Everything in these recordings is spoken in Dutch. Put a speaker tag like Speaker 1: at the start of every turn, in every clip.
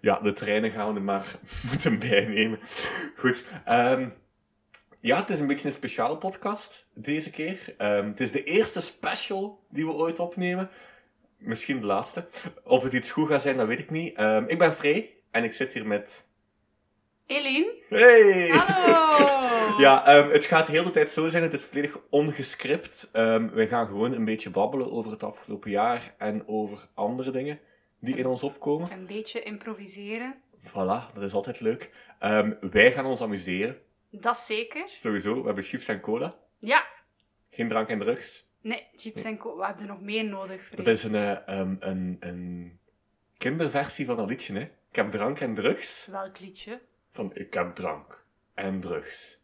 Speaker 1: Ja, de treinen gaan we maar moeten bijnemen. Goed. ehm, ja, het is een beetje een speciale podcast deze keer. Ehm, het is de eerste special die we ooit opnemen. Misschien de laatste. Of het iets goed gaat zijn, dat weet ik niet. Ehm, ik ben Frey en ik zit hier met...
Speaker 2: Eline?
Speaker 1: Hey!
Speaker 2: Hallo!
Speaker 1: Ja, ehm, het gaat heel de tijd zo zijn. Het is volledig ongescript. Ehm we gaan gewoon een beetje babbelen over het afgelopen jaar en over andere dingen die in ons opkomen.
Speaker 2: Een beetje improviseren.
Speaker 1: Voilà, dat is altijd leuk. Ehm, wij gaan ons amuseren,
Speaker 2: Dat zeker.
Speaker 1: sowieso. We hebben chips en cola.
Speaker 2: Ja.
Speaker 1: Geen drank en drugs.
Speaker 2: Nee, chips en cola. We hebben er nog meer nodig, Freek.
Speaker 1: Dat is een, eh, ehm, een, een kinderversie van dat liedje, hè. Ik heb drank en drugs.
Speaker 2: Welk liedje?
Speaker 1: Van, ik heb drank en drugs.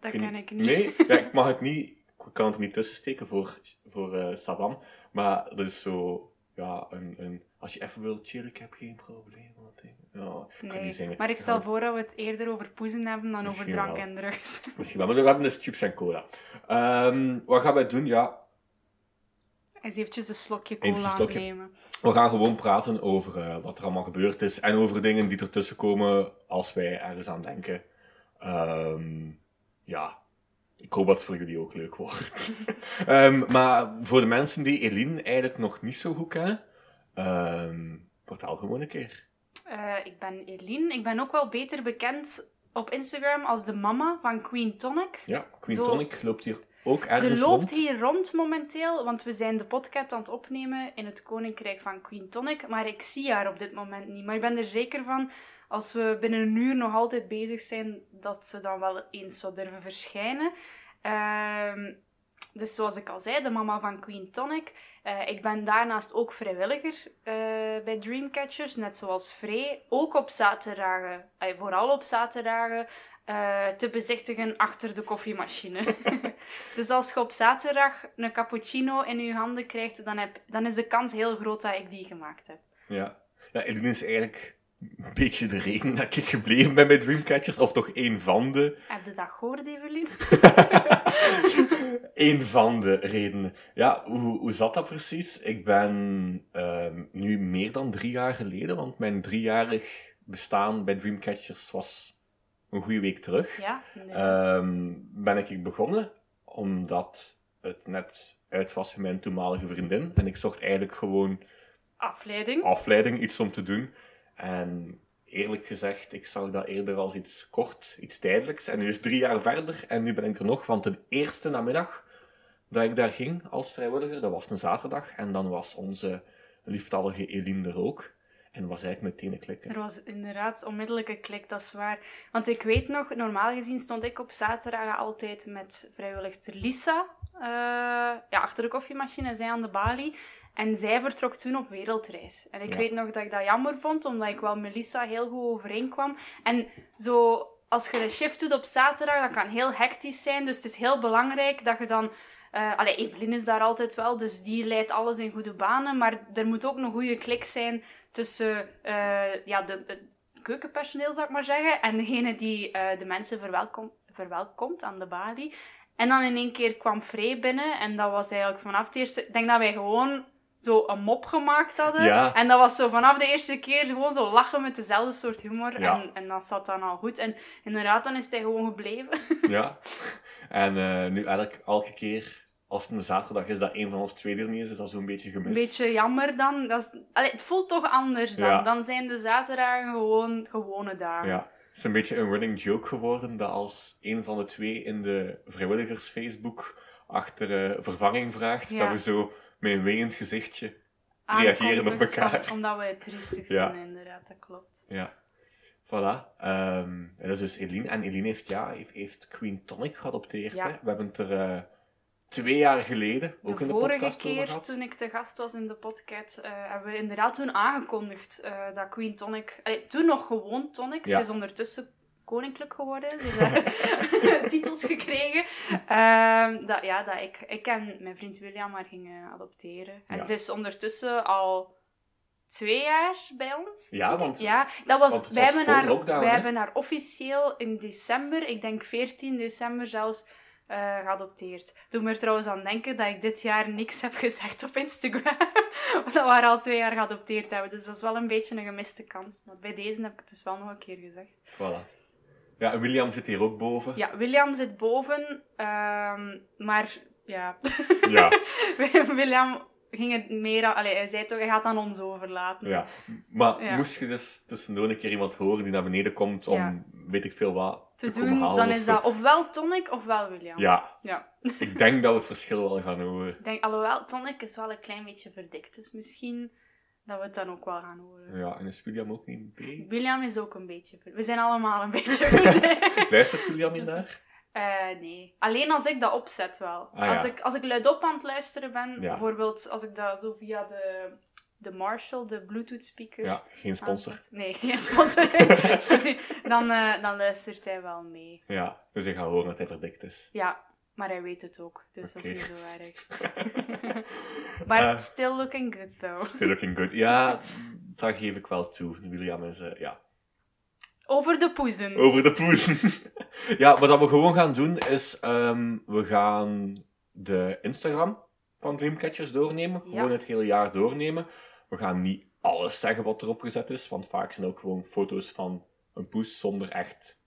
Speaker 2: Dat
Speaker 1: Kun-
Speaker 2: ken ik niet.
Speaker 1: Nee, ja, ik mag het niet. Ik kan het er niet tussen steken voor, voor eh, Sabam. Maar dat is zo. Ja, een, een, als je even wilt chillen, ik heb geen probleem. Wat ik, ja, ik kan
Speaker 2: Nee,
Speaker 1: niet zingen.
Speaker 2: Maar ik stel
Speaker 1: Ja,
Speaker 2: voor dat we het eerder over poezen hebben dan over
Speaker 1: Misschien
Speaker 2: drank
Speaker 1: wel.
Speaker 2: en drugs.
Speaker 1: Misschien wel, maar we hebben dus chips en cola. Ehm, wat gaan wij doen? Ja,
Speaker 2: Eens eventjes een slokje
Speaker 1: Eventjes
Speaker 2: cola
Speaker 1: een slokje.
Speaker 2: nemen.
Speaker 1: we gaan gewoon praten over eh, wat er allemaal gebeurd is. En over dingen die ertussen komen als wij ergens aan denken. Ehm, ja, ik hoop dat het voor jullie ook leuk wordt. Ehm, maar voor de mensen die Eline eigenlijk nog niet zo goed kennen, ehm vertel gewoon een keer.
Speaker 2: Eh, ik ben Eline. Ik ben ook wel beter bekend op Instagram als de mama van Queen Tonic.
Speaker 1: Ja, Queen
Speaker 2: Zo.
Speaker 1: Tonic loopt hier ook
Speaker 2: Ze
Speaker 1: ergens
Speaker 2: loopt
Speaker 1: rond.
Speaker 2: hier rond momenteel, want we zijn de podcast aan het opnemen in het Koninkrijk van Queen Tonic. Maar ik zie haar op dit moment niet. Maar ik ben er zeker van, als we binnen een uur nog altijd bezig zijn, dat ze dan wel eens zou durven verschijnen. Ehm, dus zoals ik al zei, de mama van Queen Tonic. Eh, ik ben daarnaast ook vrijwilliger eh, bij Dreamcatchers, net zoals Frey. Ook op zaterdagen, eh, vooral op zaterdagen, eh, te bezichtigen achter de koffiemachine. dus als je op zaterdag een cappuccino in je handen krijgt, dan, heb, dan is de kans heel groot dat ik die gemaakt heb.
Speaker 1: Ja. ja, Eline is eigenlijk een beetje de reden dat ik gebleven ben bij Dreamcatchers. Of toch één van de...
Speaker 2: Heb je dat gehoord, Evelien?
Speaker 1: Een van de redenen. Ja, hoe, hoe zat dat precies? Ik ben ehm, nu meer dan drie jaar geleden, want mijn driejarig bestaan bij Dreamcatchers was een goede week terug.
Speaker 2: Ja, inderdaad.
Speaker 1: Ehm, ben ik begonnen omdat het net uit was van mijn toenmalige vriendin. En ik zocht eigenlijk gewoon
Speaker 2: Afleiding.
Speaker 1: afleiding, iets om te doen. En eerlijk gezegd, ik zag dat eerder als iets kort, iets tijdelijks. En nu is drie jaar verder en nu ben ik er nog. Want de eerste namiddag dat ik daar ging als vrijwilliger, dat was een zaterdag. En dan was onze lieftallige Eline er ook. En was eigenlijk meteen een klikker.
Speaker 2: Er was inderdaad onmiddellijke klik, dat is waar. Want ik weet nog, normaal gezien stond ik op zaterdagen altijd met vrijwilligster Lisa eh, ja, achter de koffiemachine, zij aan de balie. En zij vertrok toen op wereldreis. En ik
Speaker 1: Ja.
Speaker 2: weet nog dat ik dat jammer vond, omdat ik wel met Lisa heel goed overeenkwam. En zo, als je een shift doet op zaterdag, dat kan heel hectisch zijn. Dus het is heel belangrijk dat je dan eh allee, Evelien is daar altijd wel, dus die leidt alles in goede banen. Maar er moet ook een goede klik zijn tussen eh, ja, de, het keukenpersoneel, zou ik maar zeggen, en degene die eh, de mensen verwelkom, verwelkomt aan de balie. En dan in één keer kwam Frey binnen en dat was eigenlijk vanaf de eerste... Ik denk dat wij gewoon zo een mop gemaakt hadden.
Speaker 1: Ja.
Speaker 2: En dat was zo vanaf de eerste keer gewoon zo lachen met dezelfde soort humor.
Speaker 1: Ja.
Speaker 2: En, en dat zat dan al goed. En inderdaad, dan is hij gewoon gebleven.
Speaker 1: Ja. En eh, nu eigenlijk elke keer als het een zaterdag is dat een van ons twee er niet is, is dat zo'n beetje gemist.
Speaker 2: Een beetje jammer dan. Dat is, allee, het voelt toch anders dan.
Speaker 1: Ja.
Speaker 2: Dan zijn de zaterdagen gewoon gewone dagen.
Speaker 1: Ja, het is een beetje een running joke geworden dat als een van de twee in de vrijwilligers Facebook achter eh, vervanging vraagt,
Speaker 2: Ja.
Speaker 1: dat we zo met een weend gezichtje.
Speaker 2: Aangekondigd
Speaker 1: Reageren op elkaar.
Speaker 2: van- omdat we het triestig
Speaker 1: Ja.
Speaker 2: vinden, inderdaad. Dat klopt.
Speaker 1: Ja. Voilà. Ehm, en dat is dus Eline. En Eline heeft, ja, heeft, heeft Queen Tonic geadopteerd.
Speaker 2: Ja.
Speaker 1: Hè? We hebben het er eh, twee jaar geleden ook
Speaker 2: de
Speaker 1: in de
Speaker 2: vorige
Speaker 1: podcast over
Speaker 2: keer
Speaker 1: gehad.
Speaker 2: toen ik te gast was in de podcast, eh, hebben we inderdaad toen aangekondigd eh, dat Queen Tonic... allee, toen nog gewoon Tonic.
Speaker 1: Ja.
Speaker 2: Ze is ondertussen koninklijk geworden. Ze heeft daar titels gekregen. Ehm, dat, ja, dat ik, ik en mijn vriend William maar gingen adopteren. En
Speaker 1: Ja.
Speaker 2: ze is ondertussen al twee jaar bij ons.
Speaker 1: Ja,
Speaker 2: denk ik.
Speaker 1: want-
Speaker 2: Ja, dat was...
Speaker 1: want het
Speaker 2: wij
Speaker 1: was
Speaker 2: hebben
Speaker 1: voor
Speaker 2: haar,
Speaker 1: lockdown,
Speaker 2: wij
Speaker 1: hè?
Speaker 2: hebben haar officieel in december, ik denk 14 december zelfs, eh, geadopteerd. Doe me er trouwens aan denken dat ik dit jaar niks heb gezegd op Instagram. Omdat we haar al twee jaar geadopteerd hebben. Dus dat is wel een beetje een gemiste kans. Maar bij deze heb ik het dus wel nog een keer gezegd.
Speaker 1: Voilà. Ja, en William zit hier ook boven.
Speaker 2: Ja, William zit boven. ehm, maar ja,
Speaker 1: Ja,
Speaker 2: William ging het meer aan... Allee, hij zei toch, hij gaat aan ons overlaten.
Speaker 1: ja. Maar
Speaker 2: Ja.
Speaker 1: moest je dus tussendoor een keer iemand horen die naar beneden komt om
Speaker 2: Ja.
Speaker 1: weet ik veel wat
Speaker 2: Te
Speaker 1: komen
Speaker 2: doen,
Speaker 1: halen
Speaker 2: dan
Speaker 1: of
Speaker 2: is
Speaker 1: zo.
Speaker 2: dat ofwel Tonic ofwel William.
Speaker 1: Ja,
Speaker 2: ja.
Speaker 1: ik denk dat we het verschil wel gaan horen.
Speaker 2: Ik denk, alhoewel, tonic is wel een klein beetje verdikt. Dus misschien dat we het dan ook wel gaan horen.
Speaker 1: Ja, en is William ook niet mee?
Speaker 2: William is ook een beetje verdikt. We zijn allemaal een beetje verdikt.
Speaker 1: Luistert William hier naar?
Speaker 2: Eh, nee. Alleen als ik dat opzet wel.
Speaker 1: Ah, ja.
Speaker 2: als, ik, als ik luidop aan het luisteren ben,
Speaker 1: Ja.
Speaker 2: bijvoorbeeld als ik dat zo via de, de Marshall, de Bluetooth speaker...
Speaker 1: Ja, geen sponsor.
Speaker 2: aanzet- Nee, geen sponsor. Sorry. Dan, eh, dan luistert hij wel mee.
Speaker 1: Ja, dus ik ga horen dat hij verdikt is.
Speaker 2: Ja, maar hij weet het ook. Dus dat
Speaker 1: Oké.
Speaker 2: is niet zo erg. Maar
Speaker 1: Eh.
Speaker 2: it's still looking good, though.
Speaker 1: Still looking good. Ja, dat geef ik wel toe. William is, eh, ja,
Speaker 2: Over de poezen.
Speaker 1: over de poezen. ja, wat dat we gewoon gaan doen is, ehm, we gaan de Instagram van Dreamcatchers doornemen.
Speaker 2: Ja.
Speaker 1: Gewoon het hele jaar doornemen. We gaan niet alles zeggen wat erop gezet is, want vaak zijn ook gewoon foto's van een poes zonder echt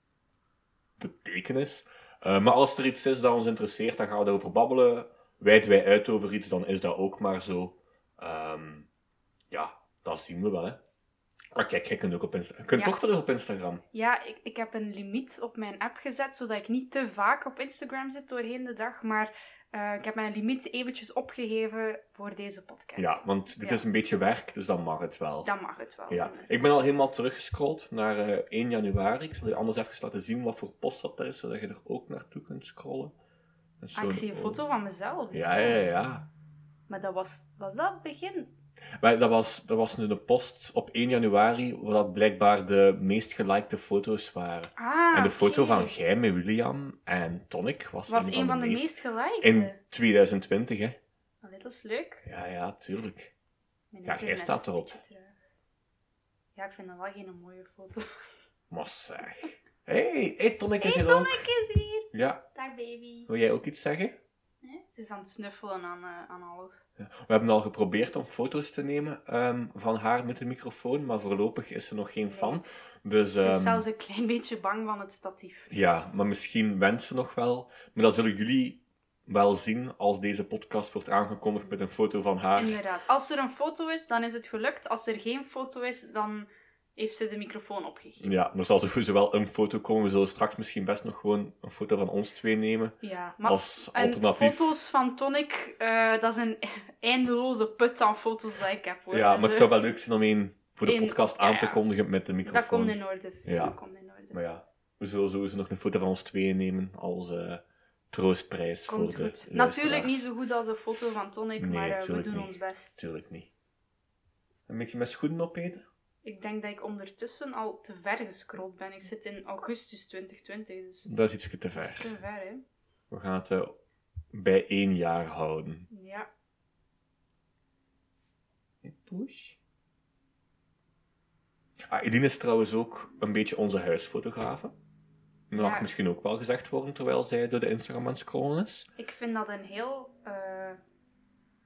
Speaker 1: betekenis. Eh, maar als er iets is dat ons interesseert, dan gaan we daarover babbelen. Wijden wij uit over iets, dan is dat ook maar zo. Ehm, ja, dat zien we wel, hè. Ah, kijk, jij kunt ook op Instagram. Je kunt
Speaker 2: Ja.
Speaker 1: toch terug op Instagram.
Speaker 2: Ja, ik, ik heb een limiet op mijn app gezet, zodat ik niet te vaak op Instagram zit doorheen de dag. Maar eh, ik heb mijn limiet eventjes opgegeven voor deze podcast.
Speaker 1: Ja, want dit
Speaker 2: Ja.
Speaker 1: is een beetje werk, dus dan mag het wel.
Speaker 2: Dan mag het wel.
Speaker 1: Ja. Ik ben al helemaal teruggescrolld naar eh, 1 januari. Ik zal je anders even laten zien wat voor post dat er is, zodat je er ook naartoe kunt scrollen. Dat is
Speaker 2: Ah, ik
Speaker 1: zo'n-
Speaker 2: zie een foto van mezelf. dus, eh,
Speaker 1: Ja, ja, ja.
Speaker 2: Maar dat was, was dat begin?
Speaker 1: Maar dat was, dat was nu een post op 1 januari, waar dat blijkbaar de meest gelikte foto's waren.
Speaker 2: Ah,
Speaker 1: en de foto
Speaker 2: oké.
Speaker 1: van jij met William en Tonic was,
Speaker 2: was een van de meest gelikte.
Speaker 1: In 2020, hè.
Speaker 2: Allee, dat is leuk.
Speaker 1: Ja, ja, tuurlijk.
Speaker 2: Mijn
Speaker 1: Ja, jij
Speaker 2: internet
Speaker 1: staat
Speaker 2: is een
Speaker 1: erop.
Speaker 2: beetje traag. Ja, ik vind dat wel geen mooie foto.
Speaker 1: Maar zeg. Hey, hey, Tonic is
Speaker 2: Hey,
Speaker 1: hier ook.
Speaker 2: Tonic is hier!
Speaker 1: Ja,
Speaker 2: Dag, baby.
Speaker 1: wil jij ook iets zeggen?
Speaker 2: Hè? Ze is aan het snuffelen aan, eh, aan alles.
Speaker 1: We hebben al geprobeerd om foto's te nemen ehm, van haar met de microfoon, maar voorlopig is ze nog geen fan. Dus,
Speaker 2: Ze
Speaker 1: ehm,
Speaker 2: is zelfs een klein beetje bang van het statief.
Speaker 1: ja, maar misschien wensen ze nog wel. Maar dat zullen jullie wel zien als deze podcast wordt aangekondigd met een foto van haar.
Speaker 2: Inderdaad. Als er een foto is, dan is het gelukt. Als er geen foto is, dan heeft ze de microfoon opgegeven.
Speaker 1: Ja, maar er zal sowieso wel een foto komen. We zullen straks misschien best nog gewoon een foto van ons twee nemen.
Speaker 2: Ja, maar
Speaker 1: als
Speaker 2: en
Speaker 1: alternatief.
Speaker 2: foto's van Tonic, eh, dat is een eindeloze put aan foto's dat ik heb. Hoor.
Speaker 1: ja,
Speaker 2: Dus,
Speaker 1: maar het
Speaker 2: eh,
Speaker 1: zou wel leuk zijn om één voor de
Speaker 2: Eén-
Speaker 1: podcast
Speaker 2: ja,
Speaker 1: aan te
Speaker 2: ja.
Speaker 1: kondigen met de microfoon.
Speaker 2: Dat komt in orde.
Speaker 1: Ja.
Speaker 2: Dat komt in orde.
Speaker 1: Maar ja, we zullen sowieso nog een foto van ons tweeën nemen als eh, troostprijs
Speaker 2: komt
Speaker 1: voor
Speaker 2: goed.
Speaker 1: de
Speaker 2: Natuurlijk
Speaker 1: luisteraars.
Speaker 2: niet zo goed als een foto van Tonic,
Speaker 1: Nee,
Speaker 2: maar eh, we
Speaker 1: tuurlijk
Speaker 2: doen
Speaker 1: niet.
Speaker 2: ons best.
Speaker 1: Natuurlijk niet. Een beetje mijn schoenen opeten?
Speaker 2: Ik denk dat ik ondertussen al te ver gescrolld ben. Ik zit in augustus 2020, dus
Speaker 1: Dat is iets te
Speaker 2: dat is te
Speaker 1: ver.
Speaker 2: ver, hè.
Speaker 1: We gaan het eh, bij één jaar houden.
Speaker 2: Ja.
Speaker 1: Push. Ah, Eline is trouwens ook een beetje onze huisfotografe. Dat mag
Speaker 2: Ja.
Speaker 1: misschien ook wel gezegd worden terwijl zij door de Instagram aan het scrollen is.
Speaker 2: Ik vind dat een heel. eh, hoe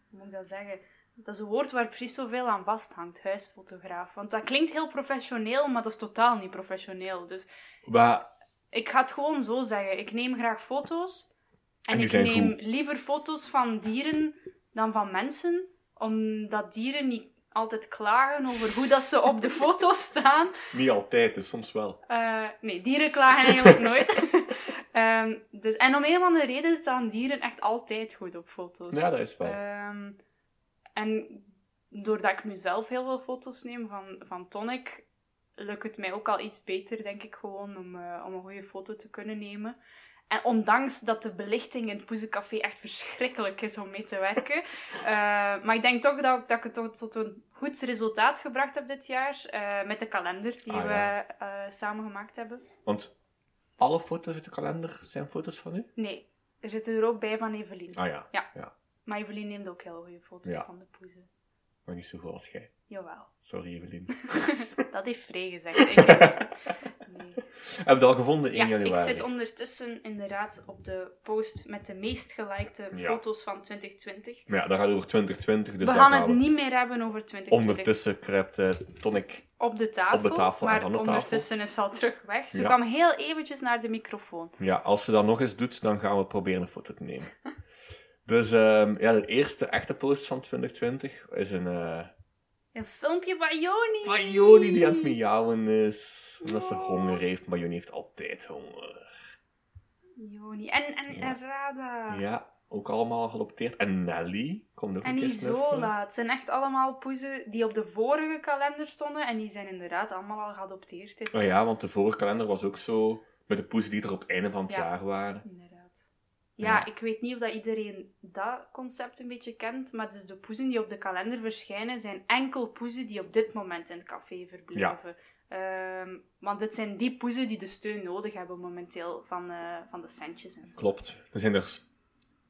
Speaker 2: moet ik dat zeggen? Dat is een woord waar precies zoveel aan vasthangt, huisfotograaf. Want dat klinkt heel professioneel, maar dat is totaal niet professioneel. Dus
Speaker 1: Maar
Speaker 2: ik ga het gewoon zo zeggen. Ik neem graag foto's. En,
Speaker 1: En die
Speaker 2: ik
Speaker 1: zijn
Speaker 2: neem
Speaker 1: goed.
Speaker 2: liever foto's van dieren dan van mensen. Omdat dieren niet altijd klagen over hoe dat ze op de foto staan.
Speaker 1: niet altijd, dus soms wel.
Speaker 2: Eh, nee, dieren klagen eigenlijk nooit. Ehm, dus, en om een van de redenen staan dieren echt altijd goed op foto's.
Speaker 1: Ja, dat is wel.
Speaker 2: Ehm, en doordat ik nu zelf heel veel foto's neem van, van Tonic, lukt het mij ook al iets beter, denk ik, gewoon om, eh, om een goede foto te kunnen nemen. En ondanks dat de belichting in het Poezencafé echt verschrikkelijk is om mee te werken. eh, maar ik denk toch dat, ik- dat ik het tot, tot een goed resultaat gebracht heb dit jaar. eh, met de kalender die
Speaker 1: Ah,
Speaker 2: we
Speaker 1: ja.
Speaker 2: eh, samen gemaakt hebben.
Speaker 1: Want alle foto's uit de kalender zijn foto's van u?
Speaker 2: Nee, er zitten er ook bij van Evelien.
Speaker 1: Ah ja,
Speaker 2: Maar Evelien neemt ook heel goede foto's
Speaker 1: Ja.
Speaker 2: van de poezen.
Speaker 1: maar niet zoveel als jij.
Speaker 2: Jawel.
Speaker 1: Sorry Evelien.
Speaker 2: Dat heeft Free gezegd. Ik weet het. Nee.
Speaker 1: Heb je dat al gevonden in
Speaker 2: Ja, ik
Speaker 1: januari?
Speaker 2: zit ondertussen inderdaad op de post met de meest gelikte
Speaker 1: Ja.
Speaker 2: foto's van 2020.
Speaker 1: Maar ja, dat gaat over 2020, dus
Speaker 2: we
Speaker 1: daar
Speaker 2: gaan
Speaker 1: we.
Speaker 2: het niet meer hebben over 2020
Speaker 1: Ondertussen kruipt eh, Tonic
Speaker 2: op de tafel,
Speaker 1: op de tafel en
Speaker 2: maar
Speaker 1: van de tafel.
Speaker 2: ondertussen is ze al terug weg. Ze
Speaker 1: Ja.
Speaker 2: kwam heel eventjes naar de microfoon.
Speaker 1: Ja, als ze dat nog eens doet, dan gaan we proberen een foto te nemen. Dus ehm, ja, de eerste echte post van 2020 is een eh
Speaker 2: Een filmpje van Joni!
Speaker 1: van Joni die aan het miauwen is. Omdat ze honger heeft, maar Joni heeft altijd honger.
Speaker 2: Joni. En, en, en Rada.
Speaker 1: Ja, ook allemaal geadopteerd. En Nelly komt ook
Speaker 2: En
Speaker 1: een keer snuffelen.
Speaker 2: Isola. Het zijn echt allemaal poezen die op de vorige kalender stonden. En die zijn inderdaad allemaal al geadopteerd. dit
Speaker 1: Oh ja, want de vorige kalender was ook zo met de poes die er op het einde van het
Speaker 2: Ja.
Speaker 1: jaar waren.
Speaker 2: Inderdaad. Ja,
Speaker 1: Ja.
Speaker 2: ik weet niet of dat iedereen dat concept een beetje kent, maar dus de poezen die op de kalender verschijnen zijn enkel poezen die op dit moment in het café verblijven. Ehm, want het zijn die poezen die de steun nodig hebben momenteel van, eh, van de centjes. En...
Speaker 1: Klopt. Er zijn er s-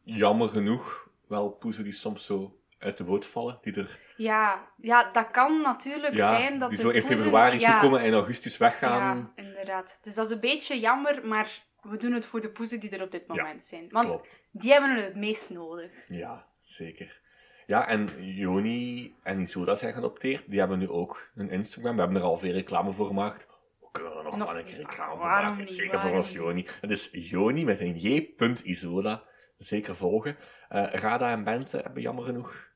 Speaker 1: jammer genoeg wel poezen die soms zo uit de boot vallen. Die er
Speaker 2: Ja, ja, dat kan natuurlijk zijn dat
Speaker 1: die
Speaker 2: er
Speaker 1: zo in
Speaker 2: poezen-
Speaker 1: februari
Speaker 2: ja,
Speaker 1: toekomen en in augustus weggaan.
Speaker 2: Ja, inderdaad. Dus dat is een beetje jammer, maar we doen het voor de poezen die er op dit moment zijn. Want
Speaker 1: Klopt.
Speaker 2: die hebben het het meest nodig.
Speaker 1: Ja, zeker. Ja, en Joni en Isoda zijn geadopteerd. Die hebben nu ook een Instagram. We hebben er alweer reclame voor gemaakt. We kunnen er nog,
Speaker 2: Nog-
Speaker 1: wel een keer reclame voor
Speaker 2: waarom
Speaker 1: maken.
Speaker 2: niet,
Speaker 1: zeker voor
Speaker 2: waarom
Speaker 1: ons
Speaker 2: niet?
Speaker 1: Joni. Het is Joni met een J.Isoda. Zeker volgen. Eh, Rada en Bente hebben jammer genoeg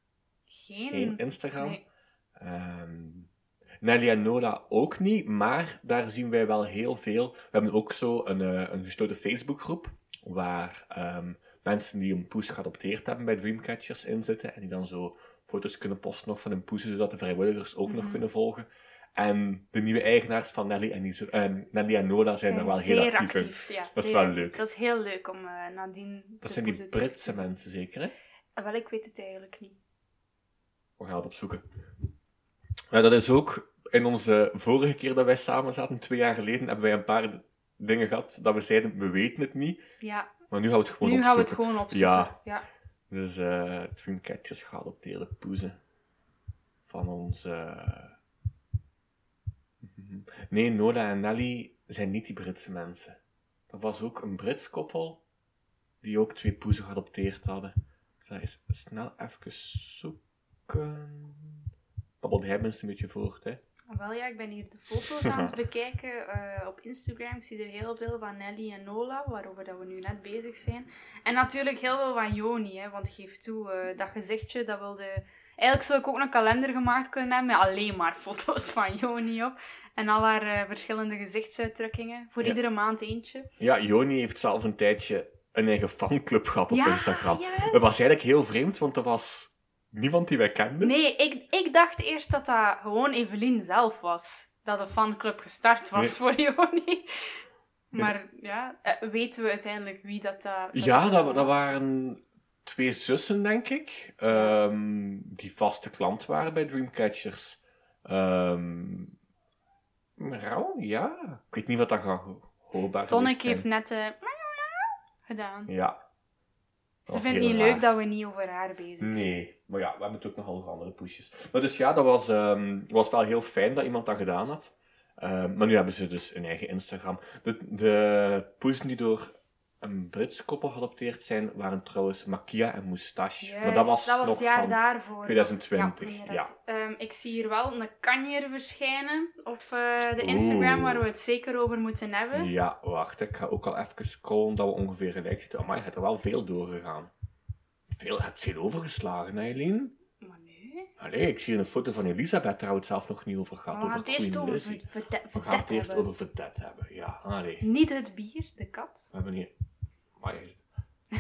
Speaker 2: Geen,
Speaker 1: geen Instagram.
Speaker 2: Nee.
Speaker 1: Ehm, Nelly en Noda ook niet, maar daar zien wij wel heel veel. We hebben ook zo een, eh, een gesloten Facebookgroep, waar ehm, mensen die een poes geadopteerd hebben bij Dreamcatchers in zitten en die dan zo foto's kunnen posten nog van hun poes, zodat de vrijwilligers ook nog
Speaker 2: Mhm.
Speaker 1: kunnen volgen. En de nieuwe eigenaars van Nelly en, Iso- ehm, Nelly en Noda zijn, er wel heel
Speaker 2: zeer
Speaker 1: actief, in.
Speaker 2: actief. Ja,
Speaker 1: Dat is
Speaker 2: zeer
Speaker 1: wel
Speaker 2: actief.
Speaker 1: leuk.
Speaker 2: Dat is heel leuk om eh, nadien...
Speaker 1: Dat
Speaker 2: de
Speaker 1: zijn die
Speaker 2: poezen terug
Speaker 1: Britse
Speaker 2: te zien.
Speaker 1: mensen zeker, hè?
Speaker 2: Eh, Wel, ik weet het eigenlijk niet.
Speaker 1: We gaan het opzoeken. Ja, dat is ook in onze vorige keer dat wij samen zaten, twee jaar geleden, hebben wij een paar d- dingen gehad dat we zeiden, we weten het niet,
Speaker 2: Ja,
Speaker 1: maar nu gaan we het gewoon
Speaker 2: nu gaan we het
Speaker 1: opzoeken.
Speaker 2: gewoon opzoeken.
Speaker 1: Ja.
Speaker 2: ja.
Speaker 1: Dus eh Dreamcatchers geadopteerde poezen van onze... eh, Nee, Noda en Nelly zijn niet die Britse mensen. Dat was ook een Brits koppel die ook twee poezen geadopteerd hadden. Dat is snel even zoeken. Babbelde hij minstens een beetje voort, hè?
Speaker 2: Ah, Wel ja, ik ben hier de foto's aan het bekijken eh, op Instagram. Ik zie er heel veel van Nelly en Nola, waarover dat we nu net bezig zijn. En natuurlijk heel veel van Joni, hè, want geef toe, eh, dat gezichtje, dat wilde... Eigenlijk zou ik ook een kalender gemaakt kunnen hebben met alleen maar foto's van Joni op. En al haar eh, verschillende gezichtsuitdrukkingen. Voor
Speaker 1: Ja.
Speaker 2: iedere maand eentje.
Speaker 1: Ja, Joni heeft zelf een tijdje een eigen fanclub gehad op
Speaker 2: Ja,
Speaker 1: Instagram.
Speaker 2: yes.
Speaker 1: Dat was eigenlijk heel vreemd, want er was niemand die wij kenden.
Speaker 2: Nee, ik, ik dacht eerst dat dat gewoon Evelien zelf was. Dat de fanclub gestart was voor Joni. Maar ja, eh, weten we uiteindelijk wie dat... eh, dat dat
Speaker 1: Ja,
Speaker 2: persoon
Speaker 1: dat, dat waren twee zussen, denk ik, ehm, die vaste klant waren bij Dreamcatchers. Ehm rauw, ja. Ik weet niet wat dat gaat ho- hoorbaar is.
Speaker 2: Tonic heeft net eh, gedaan.
Speaker 1: Ja. Dat
Speaker 2: Ze
Speaker 1: was
Speaker 2: vindt
Speaker 1: heel
Speaker 2: niet
Speaker 1: raar.
Speaker 2: leuk dat we niet over haar bezig zijn.
Speaker 1: Nee, maar ja, we hebben natuurlijk nogal nog andere pushes. Maar dus ja, dat was, ehm, was wel heel fijn dat iemand dat gedaan had. Ehm, maar nu hebben ze dus een eigen Instagram. De, de poesen die door een Brits koppel geadopteerd zijn, waren trouwens Makia en Moustache. maar dat
Speaker 2: Juist,
Speaker 1: was,
Speaker 2: dat was
Speaker 1: nog
Speaker 2: het jaar
Speaker 1: van
Speaker 2: daarvoor.
Speaker 1: 2020.
Speaker 2: Ja,
Speaker 1: Ja,
Speaker 2: inderdaad. Ehm, ik zie hier wel een kanjer verschijnen op eh, de Instagram,
Speaker 1: Oeh.
Speaker 2: waar we het zeker over moeten hebben.
Speaker 1: Ja, wacht. Ik ga ook al even scrollen dat we ongeveer gelijk zitten. Maar je hebt er wel veel doorgegaan. Veel, je hebt veel overgeslagen, hè, Eileen?
Speaker 2: Maar nee.
Speaker 1: Allee, ik zie een foto van Elisabeth daar we het zelf nog niet over
Speaker 2: Maar
Speaker 1: gehad.
Speaker 2: we gaan
Speaker 1: over
Speaker 2: het eerst
Speaker 1: Queen
Speaker 2: over
Speaker 1: Lizzie.
Speaker 2: ver- verde-
Speaker 1: We gaan het
Speaker 2: verdet
Speaker 1: eerst
Speaker 2: hebben. Hm.
Speaker 1: over verdet hebben, ja. Allee,
Speaker 2: Niet het bier, de kat.
Speaker 1: we hebben hier... Maar,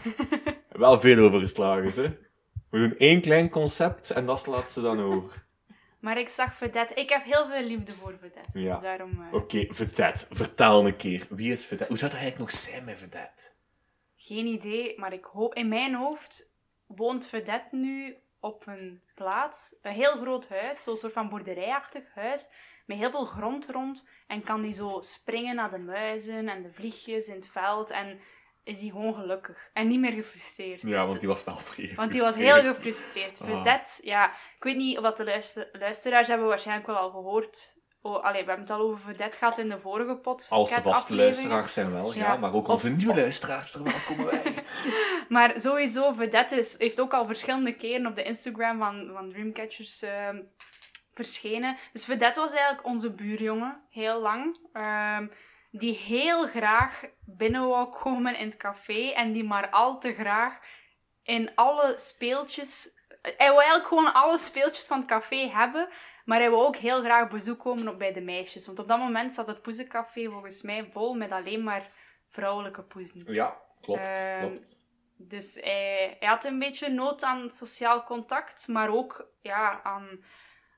Speaker 1: wel veel overgeslagen, ze. We doen één klein concept en dat slaat ze dan over.
Speaker 2: Maar ik zag Vedette. Ik heb heel veel liefde voor Vedette.
Speaker 1: Ja. Oh.
Speaker 2: Dus daarom... eh,
Speaker 1: Oké, verdet. Vertel een keer. Wie is verdet? Hoe zou dat eigenlijk nog zijn met verdet?
Speaker 2: Geen idee, maar ik hoop... In mijn hoofd woont Vedette nu op een plaats. Een heel groot huis, zo'n soort van boerderijachtig huis. Met heel veel grond rond. En kan die zo springen naar de muizen en de vliegjes in het veld. En is die gewoon gelukkig. En niet meer gefrustreerd.
Speaker 1: Ja, want die was wel vreemd.
Speaker 2: Want die was heel gefrustreerd.
Speaker 1: Ah.
Speaker 2: Vedette, ja. Ik weet niet wat de luister- luisteraars hebben waarschijnlijk wel al gehoord Oh, allee, we hebben het al over Vedette gehad in de vorige pot.
Speaker 1: Als de
Speaker 2: cat
Speaker 1: vaste
Speaker 2: aflevering.
Speaker 1: luisteraars zijn wel, ja.
Speaker 2: Ja.
Speaker 1: Maar ook
Speaker 2: Of-
Speaker 1: onze nieuwe luisteraars verwelkomen wij.
Speaker 2: Maar sowieso, Vedette is, heeft ook al verschillende keren op de Instagram van, van Dreamcatchers ehm, verschenen. Dus Vedette was eigenlijk onze buurjongen, heel lang. ehm, die heel graag binnen wou komen in het café en die maar al te graag in alle speeltjes... Hij wou eigenlijk gewoon alle speeltjes van het café hebben, maar hij wou ook heel graag bezoek komen op bij de meisjes. Want op dat moment zat het poezencafé volgens mij vol met alleen maar vrouwelijke poezen.
Speaker 1: ja, klopt,
Speaker 2: Ehm,
Speaker 1: klopt.
Speaker 2: Dus hij, hij had een beetje nood aan sociaal contact, maar ook ja, aan,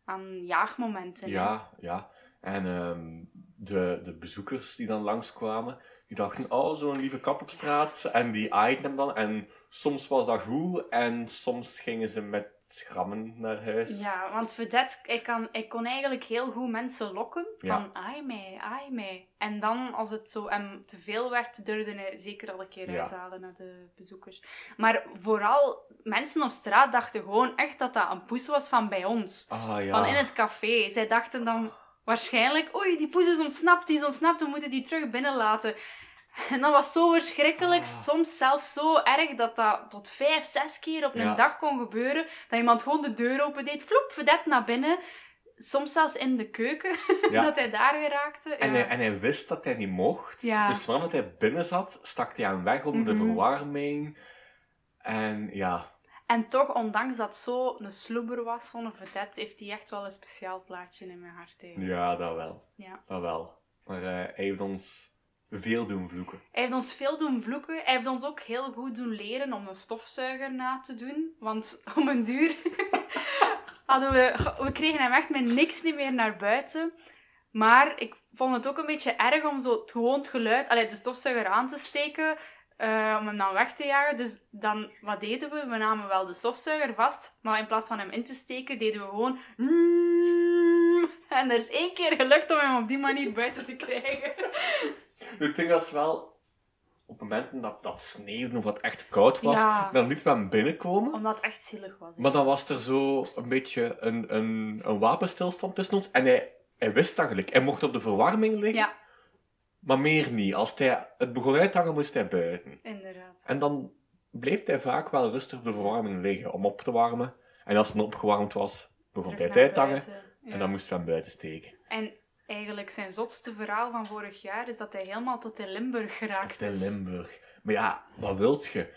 Speaker 2: aan jaagmomenten. hè.
Speaker 1: Ja, ja. En ehm, de, de bezoekers die dan langskwamen, die dachten, oh, zo'n lieve kat op straat. En die aaiden hem dan. En soms was dat goed en soms gingen ze met grammen naar huis.
Speaker 2: Ja, want Vedette, ik, kan, ik kon eigenlijk heel goed mensen lokken.
Speaker 1: Ja.
Speaker 2: Van, ai mij, ai mij. En dan, als het zo hem te veel werd, durfde hij zeker al een keer
Speaker 1: Ja.
Speaker 2: uithalen naar de bezoekers. Maar vooral, mensen op straat dachten gewoon echt dat dat een poes was van bij ons.
Speaker 1: Ah ja.
Speaker 2: Van in het café. Zij dachten dan waarschijnlijk, oei, die poes is ontsnapt, die is ontsnapt, we moeten die terug binnenlaten. En dat was zo verschrikkelijk,
Speaker 1: Ah.
Speaker 2: soms zelfs zo erg, dat dat tot vijf, zes keer op een
Speaker 1: Ja.
Speaker 2: dag kon gebeuren. Dat iemand gewoon de deur open deed, floep, vedet naar binnen. Soms zelfs in de keuken,
Speaker 1: Ja.
Speaker 2: dat hij daar weer raakte.
Speaker 1: En,
Speaker 2: ja.
Speaker 1: hij, en hij wist dat hij niet mocht.
Speaker 2: Ja.
Speaker 1: Dus vanaf dat hij binnen zat, stak hij hem weg onder
Speaker 2: Mhm.
Speaker 1: de verwarming. En ja,
Speaker 2: En toch, ondanks dat zo een sloeber was, zo'n vedette, heeft hij echt wel een speciaal plaatje in mijn hart. eigenlijk.
Speaker 1: ja dat wel.
Speaker 2: Ja.
Speaker 1: Dat wel. Maar eh, hij heeft ons veel doen vloeken.
Speaker 2: Hij heeft ons veel doen vloeken. Hij heeft ons ook heel goed doen leren om een stofzuiger na te doen. Want om een duur hadden we... We kregen hem echt met niks niet meer naar buiten. Maar ik vond het ook een beetje erg om zo het gewoon het geluid... Allee, de stofzuiger aan te steken. eh, om hem dan weg te jagen. Dus dan, wat deden we? We namen wel de stofzuiger vast. Maar in plaats van hem in te steken, deden we gewoon... En er is één keer gelukt om hem op die manier buiten te krijgen.
Speaker 1: Ik denk dat ze wel op momenten dat, dat sneeuwde of dat echt koud was,
Speaker 2: Ja.
Speaker 1: dan niet met hem binnenkomen.
Speaker 2: Omdat het echt zielig was. hè.
Speaker 1: Maar dan was er zo een beetje een, een, een wapenstilstand tussen ons. En hij, hij wist dat gelijk. Hij mocht op de verwarming liggen,
Speaker 2: Ja,
Speaker 1: maar meer niet. Als hij het begon uit te hangen, moest hij buiten.
Speaker 2: inderdaad.
Speaker 1: En dan bleef hij vaak wel rustig op de verwarming liggen om op te warmen. En als hij opgewarmd was, begon hij
Speaker 2: Terug
Speaker 1: het
Speaker 2: naar
Speaker 1: uit te hangen.
Speaker 2: buiten, ja.
Speaker 1: En dan moesten we hem buiten steken.
Speaker 2: En eigenlijk zijn zotste verhaal van vorig jaar is dat hij helemaal tot in Limburg geraakt
Speaker 1: In
Speaker 2: is.
Speaker 1: Limburg. Maar ja, wat wilt je?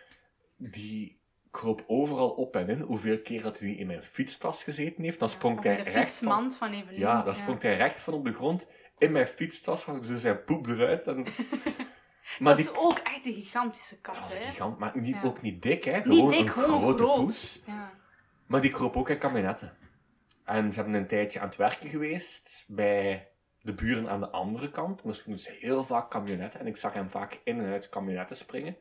Speaker 1: Die kroop overal op en in. Hoeveel keer dat hij die in mijn fietstas gezeten heeft, dan sprong
Speaker 2: Op de
Speaker 1: hij recht van...
Speaker 2: fietsmand van Evelien.
Speaker 1: Ja, dan sprong hij recht van op de grond. In mijn fietstas had ik zo zijn poep eruit. En... maar
Speaker 2: Dat
Speaker 1: die...
Speaker 2: is ook echt een gigantische kat,
Speaker 1: Dat was een
Speaker 2: hè?
Speaker 1: gigant, maar niet,
Speaker 2: Ja.
Speaker 1: ook niet dik, hè? Gewoon
Speaker 2: Niet dik,
Speaker 1: een
Speaker 2: gewoon
Speaker 1: grote
Speaker 2: groot.
Speaker 1: poes.
Speaker 2: Ja.
Speaker 1: Maar die kroop ook in kabinetten. En ze hebben een tijdje aan het werken geweest bij de buren aan de andere kant. En er stonden dus heel vaak kabinetten. En ik zag hem vaak in en uit kabinetten springen.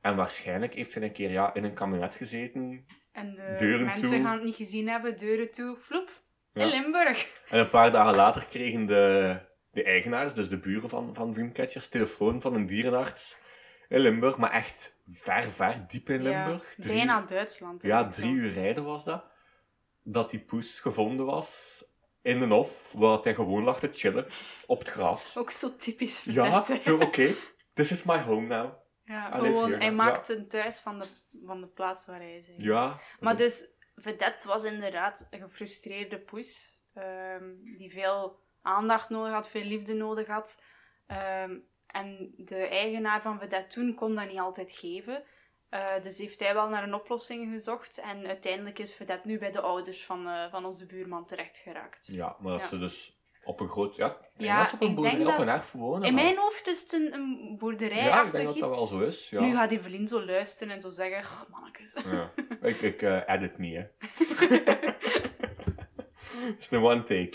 Speaker 1: En waarschijnlijk heeft hij een keer ja, in een kabinet gezeten.
Speaker 2: En de
Speaker 1: Deuren
Speaker 2: mensen
Speaker 1: toe.
Speaker 2: gaan het niet gezien hebben, deuren toe, floep,
Speaker 1: Ja.
Speaker 2: in Limburg.
Speaker 1: En een paar dagen later kregen de, de eigenaars, dus de buren van, van Dreamcatchers, telefoon van een dierenarts in Limburg. Maar echt ver, ver diep in Limburg.
Speaker 2: Ja,
Speaker 1: Drie-
Speaker 2: bijna Duitsland. hè,
Speaker 1: Ja,
Speaker 2: zelfs.
Speaker 1: drie uur rijden was dat. Dat die poes gevonden was in een hof, waar hij gewoon lag te chillen op het gras.
Speaker 2: Ook zo typisch
Speaker 1: Ja,
Speaker 2: verdacht, hè.
Speaker 1: zo oké. This is my home now.
Speaker 2: Ja,
Speaker 1: Allee,
Speaker 2: gewoon,
Speaker 1: Fiona,
Speaker 2: hij
Speaker 1: ja.
Speaker 2: maakt een thuis van de, van de plaats waar hij is. hè.
Speaker 1: Ja.
Speaker 2: Maar dus, Vedette was inderdaad een gefrustreerde poes. ehm, die veel aandacht nodig had, veel liefde nodig had. Ehm, en de eigenaar van Vedette toen kon dat niet altijd geven. Eh, dus heeft hij wel naar een oplossing gezocht. En uiteindelijk is Vedette nu bij de ouders van, eh, van onze buurman terecht geraakt.
Speaker 1: Ja, maar als
Speaker 2: Ja.
Speaker 1: ze dus op een groot... Ja, ik denk
Speaker 2: Ja,
Speaker 1: dat ze op een
Speaker 2: ik
Speaker 1: boerderij,
Speaker 2: denk
Speaker 1: op
Speaker 2: dat-
Speaker 1: een erf wonen.
Speaker 2: In
Speaker 1: dan.
Speaker 2: mijn hoofd is het een, een
Speaker 1: Ja, ik
Speaker 2: boerderijachtig
Speaker 1: denk dat dat
Speaker 2: iets.
Speaker 1: wel zo is. Ja.
Speaker 2: Nu gaat Evelien zo luisteren en zo zeggen... "Goh, mannetjes.
Speaker 1: Ja. Ik, ik eh, edit niet, hè. Het is een one take.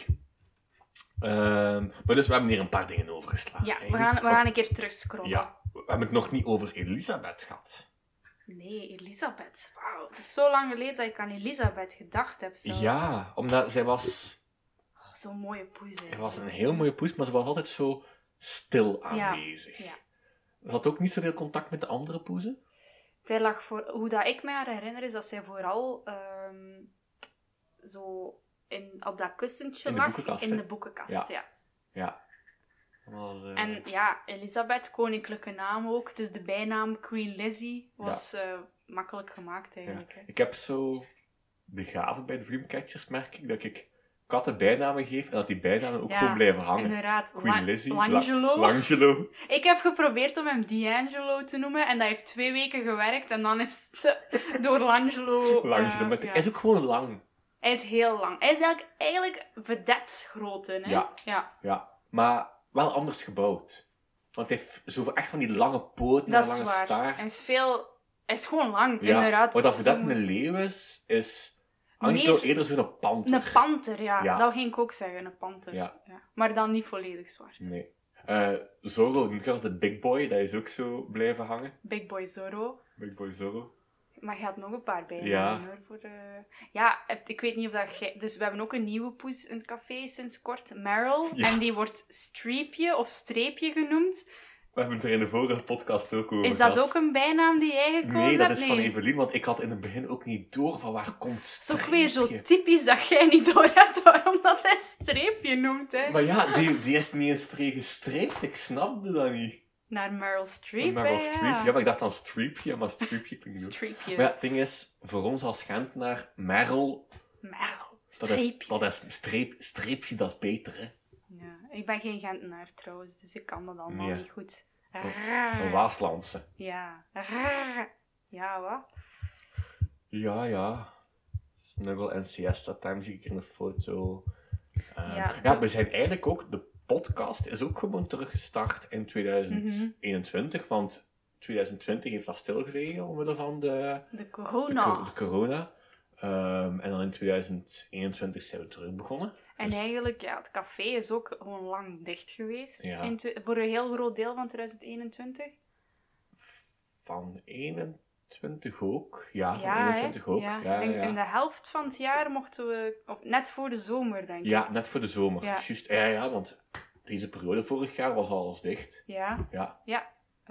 Speaker 1: Ehm, maar dus we hebben hier een paar dingen overgeslagen.
Speaker 2: Ja, we
Speaker 1: eigenlijk.
Speaker 2: gaan, we gaan een keer terugscrollen.
Speaker 1: Ja, we hebben het nog niet over Elisabeth gehad.
Speaker 2: Nee, Elisabeth. Wauw, het is zo lang geleden dat ik aan Elisabeth gedacht heb. Zelfs.
Speaker 1: Ja, omdat zij was,
Speaker 2: Oh, Zo'n mooie poes. hè.
Speaker 1: zij was een heel mooie poes, maar ze was altijd zo stil aanwezig.
Speaker 2: ja.
Speaker 1: Ze had ook niet zoveel contact met de andere poezen.
Speaker 2: Zij lag voor... Hoe dat ik me haar herinner, is dat zij vooral ehm, zo in, op dat kussentje
Speaker 1: In de
Speaker 2: lag,
Speaker 1: boekenkast,
Speaker 2: in
Speaker 1: hè?
Speaker 2: de boekenkast, ja.
Speaker 1: Ja. Dat was, eh,
Speaker 2: En ja, Elisabeth, koninklijke naam ook. Dus de bijnaam Queen Lizzie was eh, makkelijk gemaakt eigenlijk. hè.
Speaker 1: Ik heb zo de gave bij de Dreamcatchers, merk ik, dat ik katten bijnamen geef en dat die bijnamen ook
Speaker 2: Ja,
Speaker 1: gewoon blijven hangen.
Speaker 2: Inderdaad,
Speaker 1: Queen
Speaker 2: La-
Speaker 1: Lizzie, La-
Speaker 2: Langelo.
Speaker 1: Langelo.
Speaker 2: Ik heb geprobeerd om hem D'Angelo te noemen en dat heeft twee weken gewerkt en dan is het eh, door Langelo. eh,
Speaker 1: Langelo. maar
Speaker 2: ja.
Speaker 1: het is ook gewoon lang.
Speaker 2: Hij is heel lang. Hij is eigenlijk, eigenlijk vedet grote, hè?
Speaker 1: Ja.
Speaker 2: ja.
Speaker 1: Ja. Maar wel anders gebouwd. Want hij heeft zoveel echt van die lange poten
Speaker 2: Dat
Speaker 1: en
Speaker 2: is
Speaker 1: lange
Speaker 2: waar.
Speaker 1: staart.
Speaker 2: Hij is veel... Hij is gewoon lang,
Speaker 1: Ja,
Speaker 2: inderdaad.
Speaker 1: Wat dat voor dat
Speaker 2: Zo-
Speaker 1: een leeuw is, is Angelo
Speaker 2: Meer-
Speaker 1: eerder zo'n panter.
Speaker 2: Een panter, ja.
Speaker 1: Ja.
Speaker 2: Dat ging ik ook zeggen, een panter.
Speaker 1: Ja.
Speaker 2: Maar dan niet volledig zwart.
Speaker 1: Nee. Eh Zorro, noem ik altijd de Big Boy, dat is ook zo blijven hangen.
Speaker 2: Big Boy Zorro.
Speaker 1: Big Boy Zorro.
Speaker 2: Maar je had nog een paar bij.
Speaker 1: Ja.
Speaker 2: Hoor, voor de... Ja, het- ik weet niet of dat... jij- Dus we hebben ook een nieuwe poes in het café sinds kort. Meryl.
Speaker 1: Ja.
Speaker 2: En die wordt Streepje of Streepje genoemd.
Speaker 1: We hebben het er in de vorige podcast ook over
Speaker 2: Is dat
Speaker 1: gehad.
Speaker 2: ook een bijnaam die jij gekozen
Speaker 1: Nee, dat
Speaker 2: hebt?
Speaker 1: is van Evelien, want ik had in het begin ook niet door van waar komt
Speaker 2: Het is
Speaker 1: streepje.
Speaker 2: ook weer zo typisch dat jij niet doorhebt waarom dat hij Streepje noemt, hè.
Speaker 1: Maar ja, die, die is niet eens vrijgestreept, ik snapte dat niet.
Speaker 2: Naar Meryl Streep,
Speaker 1: maar wel
Speaker 2: hè,
Speaker 1: streepje, ja, maar ik dacht dan streepje, maar streepje klinkt ook.
Speaker 2: Streepje.
Speaker 1: Maar ja, het ding is, voor ons als Gentenaar, Merel,
Speaker 2: Meryl.
Speaker 1: dat is,
Speaker 2: Streepje.
Speaker 1: dat is streep, streepje, dat is beter, hè.
Speaker 2: Ja, ik ben geen Gentenaar trouwens, dus ik kan dat allemaal
Speaker 1: Ja.
Speaker 2: niet goed. Ah.
Speaker 1: Een Waaslandse.
Speaker 2: Ja. Raar. Ja, wat?
Speaker 1: Ja, ja. Snuggle en siesta time zie ik in de foto. Ehm,
Speaker 2: Ja,
Speaker 1: ja,
Speaker 2: dat-
Speaker 1: we zijn eigenlijk ook... De podcast is ook gewoon teruggestart in 2021.
Speaker 2: Mhm.
Speaker 1: Want 2020 heeft dat stilgelegen omwille van de,
Speaker 2: De
Speaker 1: de,
Speaker 2: corona.
Speaker 1: cor- de corona. Ehm, en dan in 2021 zijn we terug begonnen.
Speaker 2: En
Speaker 1: Dus-
Speaker 2: eigenlijk, ja, het café is ook gewoon lang dicht geweest.
Speaker 1: Ja.
Speaker 2: In twe- voor een heel groot deel van 2021.
Speaker 1: Van 21 ook. Ja, van
Speaker 2: hè?
Speaker 1: 21 ook. Ja,
Speaker 2: Ja.
Speaker 1: ja,
Speaker 2: Ik denk
Speaker 1: ja.
Speaker 2: In de helft van het jaar mochten we, of net voor de zomer, denk ik.
Speaker 1: Ja, net voor de zomer.
Speaker 2: Ja.
Speaker 1: Juist, ja, ja, want deze periode vorig jaar was alles dicht.
Speaker 2: Ja.
Speaker 1: Ja,
Speaker 2: eh,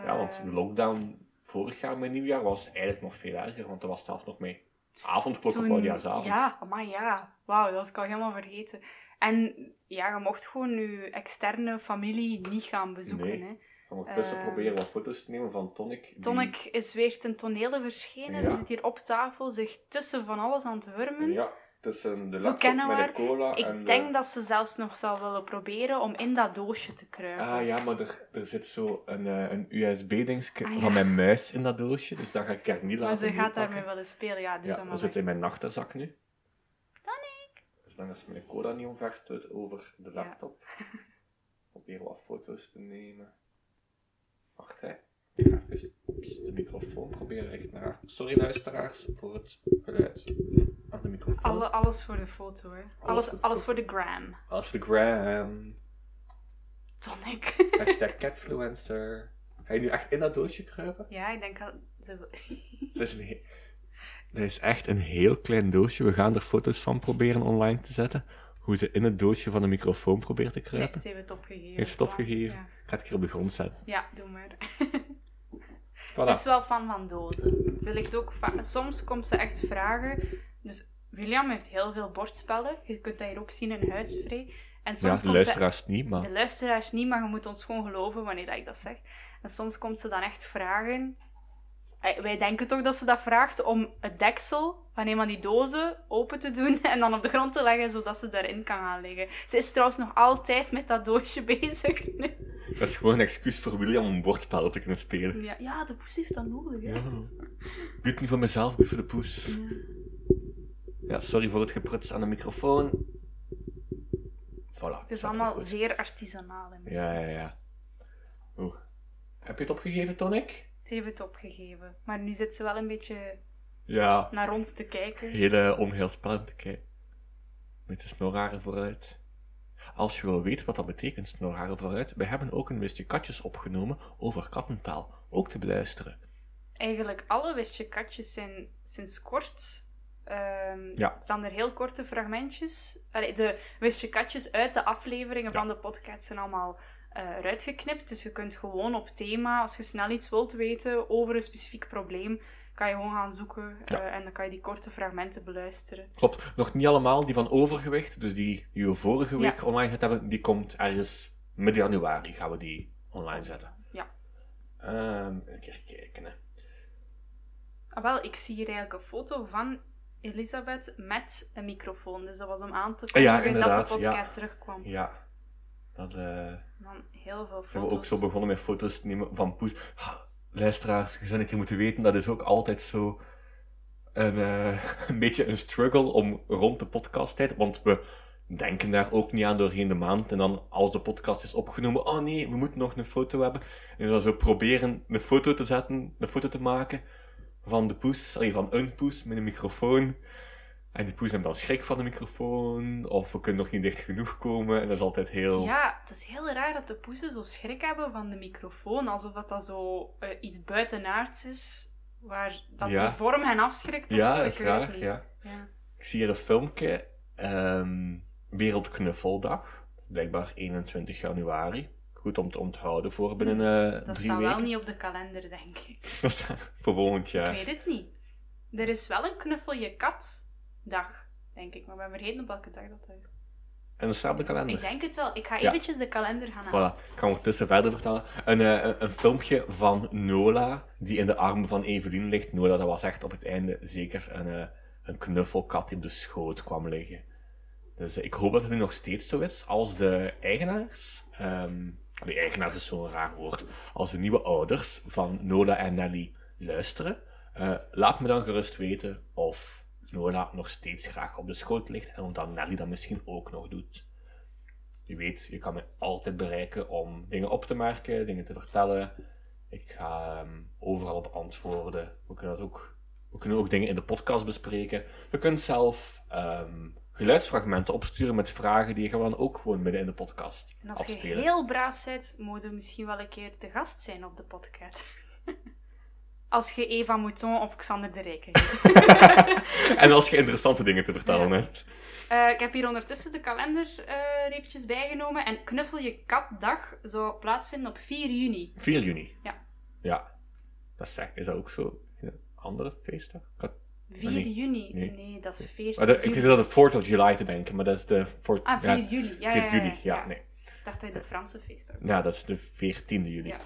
Speaker 1: Ja, want de lockdown vorig jaar met nieuwjaar was eigenlijk nog veel erger, want er was zelfs nog mee avondklok op
Speaker 2: toen-
Speaker 1: oudjaarsavond.
Speaker 2: Ja, maar ja. Wauw, dat was ik al helemaal vergeten. En ja, je mocht gewoon je externe familie niet gaan bezoeken.
Speaker 1: Nee.
Speaker 2: Hè.
Speaker 1: Ondertussen
Speaker 2: Eh,
Speaker 1: proberen wat foto's te nemen van Tonic. die-
Speaker 2: Tonic is weer ten tonele verschenen.
Speaker 1: Ja.
Speaker 2: Ze zit hier op tafel, zich tussen van alles aan het wurmen.
Speaker 1: Ja, tussen de
Speaker 2: Zo
Speaker 1: laptop
Speaker 2: kennen we
Speaker 1: met de
Speaker 2: haar.
Speaker 1: cola
Speaker 2: Ik
Speaker 1: en de-
Speaker 2: denk dat ze zelfs nog zal willen proberen om in dat doosje te kruipen.
Speaker 1: Ah ja, maar er, er zit zo een, eh, een USB-dingetje
Speaker 2: Ah, ja.
Speaker 1: van mijn muis in dat doosje, dus dat ga ik er niet
Speaker 2: maar
Speaker 1: laten
Speaker 2: ze gaat
Speaker 1: meepakken.
Speaker 2: daarmee willen spelen. Ja, doe
Speaker 1: Ja,
Speaker 2: dat
Speaker 1: dat
Speaker 2: maar.
Speaker 1: zit
Speaker 2: maar.
Speaker 1: in mijn nachterzak nu. Zolang als mijn cola niet omver stoot over de laptop. Probeer wat foto's te nemen. Wacht hè. Ik ga Even de microfoon proberen echt naar haar. Sorry luisteraars voor het geluid aan de microfoon.
Speaker 2: Alle, alles voor de foto, hè. Alles, alles voor de gram.
Speaker 1: Als de gram.
Speaker 2: Tonic.
Speaker 1: Hashtag catfluencer. Ga je nu echt in dat doosje kruipen?
Speaker 2: ja, ik denk dat... ze-
Speaker 1: Het is een he- Dat is echt een heel klein doosje. We gaan er foto's van proberen online te zetten. Hoe ze in het doosje van de microfoon probeert te
Speaker 2: Nee,
Speaker 1: kruipen.
Speaker 2: ze heeft het opgegeven.
Speaker 1: Heeft
Speaker 2: Voilà.
Speaker 1: stopgegeven.
Speaker 2: Ja.
Speaker 1: Ik ga het keer op de grond zetten.
Speaker 2: Ja, doe maar.
Speaker 1: Voilà.
Speaker 2: Ze is wel fan van dozen. Ze ligt ook va- Soms komt ze echt vragen. Dus William heeft heel veel bordspellen. Je kunt dat hier ook zien in huisvrij. En
Speaker 1: Ja,
Speaker 2: soms
Speaker 1: de
Speaker 2: komt ze
Speaker 1: luisteraars niet, maar...
Speaker 2: De luisteraars niet, maar je moet ons gewoon geloven wanneer dat ik dat zeg. En soms komt ze dan echt vragen. Eh, Wij denken toch dat ze dat vraagt om het deksel van een van die dozen open te doen en dan op de grond te leggen, zodat ze daarin kan gaan liggen. Ze is trouwens nog altijd met dat doosje bezig.
Speaker 1: Dat is gewoon een excuus voor William om bordspellen te kunnen spelen.
Speaker 2: Ja, ja de poes heeft dat nodig. hè.
Speaker 1: Ja. Doe het niet voor mezelf, doe het voor de poes.
Speaker 2: Ja.
Speaker 1: Ja, sorry voor het gepruts aan de microfoon. Voilà.
Speaker 2: Het is allemaal zeer artisanaal. hè, mensen.
Speaker 1: Ja, ja, ja. Oeh. Heb je het opgegeven, Tonic?
Speaker 2: Ze heeft het opgegeven. Maar nu zit ze wel een beetje
Speaker 1: Ja.
Speaker 2: naar ons te kijken.
Speaker 1: Hele eh, onheilspellend, kijk. Met de snorharen vooruit. Als je wil weten wat dat betekent, snorharen vooruit, we hebben ook een wistje katjes opgenomen over kattentaal. Ook te beluisteren.
Speaker 2: eigenlijk alle wistje katjes zijn sinds kort. ehm,
Speaker 1: Ja.
Speaker 2: Staan er heel korte fragmentjes. Allee, de wistje katjes uit de afleveringen
Speaker 1: Ja.
Speaker 2: van de podcast zijn allemaal eh, eruit geknipt. Dus je kunt gewoon op thema, als je snel iets wilt weten over een specifiek probleem, kan je gewoon gaan zoeken
Speaker 1: Ja.
Speaker 2: eh, en dan kan je die korte fragmenten beluisteren.
Speaker 1: Klopt. Nog niet allemaal. Die van overgewicht, dus die die we vorige
Speaker 2: Ja.
Speaker 1: week online gezet hebben, die komt ergens midden januari gaan we die online zetten.
Speaker 2: Ja.
Speaker 1: Ehm, een keer kijken. hè.
Speaker 2: Ah, wel, ik zie hier eigenlijk een foto van Elisabeth met een microfoon. Dus dat was om aan te
Speaker 1: Ah, ja,
Speaker 2: kondigen dat
Speaker 1: inderdaad,
Speaker 2: de
Speaker 1: ja.
Speaker 2: podcast terugkwam.
Speaker 1: Ja. Dat eh,
Speaker 2: Dan heel veel
Speaker 1: zijn we
Speaker 2: foto's.
Speaker 1: ook zo begonnen met foto's te nemen van poes. Ha, luisteraars, je zou een keer moeten weten, dat is ook altijd zo een, eh, een beetje een struggle om rond de podcasttijd, want we denken daar ook niet aan doorheen de maand. En dan, als de podcast is opgenomen, oh nee, we moeten nog een foto hebben. En dan zo proberen een foto te zetten, een foto te maken van de poes, allee, van een poes met een microfoon. En die poes heeft dan schrik van de microfoon, of we kunnen nog niet dicht genoeg komen. En dat is altijd heel...
Speaker 2: Ja, het is heel raar dat de poezen zo schrik hebben van de microfoon. Alsof dat, dat zo eh, iets buitenaards is, waar dat
Speaker 1: Ja.
Speaker 2: de vorm hen afschrikt of
Speaker 1: Ja,
Speaker 2: zo.
Speaker 1: dat
Speaker 2: Ik
Speaker 1: is
Speaker 2: weet het
Speaker 1: raar,
Speaker 2: niet.
Speaker 1: ja.
Speaker 2: Ja.
Speaker 1: Ik zie hier een filmpje. ehm, Wereldknuffeldag. Blijkbaar 21 januari. Goed om te onthouden voor binnen eh,
Speaker 2: Dat
Speaker 1: drie
Speaker 2: staat
Speaker 1: weken.
Speaker 2: wel niet op de kalender, denk ik.
Speaker 1: Dat staat voor volgend jaar.
Speaker 2: Ik weet het niet. Er is wel een knuffel je kat dag, denk ik. Maar ben vergeten op welke dag dat is.
Speaker 1: En dat staat op de kalender.
Speaker 2: Ik denk het wel. Ik ga
Speaker 1: Ja.
Speaker 2: eventjes de kalender gaan halen.
Speaker 1: Voilà, ik kan ondertussen verder vertellen. Een, eh, een, een filmpje van Nola, die in de armen van Evelien ligt. Nola, dat was echt op het einde zeker een, eh, een knuffelkat die op de schoot kwam liggen. Dus eh, ik hoop dat het nu nog steeds zo is. Als de eigenaars, ehm de eigenaars is zo'n raar woord, als de nieuwe ouders van Nola en Nelly luisteren, eh, laat me dan gerust weten of Nola nog steeds graag op de schoot ligt en of dan Nelly dat misschien ook nog doet. Je weet, je kan me altijd bereiken om dingen op te merken, dingen te vertellen. Ik ga ehm, overal op antwoorden. We kunnen, dat ook, we kunnen ook dingen in de podcast bespreken. Je kunt zelf ehm, geluidsfragmenten opsturen met vragen die gaan we dan ook gewoon midden in de podcast
Speaker 2: En als je
Speaker 1: afspelen.
Speaker 2: heel braaf bent, moet je misschien wel een keer te gast zijn op de podcast. Als je Eva Mouton of Xander de Rijker heet.
Speaker 1: en als je interessante dingen te vertellen
Speaker 2: Ja.
Speaker 1: hebt.
Speaker 2: Eh, ik heb hier ondertussen de kalender eh, er eventjes bijgenomen. En Knuffel je katdag zou plaatsvinden op 4 juni.
Speaker 1: 4 juni.
Speaker 2: Ja.
Speaker 1: Ja. Dat is, is dat ook zo? Een andere feestdag? Ik had-
Speaker 2: 4
Speaker 1: Ah, Nee,
Speaker 2: juni?
Speaker 1: nee.
Speaker 2: Nee, dat is 14
Speaker 1: maar de- ik
Speaker 2: juli.
Speaker 1: weet dat het 4th of July te denken, maar dat is de... 4th
Speaker 2: Ah, 4
Speaker 1: ja,
Speaker 2: juli. Ja,
Speaker 1: 4
Speaker 2: ja, ja,
Speaker 1: juli, ja,
Speaker 2: ja.
Speaker 1: nee.
Speaker 2: Ik dacht dat je de Franse feestdag.
Speaker 1: Ja, dat is de 14e juli.
Speaker 2: Ja.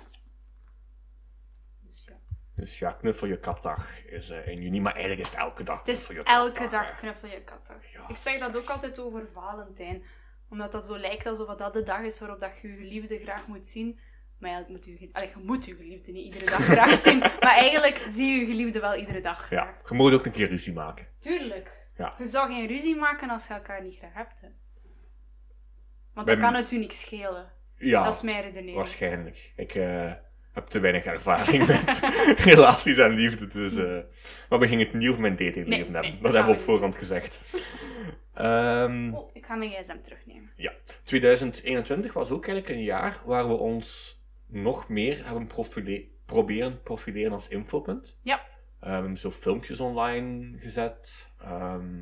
Speaker 2: Dus ja.
Speaker 1: Dus ja, knuffel je katdag is eh, in juni, maar eigenlijk is het elke dag
Speaker 2: Het is
Speaker 1: knuffel je
Speaker 2: elke
Speaker 1: katdag,
Speaker 2: dag
Speaker 1: hè.
Speaker 2: knuffel je katdag.
Speaker 1: Ja.
Speaker 2: Ik zeg dat ook altijd over Valentijn. Omdat dat zo lijkt alsof dat de dag is waarop dat je je geliefde graag moet zien. Maar eigenlijk moet je, ge- allee, je moet je geliefde niet iedere dag graag zien. Maar eigenlijk zie je je geliefde wel iedere dag graag.
Speaker 1: Ja, je moet ook een keer ruzie maken.
Speaker 2: Tuurlijk.
Speaker 1: Ja.
Speaker 2: Je zou geen ruzie maken als je elkaar niet graag hebt. Hè. Want
Speaker 1: Bij
Speaker 2: dan kan het u niks schelen.
Speaker 1: Ja,
Speaker 2: Dat is mijn redenering.
Speaker 1: waarschijnlijk. Ik eh, heb te weinig ervaring met relaties en liefde, dus... eh, maar we gingen het niet over mijn datingleven
Speaker 2: Nee,
Speaker 1: hebben.
Speaker 2: nee,
Speaker 1: dat
Speaker 2: dat
Speaker 1: hebben we op
Speaker 2: gaan we
Speaker 1: voorhand gezegd. Ehm,
Speaker 2: Oh, ik ga mijn gsm terugnemen.
Speaker 1: ja, 2021 was ook eigenlijk een jaar waar we ons nog meer hebben profile- proberen profileren als infopunt.
Speaker 2: Ja.
Speaker 1: Ehm, zo filmpjes online gezet. ehm,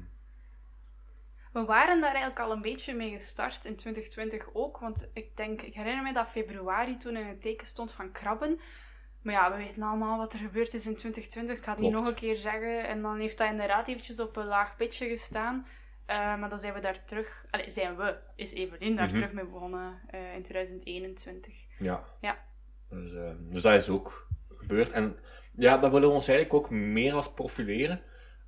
Speaker 2: We waren daar eigenlijk al een beetje mee gestart in 2020 ook. Want ik denk, ik herinner me dat februari toen in het teken stond van krabben. Maar ja, we weten allemaal wat er gebeurd is in 2020. Ik ga het niet
Speaker 1: Klopt.
Speaker 2: nog een keer zeggen. En dan heeft dat inderdaad eventjes op een laag pitje gestaan. Eh, maar dan zijn we daar terug... Allee, zijn we, is Evelien daar
Speaker 1: Mhm.
Speaker 2: terug mee begonnen eh, in 2021.
Speaker 1: Ja.
Speaker 2: Ja.
Speaker 1: Dus, eh, dus dat is ook gebeurd. En ja, daar willen we ons eigenlijk ook meer als profileren.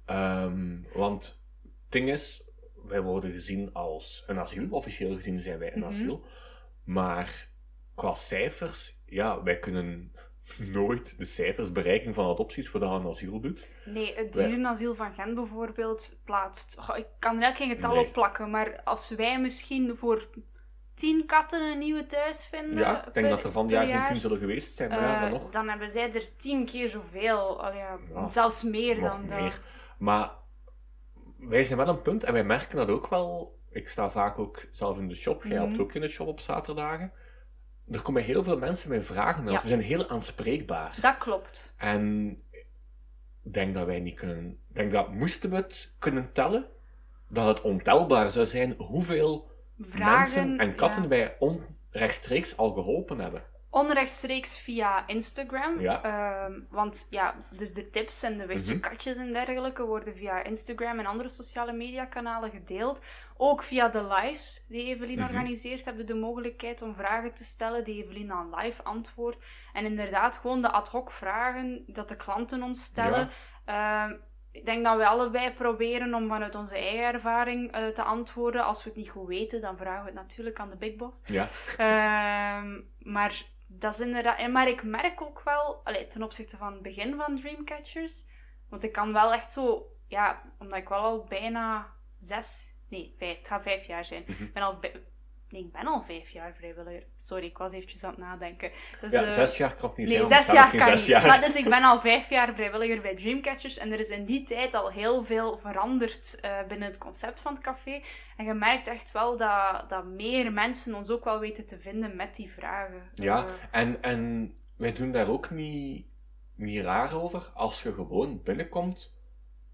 Speaker 1: Ehm, want het ding is, wij worden gezien als een asiel. Officieel gezien zijn wij een
Speaker 2: Mhm.
Speaker 1: asiel. Maar qua cijfers, ja, wij kunnen nooit de cijfers bereiken van adopties voordat een asiel doet.
Speaker 2: Nee, het
Speaker 1: Wij-
Speaker 2: dierenasiel van Gent bijvoorbeeld plaatst... Goh, ik kan er eigenlijk geen getal
Speaker 1: Nee.
Speaker 2: op plakken, maar als wij misschien voor tien katten een nieuwe thuis vinden...
Speaker 1: ja, ik denk
Speaker 2: Nou, per-
Speaker 1: dat er van die
Speaker 2: per
Speaker 1: jaar geen tien zullen geweest zijn, maar ja,
Speaker 2: eh,
Speaker 1: dan nog.
Speaker 2: dan hebben zij er tien keer zoveel. Allee, ja,
Speaker 1: Ja,
Speaker 2: zelfs meer
Speaker 1: nog
Speaker 2: dan dat.
Speaker 1: meer. Maar wij zijn wel een punt en wij merken dat ook wel. Ik sta vaak ook zelf in de shop. Jij helpt
Speaker 2: Mhm.
Speaker 1: ook in de shop op zaterdagen. Er komen heel veel mensen met vragen bij ons.
Speaker 2: Ja.
Speaker 1: We zijn heel aanspreekbaar.
Speaker 2: Dat klopt.
Speaker 1: En ik denk dat wij niet kunnen. Ik denk dat moesten we het kunnen tellen, dat het ontelbaar zou zijn hoeveel
Speaker 2: Vragen
Speaker 1: mensen en katten
Speaker 2: ja.
Speaker 1: wij onrechtstreeks al geholpen hebben.
Speaker 2: Onrechtstreeks via Instagram.
Speaker 1: Ja.
Speaker 2: Ehm, want ja, dus de tips en de
Speaker 1: Mhm.
Speaker 2: wichtje-katjes en dergelijke worden via Instagram en andere sociale mediakanalen gedeeld. Ook via de lives die Evelien
Speaker 1: Mhm.
Speaker 2: organiseert, hebben we de mogelijkheid om vragen te stellen die Evelien dan live antwoordt. En inderdaad, gewoon de ad hoc vragen dat de klanten ons stellen. Ehm, ik denk dat we allebei proberen om vanuit onze eigen ervaring eh, te antwoorden. Als we het niet goed weten, dan vragen we het natuurlijk aan de big boss.
Speaker 1: Ja.
Speaker 2: Ehm, maar dat is inderdaad... en Maar ik merk ook wel, allee, ten opzichte van het begin van Dreamcatchers, want ik kan wel echt zo... Ja, omdat ik wel al bijna zes... Nee, vijf. Het gaat vijf jaar zijn.
Speaker 1: Mhm.
Speaker 2: Ik ben al... bij- Nee, ik ben al vijf jaar vrijwilliger. Sorry, ik was eventjes aan het nadenken. Dus,
Speaker 1: ja,
Speaker 2: eh,
Speaker 1: zes jaar kan het niet
Speaker 2: Nee,
Speaker 1: zijn. want
Speaker 2: zes
Speaker 1: we staan
Speaker 2: jaar
Speaker 1: nog
Speaker 2: kan
Speaker 1: geen
Speaker 2: niet.
Speaker 1: zes jaar.
Speaker 2: Maar dus ik ben al vijf jaar vrijwilliger bij Dreamcatchers en er is in die tijd al heel veel veranderd eh, binnen het concept van het café. En je merkt echt wel dat, dat meer mensen ons ook wel weten te vinden met die vragen.
Speaker 1: Ja,
Speaker 2: Eh,
Speaker 1: en, en wij doen daar ook niet, niet raar over als je gewoon binnenkomt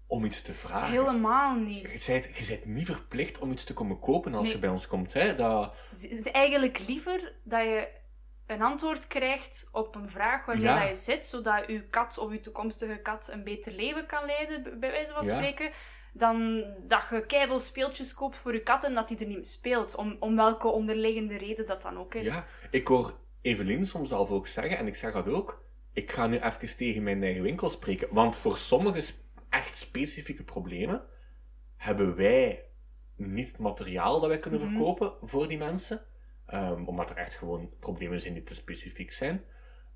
Speaker 1: om iets te vragen.
Speaker 2: helemaal niet.
Speaker 1: Je bent, je bent niet verplicht om iets te komen kopen als
Speaker 2: Nee.
Speaker 1: je bij ons komt. Hè? Dat,
Speaker 2: Het is eigenlijk liever dat je een antwoord krijgt op een vraag waarmee
Speaker 1: Ja.
Speaker 2: dat je zit, zodat je kat of je toekomstige kat een beter leven kan leiden, b- bij wijze van
Speaker 1: Ja.
Speaker 2: spreken, dan dat je keiveel speeltjes koopt voor je kat en dat die er niet meer speelt. Om, om welke onderliggende reden dat dan ook is.
Speaker 1: ja. Ik hoor Evelien soms zelf ook zeggen, en ik zeg dat ook, ik ga nu even tegen mijn eigen winkel spreken. Want voor sommige sp- echt specifieke problemen hebben wij niet het materiaal dat wij kunnen
Speaker 2: Mhm.
Speaker 1: verkopen voor die mensen. Ehm, omdat er echt gewoon problemen zijn die te specifiek zijn.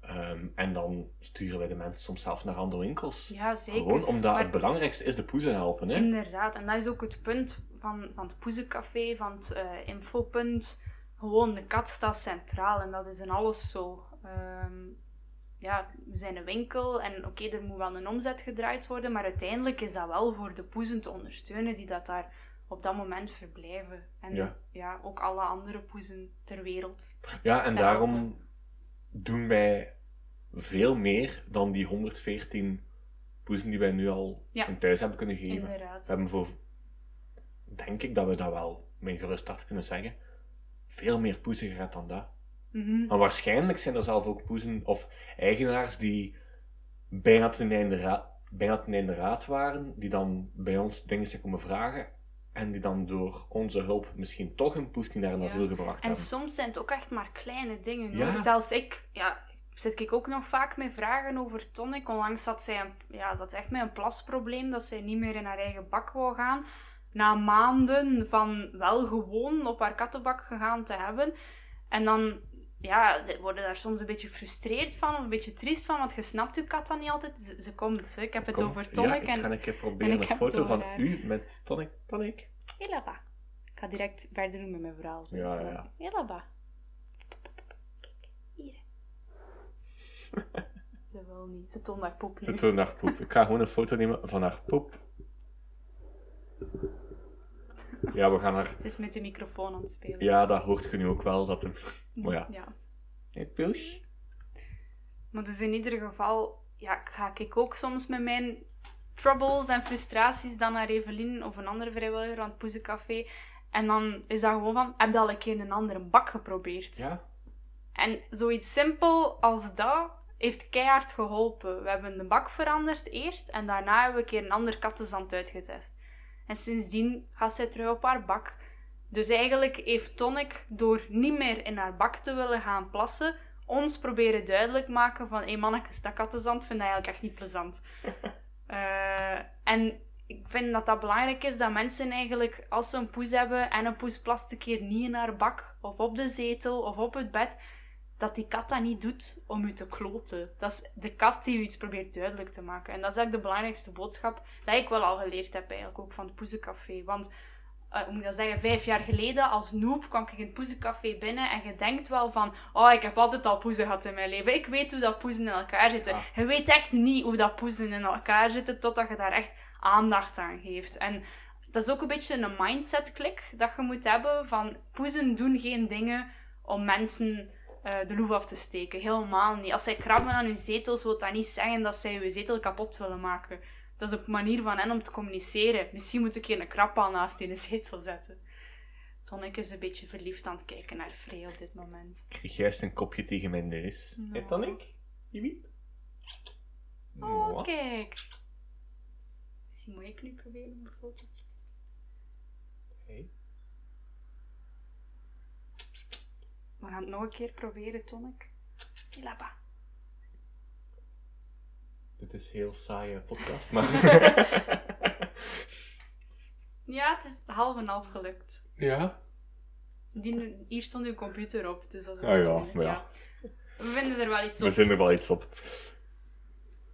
Speaker 1: Ehm, en dan sturen wij de mensen soms zelf naar andere winkels.
Speaker 2: Ja, zeker.
Speaker 1: gewoon omdat
Speaker 2: Maar-
Speaker 1: het belangrijkste is de poezen helpen. Hè?
Speaker 2: Inderdaad, en dat is ook het punt van, van het Poezencafé, van het eh, infopunt. Gewoon, de kat staat centraal en dat is in alles zo. Ehm, ja, we zijn een winkel en oké, er moet wel een omzet gedraaid worden, maar uiteindelijk is dat wel voor de poezen te ondersteunen die dat daar op dat moment verblijven. En
Speaker 1: Ja.
Speaker 2: ja, ook alle andere poezen ter wereld.
Speaker 1: Ja, en
Speaker 2: Te
Speaker 1: daarom doen wij veel meer dan die 114 poezen die wij nu al
Speaker 2: Ja.
Speaker 1: een thuis hebben kunnen geven.
Speaker 2: Inderdaad.
Speaker 1: We hebben voor, denk ik dat we dat wel met gerust hart kunnen zeggen, veel meer poezen gered dan dat.
Speaker 2: Mhm.
Speaker 1: Maar waarschijnlijk zijn er zelf ook poezen of eigenaars die bijna ten einde, ra- bijna ten einde raad waren, die dan bij ons dingen zijn komen vragen en die dan door onze hulp misschien toch een poes die naar een
Speaker 2: Ja.
Speaker 1: asiel gebracht
Speaker 2: En
Speaker 1: hebben.
Speaker 2: soms zijn het ook echt maar kleine dingen.
Speaker 1: Ja.
Speaker 2: Hoor. Zelfs ik, ja, zit ik ook nog vaak met vragen over Tonic. Onlangs zat zij, een- ja, zat echt met een plasprobleem, dat zij niet meer in haar eigen bak wou gaan. Na maanden van wel gewoon op haar kattenbak gegaan te hebben. En dan, ja, ze worden daar soms een beetje gefrustreerd van, of een beetje triest van, want je snapt je kat dan niet altijd. Ze, ze komt, hè. ik heb het
Speaker 1: Komt-
Speaker 2: over
Speaker 1: Ja,
Speaker 2: Tonic
Speaker 1: ik
Speaker 2: en...
Speaker 1: ga een keer proberen
Speaker 2: ik
Speaker 1: een
Speaker 2: heb het
Speaker 1: foto
Speaker 2: over eh,
Speaker 1: van
Speaker 2: haar.
Speaker 1: u met Tonic. Tonic.
Speaker 2: Elaba. Ik ga direct verder doen met mijn verhaal. zo.
Speaker 1: Ja, ja.
Speaker 2: Elaba. Hier. Ze wil niet. Ze toont haar poep
Speaker 1: Ze
Speaker 2: hier.
Speaker 1: toont haar poep. Ik ga gewoon een foto nemen van haar poep. Ja, we gaan haar...
Speaker 2: Ze is met de microfoon aan het spelen.
Speaker 1: Ja, dat hoort je nu ook wel. Dat hem... Maar ja.
Speaker 2: ja.
Speaker 1: Hey, poes.
Speaker 2: Maar dus in ieder geval ja, ga ik ook soms met mijn troubles en frustraties dan naar Evelien of een andere vrijwilliger aan het Poezencafé. En dan is dat gewoon van, heb je al een keer een andere bak geprobeerd?
Speaker 1: Ja.
Speaker 2: En zoiets simpel als dat heeft keihard geholpen. We hebben de bak veranderd eerst en daarna hebben we een keer een ander kattenzand uitgetest. En sindsdien gaat zij terug op haar bak. Dus eigenlijk heeft Tonic door niet meer in haar bak te willen gaan plassen, ons proberen duidelijk maken van hé mannetjes, dat kattenzand vind ik eigenlijk echt niet plezant. Eh, en ik vind dat dat belangrijk is dat mensen eigenlijk, als ze een poes hebben en een poes plast een keer niet in haar bak, of op de zetel, of op het bed, dat die kat dat niet doet om u te kloten. Dat is de kat die u iets probeert duidelijk te maken. En dat is eigenlijk de belangrijkste boodschap dat ik wel al geleerd heb eigenlijk ook van het Poezencafé. Want, eh, hoe moet ik dat zeggen, vijf jaar geleden als noob kwam ik in het Poezencafé binnen en je denkt wel van, oh, ik heb altijd al poezen gehad in mijn leven. Ik weet hoe dat poezen in elkaar zitten.
Speaker 1: Ah.
Speaker 2: Je weet echt niet hoe dat poezen in elkaar zitten totdat je daar echt aandacht aan geeft. En dat is ook een beetje een mindset klik dat je moet hebben van poezen doen geen dingen om mensen eh, de loef af te steken. Helemaal niet. Als zij krabben aan hun zetels, wil dat niet zeggen dat zij je zetel kapot willen maken. Dat is ook een manier van hen om te communiceren. Misschien moet ik hier een krab al naast in de zetel zetten. Tonic is een beetje verliefd aan het kijken naar Frey op dit moment.
Speaker 1: Ik kreeg juist een kopje tegen mijn neus.
Speaker 2: Nou.
Speaker 1: En dan ik? Jimiep.
Speaker 2: Oh,
Speaker 1: Mwah.
Speaker 2: kijk. Misschien moet ik nu proberen om een fotootje te
Speaker 1: Hey.
Speaker 2: We gaan het nog een keer proberen, Tonic. Tilaba.
Speaker 1: Dit is een heel saaie podcast, maar...
Speaker 2: Ja, het is half en half gelukt.
Speaker 1: ja?
Speaker 2: Die, hier stond uw computer op, dus dat is een
Speaker 1: Ah
Speaker 2: beetje-
Speaker 1: ja, maar ja.
Speaker 2: We vinden er wel iets
Speaker 1: We
Speaker 2: op.
Speaker 1: vinden er wel iets op.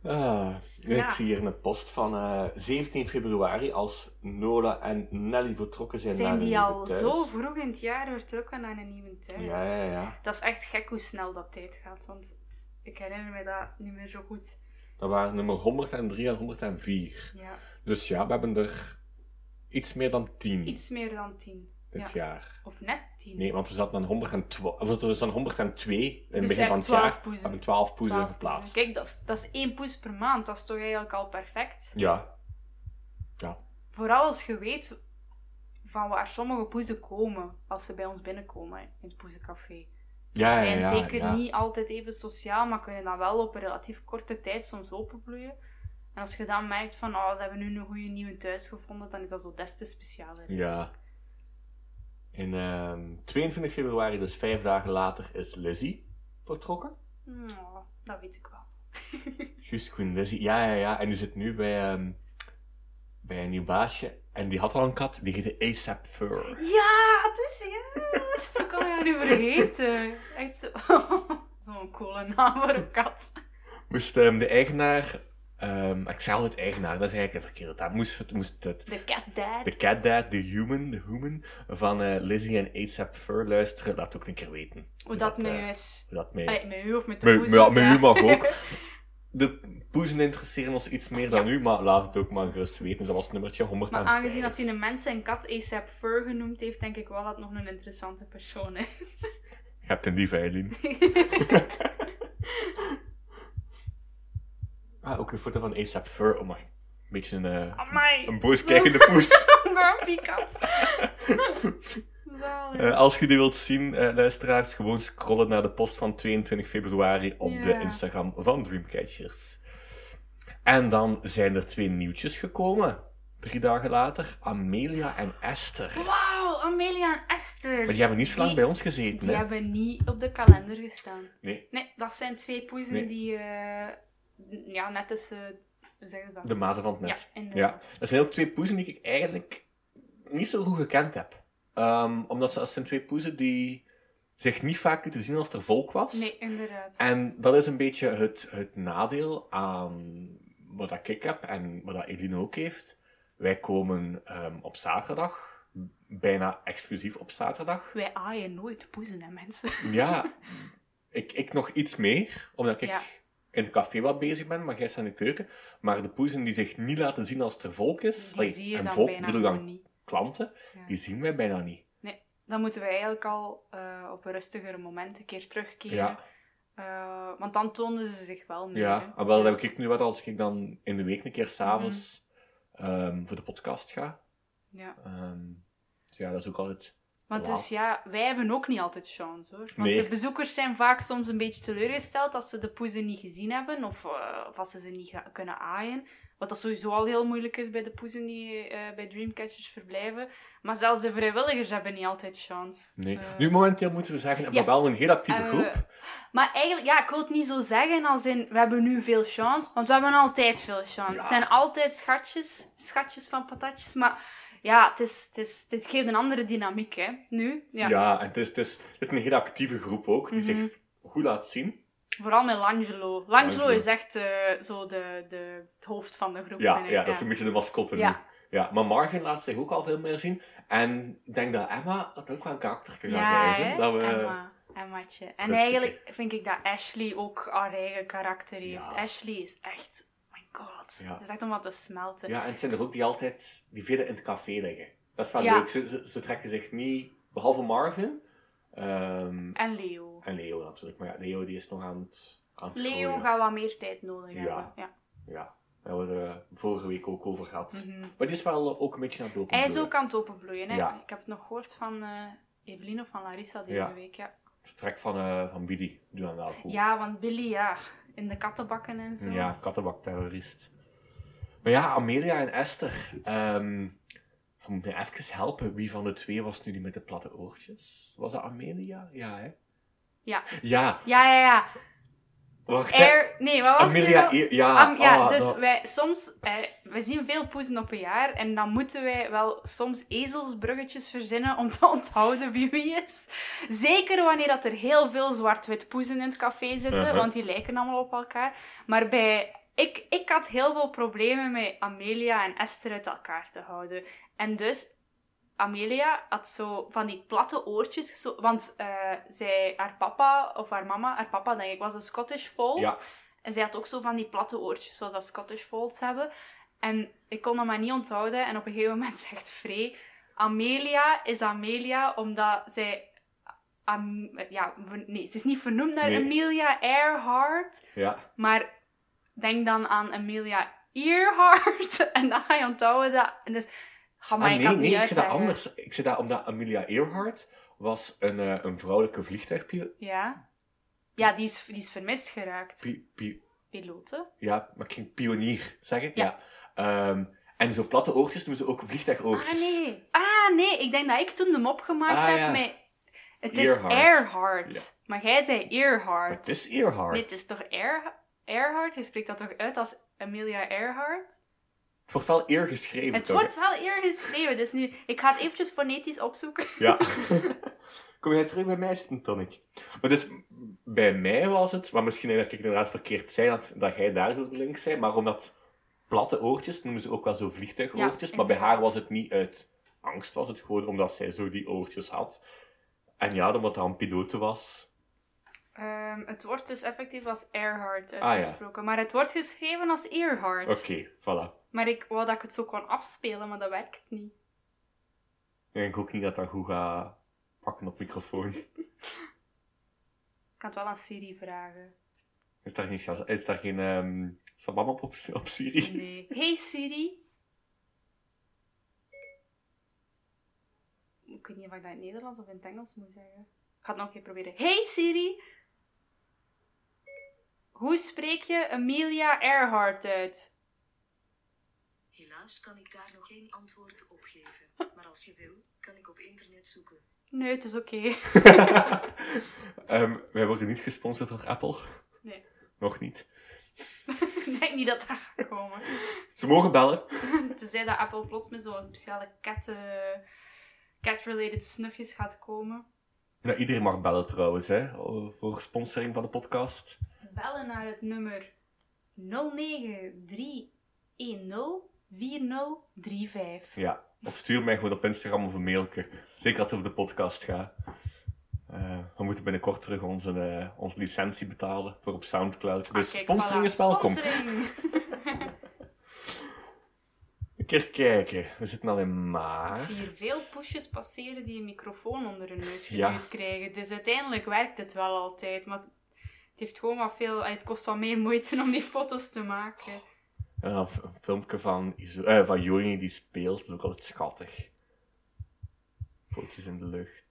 Speaker 1: Ah,
Speaker 2: Ja.
Speaker 1: Ik zie hier een post van eh, 17 februari als Nola en Nelly vertrokken zijn naar
Speaker 2: Zijn die
Speaker 1: hun
Speaker 2: al
Speaker 1: thuis.
Speaker 2: zo vroeg in het jaar vertrokken naar een nieuwe thuis?
Speaker 1: Ja, ja, ja.
Speaker 2: Dat is echt gek hoe snel dat tijd gaat, want ik herinner me dat niet meer zo goed.
Speaker 1: Dat waren nummer 103 en 104.
Speaker 2: Ja,
Speaker 1: Dus ja, we hebben er iets meer dan 10
Speaker 2: iets meer dan tien.
Speaker 1: dit
Speaker 2: ja.
Speaker 1: jaar.
Speaker 2: Of net tien.
Speaker 1: Nee, want we zaten aan 112. Of we zaten dus aan 102 in het begin
Speaker 2: Dus je
Speaker 1: van
Speaker 2: hebt
Speaker 1: het jaar.
Speaker 2: 12 poezen.
Speaker 1: We hebben 12 poezen
Speaker 2: Twaalf
Speaker 1: geplaatst.
Speaker 2: poezen. Kijk, dat is, dat is één poes per maand. Dat is toch eigenlijk al perfect?
Speaker 1: Ja. Ja.
Speaker 2: Vooral als je weet van waar sommige poezen komen als ze bij ons binnenkomen in het poezencafé.
Speaker 1: Ja,
Speaker 2: Ze zijn
Speaker 1: ja, ja,
Speaker 2: zeker
Speaker 1: ja.
Speaker 2: niet altijd even sociaal, maar kunnen dan wel op een relatief korte tijd soms openbloeien. En als je dan merkt van, oh, ze hebben nu een goede nieuwe thuis gevonden, dan is dat zo des te specialer.
Speaker 1: Ja. En ehm, 22 februari, dus vijf dagen later, is Lizzie vertrokken.
Speaker 2: Oh, dat weet ik wel.
Speaker 1: Juist, Queen Lizzie. Ja, ja, ja. En die zit nu bij, ehm, bij een nieuw baasje. En die had al een kat, die heette ASAP Fur.
Speaker 2: Ja, het is juist! Hoe kan je dat nu vergeten? Echt zo... Zo'n coole naam voor een kat.
Speaker 1: Moest ehm, de eigenaar... ehm, ik zei altijd eigenaar, dat is eigenlijk een verkeerde taal. Moest, het- moest het,
Speaker 2: De cat dad.
Speaker 1: de cat dad, de human, de human van eh, Lizzie en ASAP Fur luisteren, laat ook een keer weten.
Speaker 2: Hoe dat Ah,
Speaker 1: eh,
Speaker 2: met u is.
Speaker 1: hoe dat mee...
Speaker 2: Allee, met u of met de
Speaker 1: Met,
Speaker 2: poes.
Speaker 1: ja,
Speaker 2: ook,
Speaker 1: met
Speaker 2: ja.
Speaker 1: u mag ook. De poezen interesseren ons iets meer dan u, maar laat het ook maar gerust weten. Dus dat was nummertje 105.
Speaker 2: Maar aangezien dat hij een mens en kat ASAP Fur genoemd heeft, denk ik wel dat het nog een interessante persoon is.
Speaker 1: Je hebt een dief, Eileen. ah, ook een foto van ASAP Fur. Oh, maar een beetje een, eh,
Speaker 2: Amai!
Speaker 1: een boos kijkende poes.
Speaker 2: Grumpy kat. Zalig.
Speaker 1: Eh, als je die wilt zien, eh, luisteraars, gewoon scrollen naar de post van 22 februari op de
Speaker 2: Ja.
Speaker 1: Instagram van Dreamcatchers. En dan zijn er twee nieuwtjes gekomen. Drie dagen later, Amelia en Esther.
Speaker 2: Wauw, Amelia en Esther.
Speaker 1: Maar die hebben niet zo lang
Speaker 2: Oh, Die-
Speaker 1: bij ons gezeten,
Speaker 2: Die
Speaker 1: hè?
Speaker 2: hebben niet op de kalender gestaan.
Speaker 1: Nee.
Speaker 2: Nee, dat zijn twee poezen
Speaker 1: Nee.
Speaker 2: die eh, n- ja, net tussen. Hoe zeg je dat?
Speaker 1: De mazen van het
Speaker 2: ja,
Speaker 1: net. Ja,
Speaker 2: inderdaad.
Speaker 1: dat zijn ook twee poezen die ik eigenlijk niet zo goed gekend heb. Ehm, omdat ze, dat zijn twee poezen die zich niet vaak lieten zien als er volk was.
Speaker 2: Nee, inderdaad.
Speaker 1: En dat is een beetje het, het nadeel aan wat dat ik heb en wat dat Eline ook heeft. Wij komen ehm, op zaterdag, bijna exclusief op zaterdag.
Speaker 2: Wij aaien nooit poezen, hè, mensen.
Speaker 1: Ja, ik, ik nog iets meer, omdat ik
Speaker 2: Ja.
Speaker 1: in het café wat bezig ben, maar jij staat in de keuken. Maar de poezen die zich niet laten zien als er volk is,
Speaker 2: Die
Speaker 1: allee,
Speaker 2: zie je
Speaker 1: en
Speaker 2: dan
Speaker 1: volk
Speaker 2: bijna
Speaker 1: bedoel ik dan
Speaker 2: gewoon niet.
Speaker 1: klanten,
Speaker 2: Ja.
Speaker 1: die zien wij bijna niet.
Speaker 2: Dan moeten we eigenlijk al eh, op een rustiger moment een keer terugkeren.
Speaker 1: Ja.
Speaker 2: Eh, want dan toonden ze zich wel meer.
Speaker 1: Ja,
Speaker 2: hè.
Speaker 1: en wel, dat heb ik nu wat als ik dan in de week een keer s'avonds
Speaker 2: Mhm.
Speaker 1: ehm voor de podcast ga.
Speaker 2: Ja.
Speaker 1: Ehm, dus ja, dat is ook altijd...
Speaker 2: Maar dus
Speaker 1: Laat.
Speaker 2: ja, wij hebben ook niet altijd chance hoor. Want
Speaker 1: Nee.
Speaker 2: de bezoekers zijn vaak soms een beetje teleurgesteld als ze de poezen niet gezien hebben of, eh, of als ze ze niet ga- kunnen aaien. Wat dat sowieso al heel moeilijk is bij de poezen die eh, bij Dreamcatchers verblijven. Maar zelfs de vrijwilligers hebben niet altijd chance.
Speaker 1: Nee.
Speaker 2: Eh,
Speaker 1: nu momenteel moeten we zeggen, we
Speaker 2: ja.
Speaker 1: hebben wel een heel actieve
Speaker 2: Eh,
Speaker 1: groep.
Speaker 2: Maar eigenlijk, ja, ik wil het niet zo zeggen als in we hebben nu veel chance, want we hebben altijd veel chance.
Speaker 1: Ja.
Speaker 2: Het zijn altijd schatjes, schatjes van patatjes, maar ja, het, is, het, is, dit geeft een andere dynamiek, hè, nu. Ja. Mhm.
Speaker 1: Ja, en het is, het, is, het is een heel actieve groep ook, die zich goed laat zien.
Speaker 2: Vooral met Langelo. Langelo,
Speaker 1: Langelo.
Speaker 2: is echt eh, zo de, de, het hoofd van de groep,
Speaker 1: Ja,
Speaker 2: vind
Speaker 1: ja,
Speaker 2: ik.
Speaker 1: dat is een beetje de mascotte
Speaker 2: Ja.
Speaker 1: nu. Ja, maar Marvin laat zich ook al veel meer zien. En ik denk dat Emma dat ook wel een karakter kan
Speaker 2: Ja,
Speaker 1: zijn.
Speaker 2: hè?
Speaker 1: hè, Dat we...
Speaker 2: Emma. Emmaatje. En
Speaker 1: Vlugstikke.
Speaker 2: eigenlijk vind ik dat Ashley ook haar eigen karakter heeft.
Speaker 1: Ja.
Speaker 2: Ashley is echt... My god.
Speaker 1: Ja.
Speaker 2: Het is echt om wat te smelten.
Speaker 1: Ja, en het zijn er ook die altijd die verder in het café liggen. Dat is wel
Speaker 2: Ja.
Speaker 1: leuk. Ze, ze, ze trekken zich niet, behalve Marvin ehm,
Speaker 2: En Leo.
Speaker 1: en Leo natuurlijk. Maar ja, Leo die is nog aan het. Aan het
Speaker 2: Leo
Speaker 1: groeien.
Speaker 2: gaat wat meer tijd nodig
Speaker 1: Ja.
Speaker 2: hebben. Ja.
Speaker 1: Ja. Daar hebben we er vorige week ook over gehad.
Speaker 2: Mhm.
Speaker 1: Maar die is wel eh, ook een beetje aan het lopen.
Speaker 2: Hij is ook aan het openbloeien. Hè?
Speaker 1: Ja.
Speaker 2: Ik heb het nog gehoord van eh Evelien of van Larissa deze
Speaker 1: Ja.
Speaker 2: week. Ja.
Speaker 1: Het trek van, eh van Bidi doet hem wel goed.
Speaker 2: ja, want Billy, ja, in de kattenbakken en zo.
Speaker 1: Ja, kattenbakterrorist. Maar ja, Amelia en Esther. ehm, je moet me even helpen. Wie van de twee was nu die met de platte oortjes? Was dat Amelia? Ja, hè?
Speaker 2: Ja.
Speaker 1: Ja,
Speaker 2: Ja, ja, ja.
Speaker 1: wacht. hè.
Speaker 2: Air... Nee, wat was het?
Speaker 1: Amelia, i- ja.
Speaker 2: Am- ja,
Speaker 1: ah,
Speaker 2: dus
Speaker 1: dat-
Speaker 2: wij soms, eh, wij zien veel poezen op een jaar en dan moeten wij wel soms ezelsbruggetjes verzinnen om te onthouden wie wie is. Zeker wanneer dat er heel veel zwart-wit poezen in het café zitten,
Speaker 1: Uh-huh.
Speaker 2: want die lijken allemaal op elkaar. Maar bij, ik, ik had heel veel problemen met Amelia en Esther uit elkaar te houden. En dus, Amelia had zo van die platte oortjes, zo, want eh, zij, haar papa of haar mama, haar papa denk ik, was een Scottish Fold.
Speaker 1: Ja.
Speaker 2: En zij had ook zo van die platte oortjes, zoals dat Scottish Folds hebben. En ik kon dat maar niet onthouden. En op een gegeven moment zegt Frey... Amelia is Amelia, omdat zij... Am- ja, ver- nee, ze is niet vernoemd naar
Speaker 1: Nee.
Speaker 2: Amelia Earhart.
Speaker 1: ja.
Speaker 2: Maar denk dan aan Amelia Earhart. En dan ga je onthouden dat... En dus, ga maar
Speaker 1: Ah,
Speaker 2: ik
Speaker 1: nee,
Speaker 2: kan het
Speaker 1: nee,
Speaker 2: niet
Speaker 1: ik zei dat
Speaker 2: uitleggen.
Speaker 1: anders. Ik zei dat omdat Amelia Earhart was een, eh, een vrouwelijke vliegtuigpiloot.
Speaker 2: Ja. Ja, die is, die is vermist geraakt. Piloten.
Speaker 1: ja, maar ik ging pionier zeggen.
Speaker 2: Ja.
Speaker 1: Ja. Ehm, en zo platte oortjes noemen ze ook vliegtuigoortjes.
Speaker 2: Ah, nee. Ah, nee. Ik denk dat ik toen de mop gemaakt
Speaker 1: Ah,
Speaker 2: heb
Speaker 1: ja.
Speaker 2: met... Het is
Speaker 1: Earhart.
Speaker 2: Earhart.
Speaker 1: Ja.
Speaker 2: Maar jij zei
Speaker 1: Maar
Speaker 2: Earhart.
Speaker 1: het is Earhart.
Speaker 2: Dit is toch Air, Earhart? Je spreekt dat toch uit als Amelia Earhart?
Speaker 1: Het wordt wel eer geschreven,
Speaker 2: Het
Speaker 1: toch?
Speaker 2: wordt wel eer geschreven, dus nu... Ik ga het eventjes fonetisch opzoeken.
Speaker 1: Ja. Kom jij terug bij mij zitten, Tonic? Maar dus, bij mij was het, maar misschien dat ik inderdaad verkeerd zei, dat, dat jij daar zo de link zei, maar omdat platte oortjes, noemen ze ook wel zo vliegtuigoortjes,
Speaker 2: Ja,
Speaker 1: maar bij haar
Speaker 2: inderdaad.
Speaker 1: was het niet uit angst, was het gewoon omdat zij zo die oortjes had. En ja, omdat dat een pilote was.
Speaker 2: Ehm, het wordt dus effectief als Earhart
Speaker 1: Ah, ja.
Speaker 2: uitgesproken. Maar het wordt geschreven als Earhart.
Speaker 1: Oké, voilà.
Speaker 2: Maar ik wou dat ik het zo kon afspelen, maar dat werkt niet.
Speaker 1: Ik denk ook niet dat dat goed gaat pakken op microfoon.
Speaker 2: Ik kan het wel aan Siri vragen.
Speaker 1: Is daar geen, Shaz- is daar geen ehm Sabamap op, op Siri?
Speaker 2: Nee. Hey Siri. Ik weet niet of ik dat in het Nederlands of in het Engels moet zeggen. Ik ga het nog een keer proberen. Hey Siri. Hoe spreek je Amelia Earhart uit?
Speaker 3: Helaas kan ik daar nog geen antwoord op geven, maar als je wil, kan ik op internet zoeken.
Speaker 2: Nee, het is oké.
Speaker 1: Ehm, wij worden niet gesponsord door Apple.
Speaker 2: Nee.
Speaker 1: Nog niet.
Speaker 2: Ik denk niet dat dat gaat komen.
Speaker 1: Ze mogen bellen.
Speaker 2: Tenzij dat Apple plots met zo'n speciale cat, eh, cat-related snufjes gaat komen.
Speaker 1: Nou, iedereen mag bellen trouwens, hè. Voor sponsoring van de podcast.
Speaker 2: Bellen naar het nummer 093104035.
Speaker 1: Ja. Of stuur mij gewoon op Instagram of een mailje. Zeker als het over de podcast gaat. Eh, we moeten binnenkort terug onze, eh, onze licentie betalen voor op Soundcloud. Dus
Speaker 2: Ah, kijk,
Speaker 1: sponsoring
Speaker 2: voilà.
Speaker 1: is welkom.
Speaker 2: Sponsoring.
Speaker 1: Een keer kijken. We zitten al in
Speaker 2: Ik
Speaker 1: maart.
Speaker 2: zie hier veel pushes passeren die een microfoon onder hun neus
Speaker 1: Ja.
Speaker 2: geduwd krijgen. Dus uiteindelijk werkt het wel altijd. Maar het, heeft gewoon wat veel, eh, het kost wat meer moeite om die foto's te maken.
Speaker 1: En dan een filmpje van, Iso- eh, van Joni die speelt. Dat is ook altijd schattig. Pootjes in de lucht.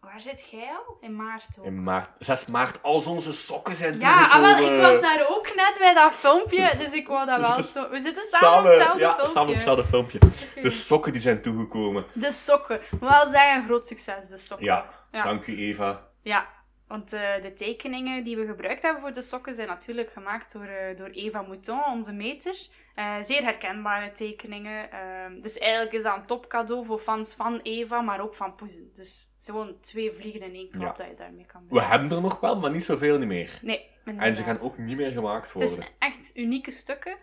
Speaker 2: Waar zit jij al? In maart ook.
Speaker 1: In maart, 6 maart, als onze sokken zijn
Speaker 2: Ja, ah, wel, ik
Speaker 1: toegekomen.
Speaker 2: was daar ook net bij dat filmpje, dus ik wou dat wel
Speaker 1: eh, Dus
Speaker 2: zo... We zitten samen op hetzelfde
Speaker 1: ja,
Speaker 2: filmpje.
Speaker 1: samen op hetzelfde dus- filmpje. De sokken die zijn toegekomen.
Speaker 2: De sokken. Wel zijn een groot succes, de sokken.
Speaker 1: Ja,
Speaker 2: Ja.
Speaker 1: dank u Eva.
Speaker 2: Ja, want eh, de tekeningen die we gebruikt hebben voor de sokken zijn natuurlijk gemaakt door, eh, door Eva Mouton, onze meter. Eh, zeer herkenbare tekeningen. ehm, dus eigenlijk is dat een topcadeau voor fans van Eva, maar ook van Poezen. Dus het zijn gewoon twee vliegen in één klap
Speaker 1: Ja.
Speaker 2: dat je daarmee kan
Speaker 1: We
Speaker 2: doen.
Speaker 1: hebben er nog wel, maar niet zoveel niet meer.
Speaker 2: Nee,
Speaker 1: En ze
Speaker 2: inderdaad.
Speaker 1: gaan ook niet meer gemaakt
Speaker 2: Het is
Speaker 1: worden.
Speaker 2: echt unieke stukken.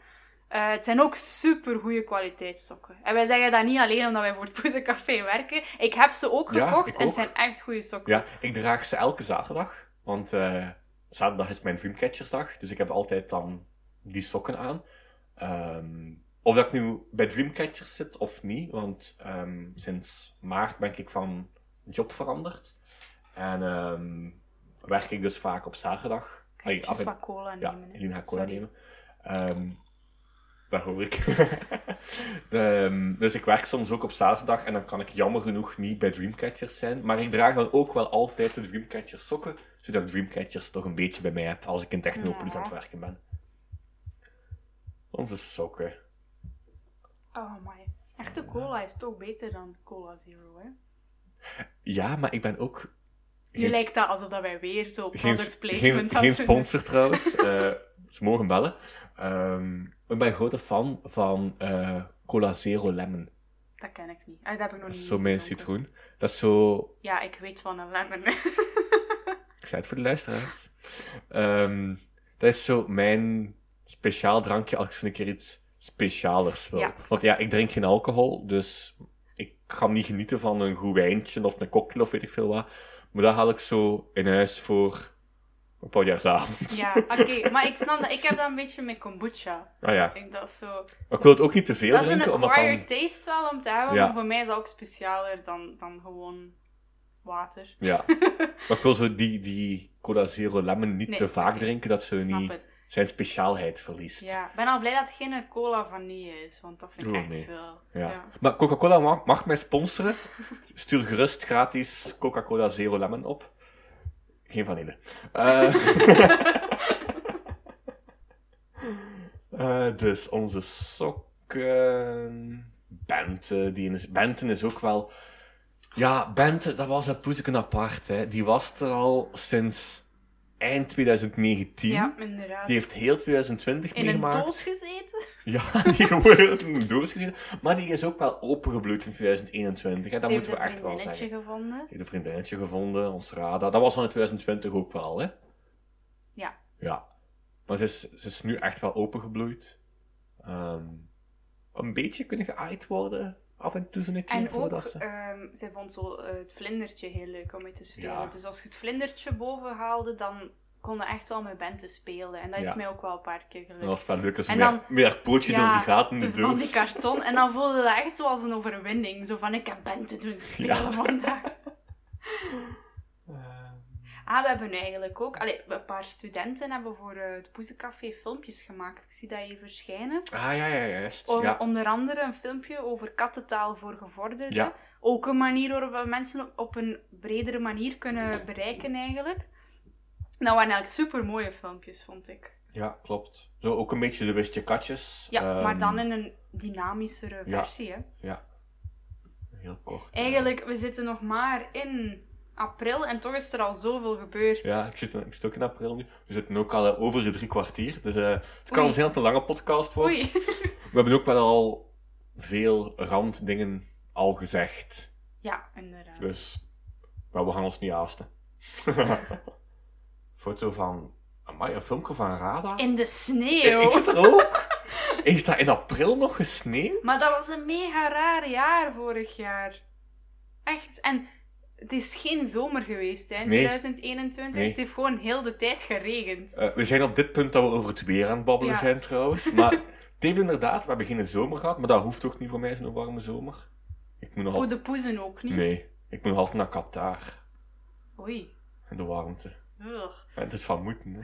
Speaker 2: Eh, het zijn ook super goede kwaliteitssokken. En wij zeggen dat niet alleen omdat wij voor het Poezencafé werken. Ik heb ze ook
Speaker 1: Ja,
Speaker 2: gekocht
Speaker 1: ik
Speaker 2: en
Speaker 1: ook.
Speaker 2: het zijn echt goede sokken.
Speaker 1: Ja, ik draag ze elke zaterdag. Want eh, zaterdag is mijn Dreamcatchersdag. Dus ik heb altijd dan die sokken aan. Ehm, of dat ik nu bij Dreamcatchers zit of niet. Want ehm, sinds maart ben ik van job veranderd. En ehm, werk ik dus vaak op zaterdag.
Speaker 2: Kan je
Speaker 1: Allee, af
Speaker 2: dus
Speaker 1: en-
Speaker 2: wat cola
Speaker 1: Ja,
Speaker 2: nemen. hè?
Speaker 1: Eline gaat cola
Speaker 2: Sorry.
Speaker 1: nemen. Ehm, Dat hoor ik. Ehm, dus ik werk soms ook op zaterdag en dan kan ik jammer genoeg niet bij Dreamcatchers zijn. Maar ik draag dan ook wel altijd de Dreamcatcher sokken, zodat ik Dreamcatchers toch een beetje bij mij heb als ik in Technopolis aan het werken ben. Onze sokken.
Speaker 2: Oh my. Echte cola is toch beter dan cola zero, hè?
Speaker 1: Ja, maar ik ben ook...
Speaker 2: Nu
Speaker 1: geen-
Speaker 2: lijkt dat alsof dat wij weer zo
Speaker 1: geen,
Speaker 2: product
Speaker 1: geen,
Speaker 2: placement
Speaker 1: geen
Speaker 2: hadden.
Speaker 1: sponsor trouwens. Eh, ze mogen bellen. Ehm, ik ben een grote fan van eh, Cola Zero Lemon.
Speaker 2: Dat ken ik niet. Ah, dat heb ik nog
Speaker 1: Dat
Speaker 2: niet
Speaker 1: is zo mijn
Speaker 2: gedronken.
Speaker 1: citroen. Dat is zo
Speaker 2: Ja, ik weet van een lemon.
Speaker 1: Ik zei het voor de luisteraars. Ehm, dat is zo mijn speciaal drankje als ik zo'n keer iets specialers wil.
Speaker 2: Ja.
Speaker 1: Want ja, ik drink geen alcohol, dus ik ga niet genieten van een goed wijntje of een cocktail of weet ik veel wat. Maar dat haal ik zo in huis voor een paljarsavond.
Speaker 2: ja, oké. Maar ik snap dat. Ik heb dat een beetje met kombucha.
Speaker 1: Ah ja,
Speaker 2: Ik denk dat is zo...
Speaker 1: maar ik wil het ook niet te veel
Speaker 2: Dat is een
Speaker 1: drinken, omdat dan...
Speaker 2: acquired taste wel om te hebben,
Speaker 1: Ja.
Speaker 2: maar voor mij is dat ook specialer dan, dan gewoon water.
Speaker 1: Ja, maar ik wil zo die, die Cola Zero Lemon niet
Speaker 2: Nee,
Speaker 1: te vaak
Speaker 2: nee.
Speaker 1: drinken, dat ze
Speaker 2: Snap
Speaker 1: niet
Speaker 2: het.
Speaker 1: zijn speciaalheid verliest.
Speaker 2: Ja, ik ben al blij dat het geen cola vanille is, want dat vind ik
Speaker 1: Oh,
Speaker 2: echt
Speaker 1: nee.
Speaker 2: veel.
Speaker 1: Ja. Maar Coca-Cola mag, mag mij sponsoren. Stuur gerust gratis Coca-Cola Zero Lemon op. Geen vanille. Eh Eh, dus onze sokken. Bente, die is, Benten is ook wel. Ja, Bente, dat was het poesje apart. Hè. Die was er al sinds eind 2019.
Speaker 2: Ja, inderdaad.
Speaker 1: Die heeft heel 2020
Speaker 2: in een
Speaker 1: meegemaakt.
Speaker 2: doos gezeten.
Speaker 1: Ja, die wordt in een doos gezien. Maar die is ook wel opengebloeid in 2021. Hè? Dat
Speaker 2: Ze
Speaker 1: moeten we
Speaker 2: heeft een
Speaker 1: echt wel
Speaker 2: vriendinnetje
Speaker 1: zeggen.
Speaker 2: gevonden.
Speaker 1: Ik heb een vriendinnetje gevonden, ons Rada. Dat was dan in 2020 ook wel, hè?
Speaker 2: Ja.
Speaker 1: Ja. Maar ze is, ze is nu echt wel opengebloeid. Ehm, een beetje kunnen geaaid worden. Af en toe zo'n keer.
Speaker 2: En ook,
Speaker 1: voordat ze-
Speaker 2: ehm, zij vond zo eh, het vlindertje heel leuk om mee te spelen.
Speaker 1: Ja.
Speaker 2: Dus als je het vlindertje boven haalde, dan kon je echt wel met Bente spelen. En dat
Speaker 1: Ja.
Speaker 2: is mij ook wel een paar keer gelukt.
Speaker 1: Dat was wel leuk als ze
Speaker 2: En
Speaker 1: meer,
Speaker 2: dan-
Speaker 1: meer haar pootje door die gaten in de
Speaker 2: van die
Speaker 1: doos.
Speaker 2: karton. En dan voelde dat echt zoals een overwinning. Zo van, ik heb Bente doen spelen
Speaker 1: Ja.
Speaker 2: vandaag.
Speaker 1: Ehm,
Speaker 2: Ah, we hebben eigenlijk ook... Allee, een paar studenten hebben voor eh, het Poezencafé filmpjes gemaakt. Ik zie dat hier verschijnen.
Speaker 1: Ah ja, ja, juist.
Speaker 2: O-
Speaker 1: ja.
Speaker 2: Onder andere een filmpje over kattentaal voor gevorderden.
Speaker 1: Ja.
Speaker 2: Ook een manier waarop we mensen op, op een bredere manier kunnen bereiken eigenlijk. Dat waren eigenlijk super mooie filmpjes, vond ik.
Speaker 1: ja, klopt. Zo ook een beetje de wist je katjes.
Speaker 2: Ja, maar
Speaker 1: Ehm,
Speaker 2: dan in een dynamischere
Speaker 1: ja.
Speaker 2: versie. Hè.
Speaker 1: Heel kort.
Speaker 2: Eigenlijk, we zitten nog maar in april en toch is er al zoveel gebeurd.
Speaker 1: Ja, ik zit, ik zit ook in april nu. We zitten ook al eh, over de drie kwartier. Dus eh, het kan
Speaker 2: Oei.
Speaker 1: zijn dat het een lange podcast wordt.
Speaker 2: Oei.
Speaker 1: We hebben ook wel al veel randdingen al gezegd.
Speaker 2: Ja, inderdaad.
Speaker 1: Dus maar we gaan ons niet haasten. Foto van... Amai, een filmpje van Rada?
Speaker 2: In de
Speaker 1: Ik,
Speaker 2: sneeuw.
Speaker 1: ik zit er ook. Heeft dat in april nog gesneeuwd?
Speaker 2: Maar dat was een mega raar jaar vorig jaar. Echt. En het is geen zomer geweest hè, in
Speaker 1: Nee.
Speaker 2: 2021.
Speaker 1: Nee.
Speaker 2: Het heeft gewoon heel de tijd geregend.
Speaker 1: Eh, we zijn op dit punt dat we over het weer aan het babbelen
Speaker 2: Ja.
Speaker 1: zijn trouwens. Maar het heeft inderdaad, we hebben geen zomer gehad. Maar dat hoeft ook niet voor mij, zo'n warme zomer. Ik moet nog
Speaker 2: Voor de poezen ook niet.
Speaker 1: Nee, ik moet nog altijd naar Qatar.
Speaker 2: Oei.
Speaker 1: En de warmte.
Speaker 2: Ugh.
Speaker 1: En het is van moeten, hè.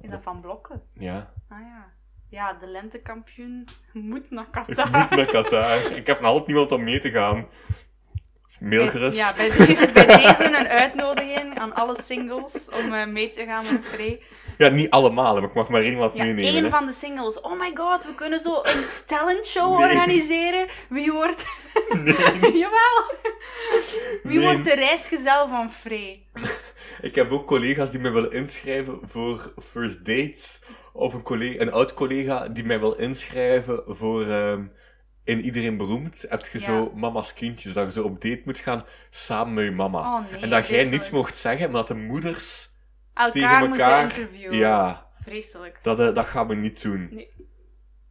Speaker 2: Is dat van blokken?
Speaker 1: Ja.
Speaker 2: Ah ja. Ja, de lentekampioen moet naar
Speaker 1: Ik
Speaker 2: Qatar.
Speaker 1: moet naar Qatar. Ik heb nog altijd niemand om mee te gaan. Dus Mail gerust.
Speaker 2: Ja, bij deze, bij deze een uitnodiging aan alle singles om eh, mee te gaan met Frey.
Speaker 1: Ja, niet allemaal, maar ik mag maar één wat
Speaker 2: Ja,
Speaker 1: meenemen.
Speaker 2: één
Speaker 1: hè.
Speaker 2: van de singles. Oh my god, we kunnen zo een talentshow
Speaker 1: Nee.
Speaker 2: organiseren. Wie wordt...
Speaker 1: Nee,
Speaker 2: Jawel! Wie
Speaker 1: Nee.
Speaker 2: wordt de reisgezel van Frey?
Speaker 1: Ik heb ook collega's die mij willen inschrijven voor first dates. Of een, collega, een oud collega die mij wil inschrijven voor ehm, in Iedereen Beroemd. Heb je
Speaker 2: Ja.
Speaker 1: zo mama's kindjes, dat je zo op date moet gaan samen met je mama.
Speaker 2: Oh nee,
Speaker 1: en dat jij niets
Speaker 2: vreselijk.
Speaker 1: mocht zeggen, maar dat de moeders...
Speaker 2: Elkaar
Speaker 1: tegen
Speaker 2: moeten
Speaker 1: elkaar.
Speaker 2: interviewen.
Speaker 1: Ja,
Speaker 2: Vreselijk.
Speaker 1: Dat, eh, dat gaan we niet doen.
Speaker 2: Nee.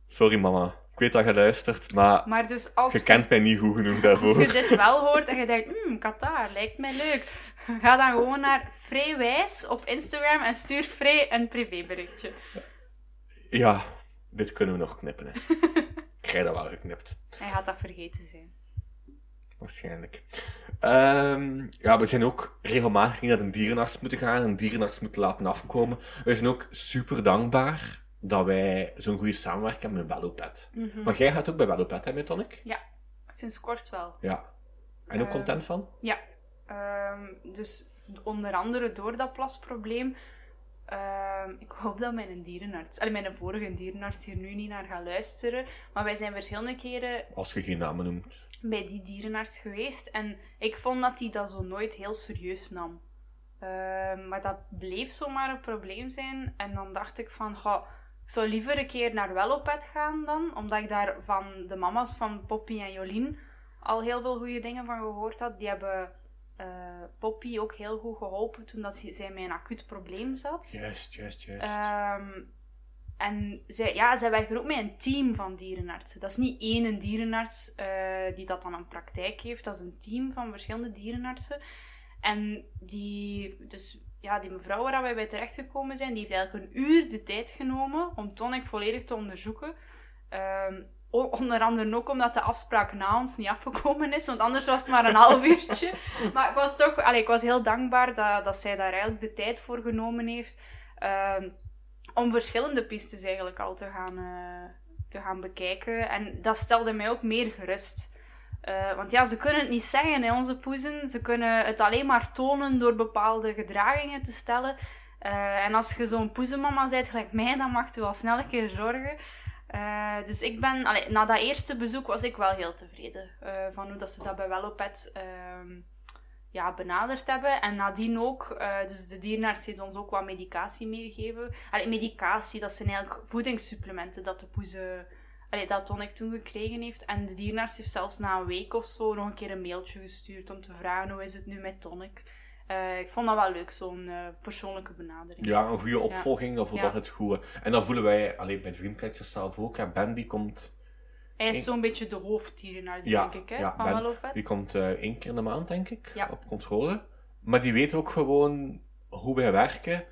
Speaker 1: Sorry mama, ik weet dat je luistert, maar
Speaker 2: Maar dus als
Speaker 1: je
Speaker 2: je,
Speaker 1: kent mij niet goed genoeg
Speaker 2: als je
Speaker 1: daarvoor.
Speaker 2: dit wel hoort en je denkt, hmm, Qatar, lijkt mij leuk. Ga dan gewoon naar Freewijs op Instagram en stuur Frey een privéberichtje.
Speaker 1: Ja, dit kunnen we nog knippen. Hè. ik krijg dat wel geknipt,
Speaker 2: Hij gaat dat vergeten zijn.
Speaker 1: waarschijnlijk. Ehm, ja, we zijn ook regelmatig naar een dierenarts moeten gaan, een dierenarts moeten laten afkomen. We zijn ook super dankbaar dat wij zo'n goede samenwerking hebben met Wellopet.
Speaker 2: Mhm.
Speaker 1: Want jij gaat ook bij Wellopet, hè, Tonic?
Speaker 2: Sinds kort wel.
Speaker 1: Ja. En ook
Speaker 2: Eh,
Speaker 1: content van?
Speaker 2: Ehm, dus onder andere door dat plasprobleem. ehm, ik hoop dat mijn dierenarts, allee, mijn vorige dierenarts hier nu niet naar gaat luisteren. Maar wij zijn verschillende keren
Speaker 1: Als je geen namen noemt.
Speaker 2: bij die dierenarts geweest. En ik vond dat hij dat zo nooit heel serieus nam. Ehm, maar dat bleef zomaar een probleem zijn. En dan dacht ik van, goh, ik zou liever een keer naar Wellopet gaan dan. Omdat ik daar van de mama's van Poppy en Jolien al heel veel goede dingen van gehoord had. Die hebben eh, Poppy ook heel goed geholpen toen dat ze- zij met een acuut probleem zat.
Speaker 1: Juist, juist, juist.
Speaker 2: Ehm, en zij, ja, zij werken ook met een team van dierenartsen. Dat is niet één dierenarts eh, die dat dan een praktijk heeft. Dat is een team van verschillende dierenartsen. En die, dus, ja, die mevrouw waar wij bij terechtgekomen zijn, die heeft eigenlijk een uur de tijd genomen om Tonic volledig te onderzoeken. Ehm, o- onder andere ook omdat de afspraak na ons niet afgekomen is, want anders was het maar een half uurtje. Maar ik was toch, allee, ik was heel dankbaar dat, dat zij daar eigenlijk de tijd voor genomen heeft. ehm, om verschillende pistes eigenlijk al te gaan, eh, te gaan bekijken. En dat stelde mij ook meer gerust. Eh, want ja, ze kunnen het niet zeggen, hè, onze poezen. Ze kunnen het alleen maar tonen door bepaalde gedragingen te stellen. Eh, en als je zo'n poezenmama bent, gelijk mij, dan mag je wel snel een keer zorgen. Eh, dus ik ben, allee, na dat eerste bezoek was ik wel heel tevreden eh, van hoe dat ze dat bij Wellopet ehm, ja, benaderd hebben. En nadien ook, eh, dus de dierenarts heeft ons ook wat medicatie meegegeven. Allee, medicatie, dat zijn eigenlijk voedingssupplementen dat de poezen... Allee, dat Tonic toen gekregen heeft. En de dierenarts heeft zelfs na een week of zo nog een keer een mailtje gestuurd om te vragen hoe is het nu met Tonic. Eh, ik vond dat wel leuk, zo'n eh, persoonlijke benadering.
Speaker 1: Ja, een goede opvolging, dat voelt
Speaker 2: Ja.
Speaker 1: altijd goed. hè. En dat voelen wij alleen bij Dream Catchers zelf ook. Hè. Ben die komt,
Speaker 2: Hij is
Speaker 1: Ik-
Speaker 2: zo'n beetje de hoofddierenarts,
Speaker 1: Ja,
Speaker 2: denk ik, hè,
Speaker 1: ja,
Speaker 2: van
Speaker 1: ben-
Speaker 2: Wellopet.
Speaker 1: die komt eh, één keer in de maand, denk ik,
Speaker 2: Ja.
Speaker 1: op controle. Maar die weet ook gewoon hoe wij werken.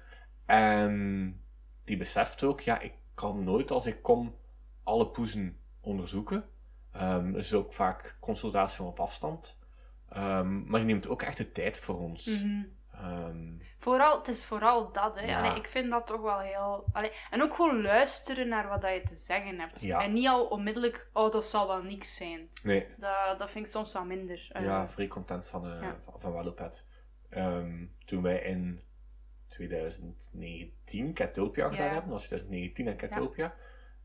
Speaker 1: En die beseft ook, ja, ik kan nooit als ik kom alle poezen onderzoeken. Ehm er is ook vaak consultatie van op afstand. Ehm, maar die neemt ook echt de tijd voor ons.
Speaker 2: Mhm.
Speaker 1: Ehm,
Speaker 2: Vooral, het is vooral dat, hè.
Speaker 1: Ja.
Speaker 2: Allee, ik vind dat toch wel heel... Allee, en ook gewoon luisteren naar wat dat je te zeggen hebt.
Speaker 1: Ja.
Speaker 2: En niet al onmiddellijk, oh, dat zal wel niks zijn.
Speaker 1: nee,
Speaker 2: Dat, dat vind ik soms wel minder. Eh,
Speaker 1: Ja, vrij content van, eh
Speaker 2: ja.
Speaker 1: van, van Wallopet. Ehm, toen wij in 2019 Catopia gedaan
Speaker 2: Ja.
Speaker 1: hebben, dat was 2019 en Catopia,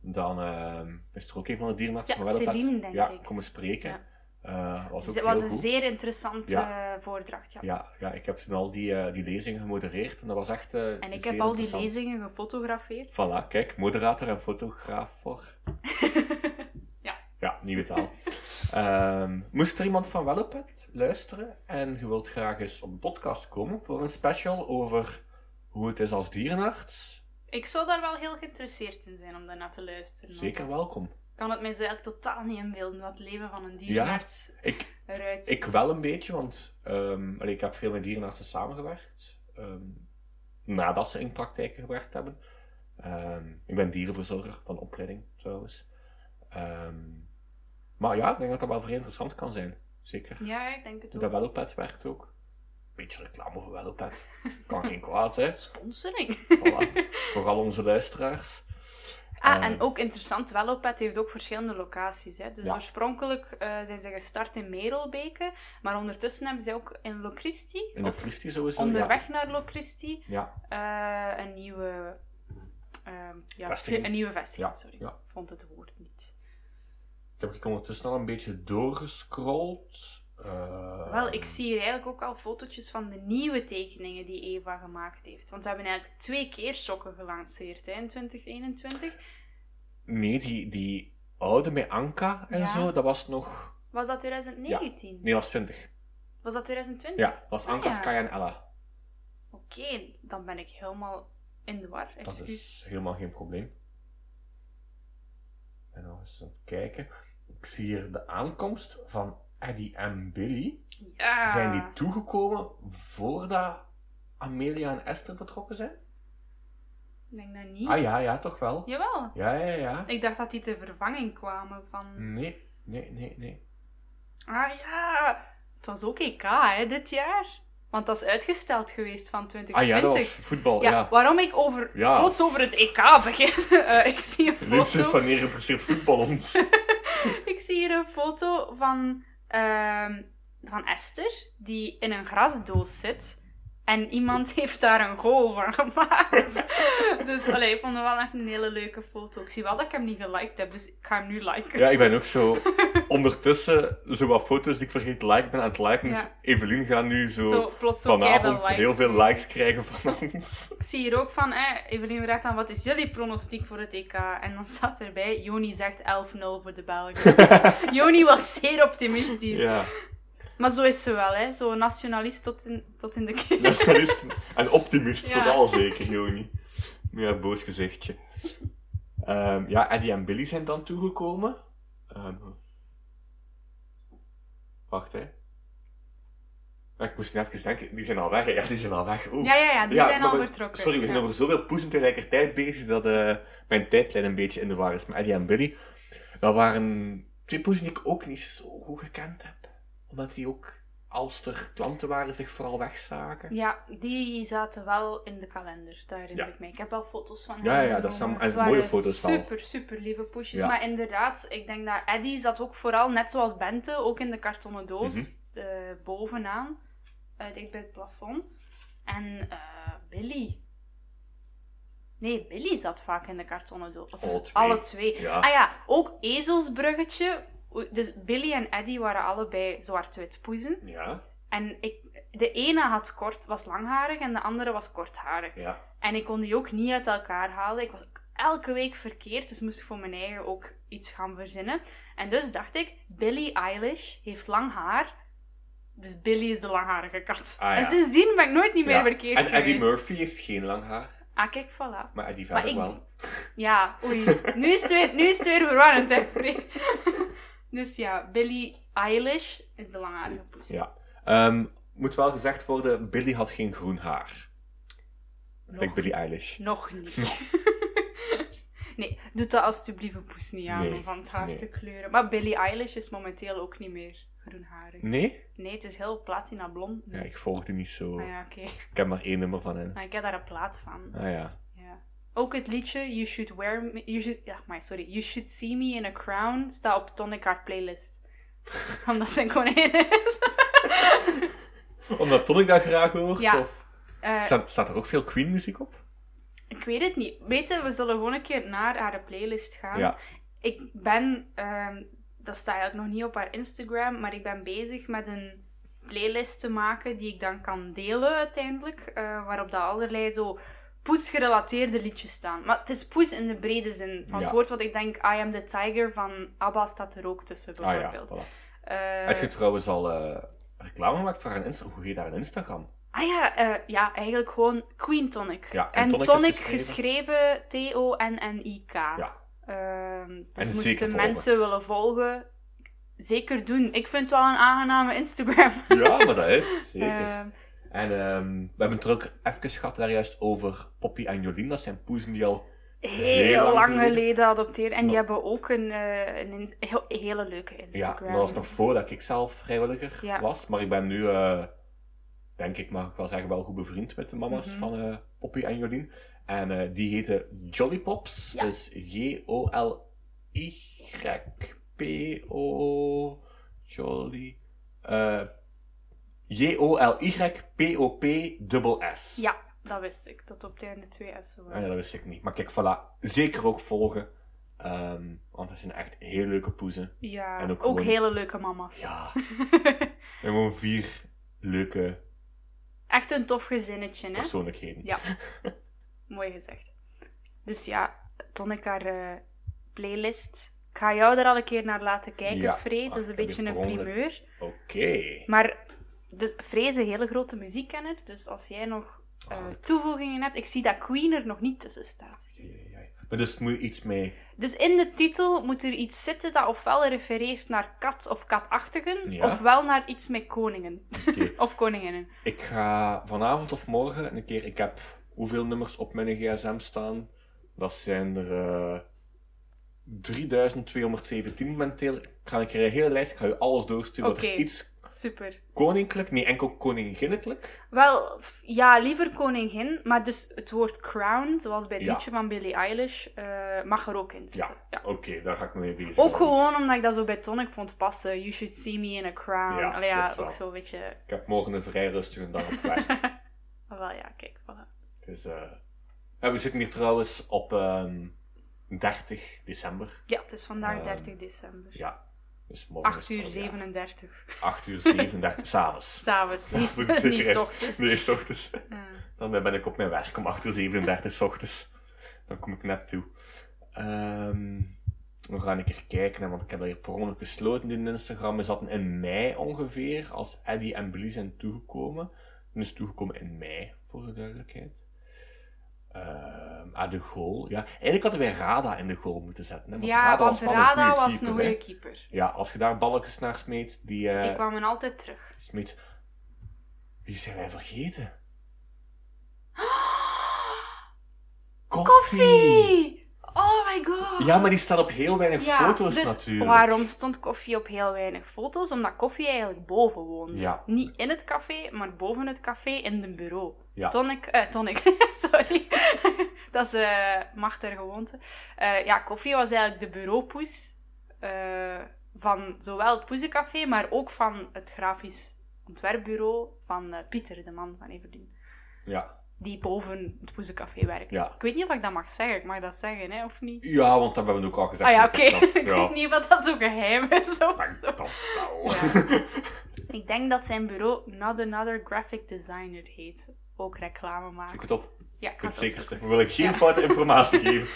Speaker 1: dan ehm, is er ook een van de dierenartsen
Speaker 2: Ja,
Speaker 1: van Wallopet
Speaker 2: Celine, denk
Speaker 1: ja,
Speaker 2: ik.
Speaker 1: komen spreken.
Speaker 2: Ja.
Speaker 1: Eh, was ook
Speaker 2: Het
Speaker 1: heel
Speaker 2: was een
Speaker 1: goed.
Speaker 2: zeer interessante
Speaker 1: Ja.
Speaker 2: eh, voordracht, ja.
Speaker 1: Ja, ja, ik heb toen al die, eh, die lezingen gemodereerd en dat was echt eh,
Speaker 2: En ik
Speaker 1: zeer
Speaker 2: heb al die
Speaker 1: interessant.
Speaker 2: lezingen gefotografeerd.
Speaker 1: Voilà, kijk, moderator en fotograaf voor.
Speaker 2: Ja.
Speaker 1: Ja, nieuwe taal. Ehm, moest er iemand van Wellopet luisteren en je wilt graag eens op de podcast komen voor een special over hoe het is als dierenarts,
Speaker 2: Ik zou daar wel heel geïnteresseerd in zijn om daarna te luisteren. want
Speaker 1: zeker
Speaker 2: dat-
Speaker 1: welkom.
Speaker 2: kan het mij zo eigenlijk totaal niet inbeelden, dat het leven van een dierenarts
Speaker 1: Ik,
Speaker 2: eruit ziet.
Speaker 1: ik wel een beetje, want ehm, allee, ik heb veel met dierenartsen samengewerkt ehm, nadat ze in praktijken gewerkt hebben. Ehm, ik ben dierenverzorger van opleiding trouwens. Ehm, maar ja, ik denk dat dat wel vrij interessant kan zijn, zeker.
Speaker 2: Ja, ik denk het ook.
Speaker 1: Dat Wellopet werkt ook. Beetje reclame voor Wellopet. Kan geen kwaad, hè?
Speaker 2: Sponsoring.
Speaker 1: Voilà. Vooral onze luisteraars.
Speaker 2: Ah,
Speaker 1: Eh.
Speaker 2: en ook interessant, Wellopet heeft ook verschillende locaties. Hè. Dus
Speaker 1: Ja.
Speaker 2: oorspronkelijk eh, zijn ze gestart in Merelbeke, maar ondertussen hebben ze ook in Locristi,
Speaker 1: In de
Speaker 2: of
Speaker 1: Christie sowieso.
Speaker 2: onderweg naar Locristi,
Speaker 1: Ja,
Speaker 2: eh, een nieuwe... ehm, ja,
Speaker 1: Vestiging.
Speaker 2: Een nieuwe vestiging,
Speaker 1: Ja,
Speaker 2: sorry.
Speaker 1: ja.
Speaker 2: Ik vond het woord niet.
Speaker 1: ik heb ik ondertussen al een beetje doorgescrolld. Eh,
Speaker 2: Wel, ik zie hier eigenlijk ook al fotootjes van de nieuwe tekeningen die Eva gemaakt heeft. Want we hebben eigenlijk twee keer sokken gelanceerd hè, in 2021.
Speaker 1: Nee, die, die oude met Anka en
Speaker 2: Ja.
Speaker 1: zo, dat was nog.
Speaker 2: Was dat 2019?
Speaker 1: Nee, dat was 20.
Speaker 2: Was dat 2020?
Speaker 1: Ja, dat was
Speaker 2: Ah,
Speaker 1: Anka,
Speaker 2: ja.
Speaker 1: Sky en Ella.
Speaker 2: Oké, dan ben ik helemaal in de war.
Speaker 1: Dat
Speaker 2: Excuus.
Speaker 1: is helemaal geen probleem. En nog eens aan het kijken. Ik zie hier de aankomst van Eddie en Billy.
Speaker 2: Ja.
Speaker 1: Zijn die toegekomen voordat Amelia en Esther vertrokken zijn?
Speaker 2: Ik denk dat niet.
Speaker 1: Ah ja, ja, toch wel.
Speaker 2: Jawel.
Speaker 1: Ja, ja, ja.
Speaker 2: Ik dacht dat die ter vervanging kwamen van...
Speaker 1: Hmm. Nee, nee, nee, nee.
Speaker 2: Ah ja. Het was ook EK, hè, E dit jaar. Want dat is uitgesteld geweest van 2020.
Speaker 1: Ah ja, dat was voetbal.
Speaker 2: Ja,
Speaker 1: Ja.
Speaker 2: waarom ik over,
Speaker 1: Ja.
Speaker 2: plots over het EK begin. Eh, ik zie een
Speaker 1: Links is
Speaker 2: foto.
Speaker 1: wanneer interesseert voetbal ons.
Speaker 2: Ik zie hier een foto van, ehm, van Esther, die in een grasdoos zit. En iemand heeft daar een goal van gemaakt. dus allee, ik vond het wel echt een hele leuke foto. Ik zie wel dat ik hem niet geliked heb, dus ik ga hem nu liken.
Speaker 1: Ja, ik ben ook zo ondertussen zo wat foto's die ik vergeet like ben aan het liken. Dus
Speaker 2: Ja.
Speaker 1: Evelien gaat nu zo,
Speaker 2: Zo, plots zo keiveel
Speaker 1: vanavond
Speaker 2: likes.
Speaker 1: heel veel likes krijgen van ons.
Speaker 2: Ik zie hier ook van, eh, Evelien vraagt aan wat is jullie pronostiek voor het EK? En dan staat erbij, Joni zegt 11-0 voor de Belgen. Joni was zeer optimistisch.
Speaker 1: Ja,
Speaker 2: Maar zo is ze wel, hè. Zo nationalist tot in, tot in de keel.
Speaker 1: nationalist en optimist
Speaker 2: Ja.
Speaker 1: vooral zeker, Joni. Met haar boos gezichtje. Ehm, ja, Eddie en Billy zijn dan toegekomen. Ehm, wacht, hè. Maar Ik moest net even denken, die zijn al weg. hè. Ja, die zijn al weg. Oeh.
Speaker 2: Ja, ja, ja, die
Speaker 1: Ja,
Speaker 2: zijn
Speaker 1: maar
Speaker 2: al
Speaker 1: we-
Speaker 2: vertrokken.
Speaker 1: Sorry, we zijn
Speaker 2: Ja.
Speaker 1: over zoveel poezen tegelijkertijd bezig dat eh, mijn tijdlijn een beetje in de war is. Maar Eddie en Billy, dat waren twee poezen die ik ook niet zo goed gekend heb. Omdat die ook, als er klanten waren, zich vooral wegstaken.
Speaker 2: Ja, die zaten wel in de kalender, daar herinner
Speaker 1: Ja.
Speaker 2: ik me. Ik heb wel foto's van
Speaker 1: Ja,
Speaker 2: hen
Speaker 1: ja, dat zijn
Speaker 2: genomen.
Speaker 1: echt
Speaker 2: Het
Speaker 1: mooie
Speaker 2: waren
Speaker 1: foto's wel.
Speaker 2: Super, super lieve poesjes.
Speaker 1: Ja.
Speaker 2: Maar inderdaad, ik denk dat Eddy zat ook vooral, net zoals Bente, ook in de kartonnen doos,
Speaker 1: Mhm.
Speaker 2: eh, bovenaan, eh, dicht bij het plafond. En eh, Billy. Nee, Billy zat vaak in de kartonnen doos.
Speaker 1: Alle twee.
Speaker 2: Alle twee.
Speaker 1: Ja.
Speaker 2: Ah ja, ook ezelsbruggetje. Dus Billy en Eddy waren allebei zwart-wit poezen.
Speaker 1: Ja,
Speaker 2: En ik, de ene had kort, was langharig en de andere was kortharig.
Speaker 1: ja.
Speaker 2: En ik kon die ook niet uit elkaar halen. Ik was elke week verkeerd, dus moest ik voor mijn eigen ook iets gaan verzinnen. En dus dacht ik, Billie Eilish heeft lang haar. Dus Billy is de langharige kat.
Speaker 1: Ah, ja.
Speaker 2: En sindsdien ben ik nooit niet meer
Speaker 1: Ja.
Speaker 2: verkeerd
Speaker 1: En Eddie
Speaker 2: geweest.
Speaker 1: Murphy heeft geen lang haar,
Speaker 2: Ah, kijk, voilà.
Speaker 1: maar Eddie
Speaker 2: Maar
Speaker 1: verder
Speaker 2: ik-
Speaker 1: wel.
Speaker 2: Ja, oei. Nu is het weer, nu is het weer verwarrend, hè, Free. Dus ja, Billie Eilish is de langharige poes.
Speaker 1: Ja. Ehm, moet wel gezegd worden, Billy had geen groen haar. Ik denk Billy Eilish.
Speaker 2: Nog niet. nee, doe dat alstublieft een poes niet aan
Speaker 1: Nee,
Speaker 2: om van het haar
Speaker 1: nee.
Speaker 2: te kleuren. Maar Billie Eilish is momenteel ook niet meer groenharig.
Speaker 1: Nee?
Speaker 2: Nee, het is heel platina blond. nu.
Speaker 1: Ja, ik volgde niet zo.
Speaker 2: Ah ja, oké.
Speaker 1: Ik heb maar één nummer van hen.
Speaker 2: Maar ik heb daar een plaat van.
Speaker 1: Ah ja.
Speaker 2: Ja. Ook het liedje You Should Wear Me... You should, ja, maar sorry. You Should See Me in a Crown staat op Tonic haar playlist. Omdat ze een koningin is.
Speaker 1: Omdat Tonic dat graag hoort?
Speaker 2: Ja.
Speaker 1: Of...
Speaker 2: Eh,
Speaker 1: Staat, staat er ook veel Queen-muziek op?
Speaker 2: ik weet het niet. Weten, we zullen gewoon een keer naar haar playlist gaan.
Speaker 1: Ja.
Speaker 2: Ik ben, ehm, dat staat eigenlijk nog niet op haar Instagram, maar ik ben bezig met een playlist te maken die ik dan kan delen uiteindelijk. eh, waarop dat allerlei zo poes-gerelateerde liedjes staan. Maar het is poes in de brede zin van het
Speaker 1: Ja.
Speaker 2: woord, want ik denk I Am The Tiger van ABBA staat er ook tussen
Speaker 1: Ah ja,
Speaker 2: bijvoorbeeld.
Speaker 1: voilà.
Speaker 2: Eh,
Speaker 1: Heb je trouwens al eh, reclame gemaakt voor haar Insta Hoe heet haar Instagram?
Speaker 2: Ah ja, eh, ja, eigenlijk gewoon Queen Tonic.
Speaker 1: Ja, en
Speaker 2: en
Speaker 1: Tonic
Speaker 2: Tonic,
Speaker 1: is
Speaker 2: geschreven T-O-N-N-I-K.
Speaker 1: Ja.
Speaker 2: Ehm,
Speaker 1: En
Speaker 2: dus
Speaker 1: zeker
Speaker 2: moesten
Speaker 1: volgen.
Speaker 2: mensen willen volgen, zeker doen. Ik vind het wel een aangename Instagram.
Speaker 1: Ja, maar dat is,
Speaker 2: Ehm,
Speaker 1: En ehm, we hebben het er ook even gehad daar juist over Poppy en Jolien. Dat zijn poezen die al...
Speaker 2: heel,
Speaker 1: Heel lang
Speaker 2: lang
Speaker 1: geleden.
Speaker 2: geleden adopteerd. En die
Speaker 1: Maar-
Speaker 2: hebben ook een, eh, een ins- heel- hele leuke
Speaker 1: Ja,
Speaker 2: Instagram.
Speaker 1: dat was nog voordat ik zelf vrijwilliger
Speaker 2: Ja.
Speaker 1: was. Maar ik ben nu, eh, denk ik, mag ik wel zeggen, wel goed bevriend met de mama's
Speaker 2: Mhm.
Speaker 1: van eh, Poppy en Jolien. En eh, die heten Jolly Pops.
Speaker 2: Ja.
Speaker 1: Dus J-O-L-Y-P-O... Jolly... eh, J-O-L-Y-P-O-P-S-S.
Speaker 2: Ja, dat wist ik. Dat op het einde twee S'en
Speaker 1: Ah,
Speaker 2: waren.
Speaker 1: ja, dat wist ik niet. Maar kijk, voilà. Zeker ook volgen. Ehm, want dat zijn echt heel leuke poezen.
Speaker 2: Ja,
Speaker 1: En ook
Speaker 2: ook,
Speaker 1: gewoon-
Speaker 2: hele leuke mama's.
Speaker 1: Ja. En gewoon vier leuke
Speaker 2: Echt een tof gezinnetje, hè?
Speaker 1: persoonlijkheden.
Speaker 2: Ja. Mooi gezegd. Dus ja, Tonic haar eh, playlist. Ik ga jou er al een keer naar laten kijken,
Speaker 1: Ja.
Speaker 2: Free.
Speaker 1: Ah,
Speaker 2: Dat is een
Speaker 1: ik heb
Speaker 2: beetje
Speaker 1: hier
Speaker 2: een
Speaker 1: per ongeluk-
Speaker 2: primeur.
Speaker 1: Oké.
Speaker 2: Maar dus, Free is een hele grote muziekkenner. Dus als jij nog eh,
Speaker 1: Ah,
Speaker 2: toevoegingen hebt... Ik zie dat Queen er nog niet tussen staat.
Speaker 1: ja, ja, ja. Maar dus moet je iets mee...
Speaker 2: Dus in de titel moet er iets zitten dat ofwel refereert naar kat of katachtigen...
Speaker 1: Ja.
Speaker 2: ofwel naar iets met koningen.
Speaker 1: Oké.
Speaker 2: of koninginnen.
Speaker 1: Ik ga vanavond of morgen een keer... Ik heb hoeveel nummers op mijn gsm staan? Dat zijn er... eh, 3217 momenteel. Ik ga een keer een hele lijst. Ik ga je alles doorsturen. Wat
Speaker 2: Oké.
Speaker 1: er iets
Speaker 2: Super.
Speaker 1: Koninklijk? Nee, enkel koninginnelijk.
Speaker 2: Wel, f- ja, liever koningin, maar dus het woord crown, zoals bij het
Speaker 1: Ja.
Speaker 2: liedje van Billie Eilish, eh, mag er ook in zitten.
Speaker 1: Ja, oké, daar ga ik me mee bezig.
Speaker 2: Ook
Speaker 1: houden.
Speaker 2: gewoon omdat ik dat zo bij Tonic vond passen. You should see me in a crown.
Speaker 1: Ja,
Speaker 2: Ja, Allee, ja
Speaker 1: klopt wel.
Speaker 2: ook zo een beetje...
Speaker 1: Ik heb morgen een vrij rustige dag op werk.
Speaker 2: Maar wel, ja, kijk, voilà.
Speaker 1: dus, eh, ja, we zitten hier trouwens op ehm, 30 december.
Speaker 2: Ja, het is vandaag
Speaker 1: Ehm,
Speaker 2: 30 december.
Speaker 1: Ja. Dus morgen
Speaker 2: 8 uur
Speaker 1: is het al, ja.
Speaker 2: 37.
Speaker 1: 8 uur 37, s'avonds.
Speaker 2: S'avonds, niet,
Speaker 1: Moet ik zeker,
Speaker 2: niet
Speaker 1: hè?
Speaker 2: 's ochtends.
Speaker 1: Nee, 's ochtends.
Speaker 2: Ja.
Speaker 1: Dan eh, ben ik op mijn werk om 8 uur 37, 's ochtends. Dan kom ik net toe. Ehm, we gaan een keer kijken, hè, want ik heb dat hier per ongeluk gesloten in Instagram. We zaten in mei ongeveer, als Eddie en Billy zijn toegekomen. Toen is toegekomen in mei, voor de duidelijkheid. Ehm ah, de goal. Ja. Eigenlijk hadden wij Rada in de goal moeten zetten. Hè,
Speaker 2: Ja, want
Speaker 1: wel een goeie
Speaker 2: Rada was
Speaker 1: keeper,
Speaker 2: een
Speaker 1: hè.
Speaker 2: goede keeper.
Speaker 1: Ja, als je daar balletjes naar smeet, die... eh,
Speaker 2: Die kwamen altijd terug.
Speaker 1: Smit. Wie zijn wij vergeten? Koffie!
Speaker 2: Koffie! Oh my god!
Speaker 1: Ja, maar die staat op heel weinig
Speaker 2: Ja,
Speaker 1: foto's
Speaker 2: dus
Speaker 1: natuurlijk.
Speaker 2: waarom stond koffie op heel weinig foto's? Omdat koffie eigenlijk boven woonde.
Speaker 1: Ja.
Speaker 2: Niet in het café, maar boven het café in het bureau.
Speaker 1: Ja.
Speaker 2: Tonic, eh, tonic, sorry. dat is eh macht der gewoonte. Eh, ja, koffie was eigenlijk de bureaupoes eh, van zowel het Poezencafé, maar ook van het grafisch ontwerpbureau van eh, Pieter, de man van Everdeen.
Speaker 1: Ja.
Speaker 2: Die boven het Poezencafé werkt.
Speaker 1: Ja.
Speaker 2: Ik weet niet of ik dat mag zeggen. Ik mag dat zeggen, hè, of niet?
Speaker 1: ja, want dat hebben we ook al gezegd.
Speaker 2: Ah ja,
Speaker 1: in de
Speaker 2: oké.
Speaker 1: podcast.
Speaker 2: ik
Speaker 1: Ja.
Speaker 2: weet niet wat dat zo geheim is of
Speaker 1: Maar
Speaker 2: zo.
Speaker 1: dat wel.
Speaker 2: Ja. Ik denk dat zijn bureau Not Another Graphic Designer heet. Ook reclame
Speaker 1: Zoek
Speaker 2: maken.
Speaker 1: het op.
Speaker 2: Ja, ik
Speaker 1: Voor het
Speaker 2: ga het
Speaker 1: zekerste.
Speaker 2: opzoeken.
Speaker 1: Dan wil ik geen
Speaker 2: Ja.
Speaker 1: foute informatie geven.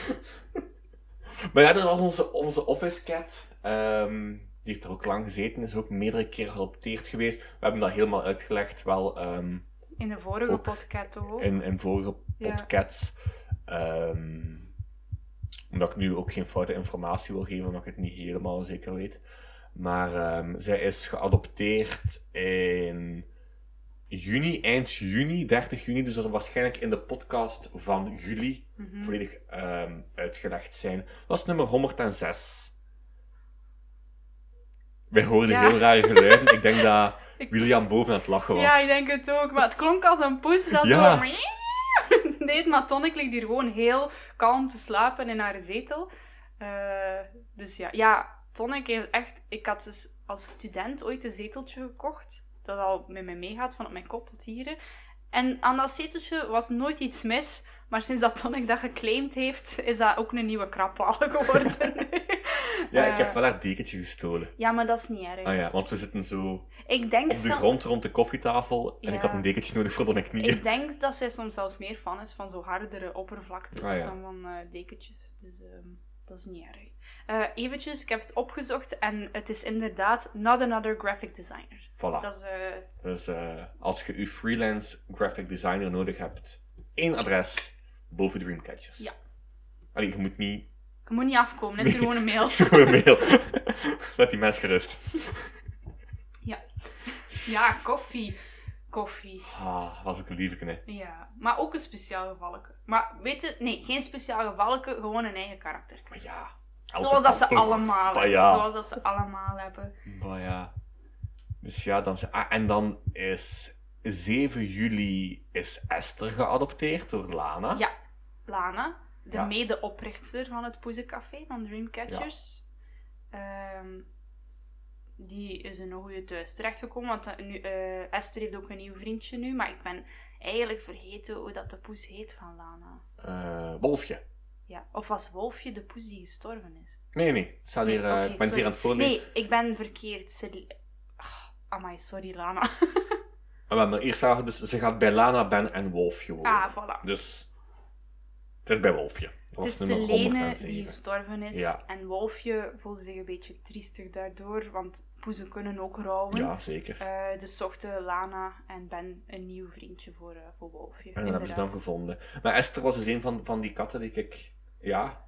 Speaker 1: Maar ja, dat was onze, onze office cat. Ehm, die heeft er ook lang gezeten. Is ook meerdere keren geadopteerd geweest. We hebben dat helemaal uitgelegd. Wel, ehm,
Speaker 2: In de vorige
Speaker 1: Ook.
Speaker 2: podcast ook.
Speaker 1: in, in vorige
Speaker 2: Oh. Ja.
Speaker 1: podcasts. Ehm, omdat ik nu ook geen foute informatie wil geven, omdat ik het niet helemaal zeker weet. Maar ehm, zij is geadopteerd in juni, eind juni, 30 juni. Dus dat zal waarschijnlijk in de podcast van juli
Speaker 2: Mhm.
Speaker 1: volledig ehm, uitgelegd zijn. Dat is nummer 106. Wij hoorden
Speaker 2: Ja.
Speaker 1: heel rare geluiden. Ik denk dat
Speaker 2: Ik-
Speaker 1: William boven aan het lachen was.
Speaker 2: Ja, ik denk het ook. Maar het klonk als een poes dat
Speaker 1: Ja.
Speaker 2: zo... Nee, maar Tonic ligt hier gewoon heel kalm te slapen in haar zetel. Eh, dus ja. ja, Tonic heeft echt... Ik had dus als student ooit een zeteltje gekocht. Dat al met mij meegaat, van op mijn kot tot hier. En aan dat zeteltje was nooit iets mis. Maar sinds dat Tonic dat geclaimd heeft, is dat ook een nieuwe krappaal geworden.
Speaker 1: Ja, ik
Speaker 2: Eh,
Speaker 1: heb wel haar dekentje gestolen.
Speaker 2: Ja, maar dat is niet erg.
Speaker 1: Ah ja, want we zitten zo
Speaker 2: Ik denk
Speaker 1: op de
Speaker 2: zo-
Speaker 1: grond rond de koffietafel en
Speaker 2: Ja.
Speaker 1: ik had een dekentje nodig voor mijn knieën.
Speaker 2: Ik denk dat zij soms zelfs meer fan is van zo hardere oppervlaktes
Speaker 1: Ah, ja.
Speaker 2: dan van eh, dekentjes. Dus ehm, dat is niet erg. Eh, eventjes, ik heb het opgezocht en het is inderdaad Not Another Graphic Designer.
Speaker 1: Voilà.
Speaker 2: Dat is, eh,
Speaker 1: Dus eh, als je uw freelance graphic designer nodig hebt, één adres boven Dreamcatchers.
Speaker 2: Ja.
Speaker 1: Allee, je moet niet...
Speaker 2: je moet niet afkomen, het is er gewoon een mail.
Speaker 1: Gewoon een mail. Laat die mens gerust.
Speaker 2: Ja, koffie. Koffie.
Speaker 1: Ah, was ook een lieve hè.
Speaker 2: Ja, maar ook een speciaal gevalleke. Maar weet je, nee, geen speciaal gevalleke, gewoon een eigen karakter.
Speaker 1: Maar ja. elke
Speaker 2: Zoals dat
Speaker 1: kant
Speaker 2: ze
Speaker 1: toch.
Speaker 2: allemaal
Speaker 1: Maar
Speaker 2: hebben.
Speaker 1: ja.
Speaker 2: Zoals dat ze allemaal hebben.
Speaker 1: Maar ja. Dus ja, dan... ze- Ah, en dan is 7 juli is Esther geadopteerd door Lana.
Speaker 2: Ja, Lana, de
Speaker 1: Ja.
Speaker 2: medeoprichter van het Poezencafé van Dreamcatchers. Ehm, die is in een goede thuis terechtgekomen, want eh, nu, eh, Esther heeft ook een nieuw vriendje nu, maar ik ben eigenlijk vergeten hoe dat de poes heet van Lana.
Speaker 1: Eh, Wolfje.
Speaker 2: Ja. Of was Wolfje de poes die gestorven is?
Speaker 1: Nee, nee. Het staat
Speaker 2: Nee,
Speaker 1: hier, eh,
Speaker 2: oké,
Speaker 1: ik ben het
Speaker 2: sorry.
Speaker 1: hier aan het voorlezen.
Speaker 2: Nee, ik ben verkeerd. Ze... Ah, amai, sorry Lana.
Speaker 1: Maar we hebben eerst zagen, dus ze gaat bij Lana, Ben en Wolfje wonen.
Speaker 2: Ah, voilà.
Speaker 1: Dus het is bij Wolfje. Dat
Speaker 2: Het is
Speaker 1: was nummer
Speaker 2: Selene
Speaker 1: 107.
Speaker 2: die gestorven is.
Speaker 1: Ja.
Speaker 2: En Wolfje voelde zich een beetje triestig daardoor, want poezen kunnen ook rouwen.
Speaker 1: Ja, zeker.
Speaker 2: Eh, dus zochten Lana en Ben een nieuw vriendje voor, eh, voor Wolfje.
Speaker 1: en dat hebben ze dan
Speaker 2: inderdaad.
Speaker 1: gevonden. Maar Esther was dus een van, van die katten die ik... Ja.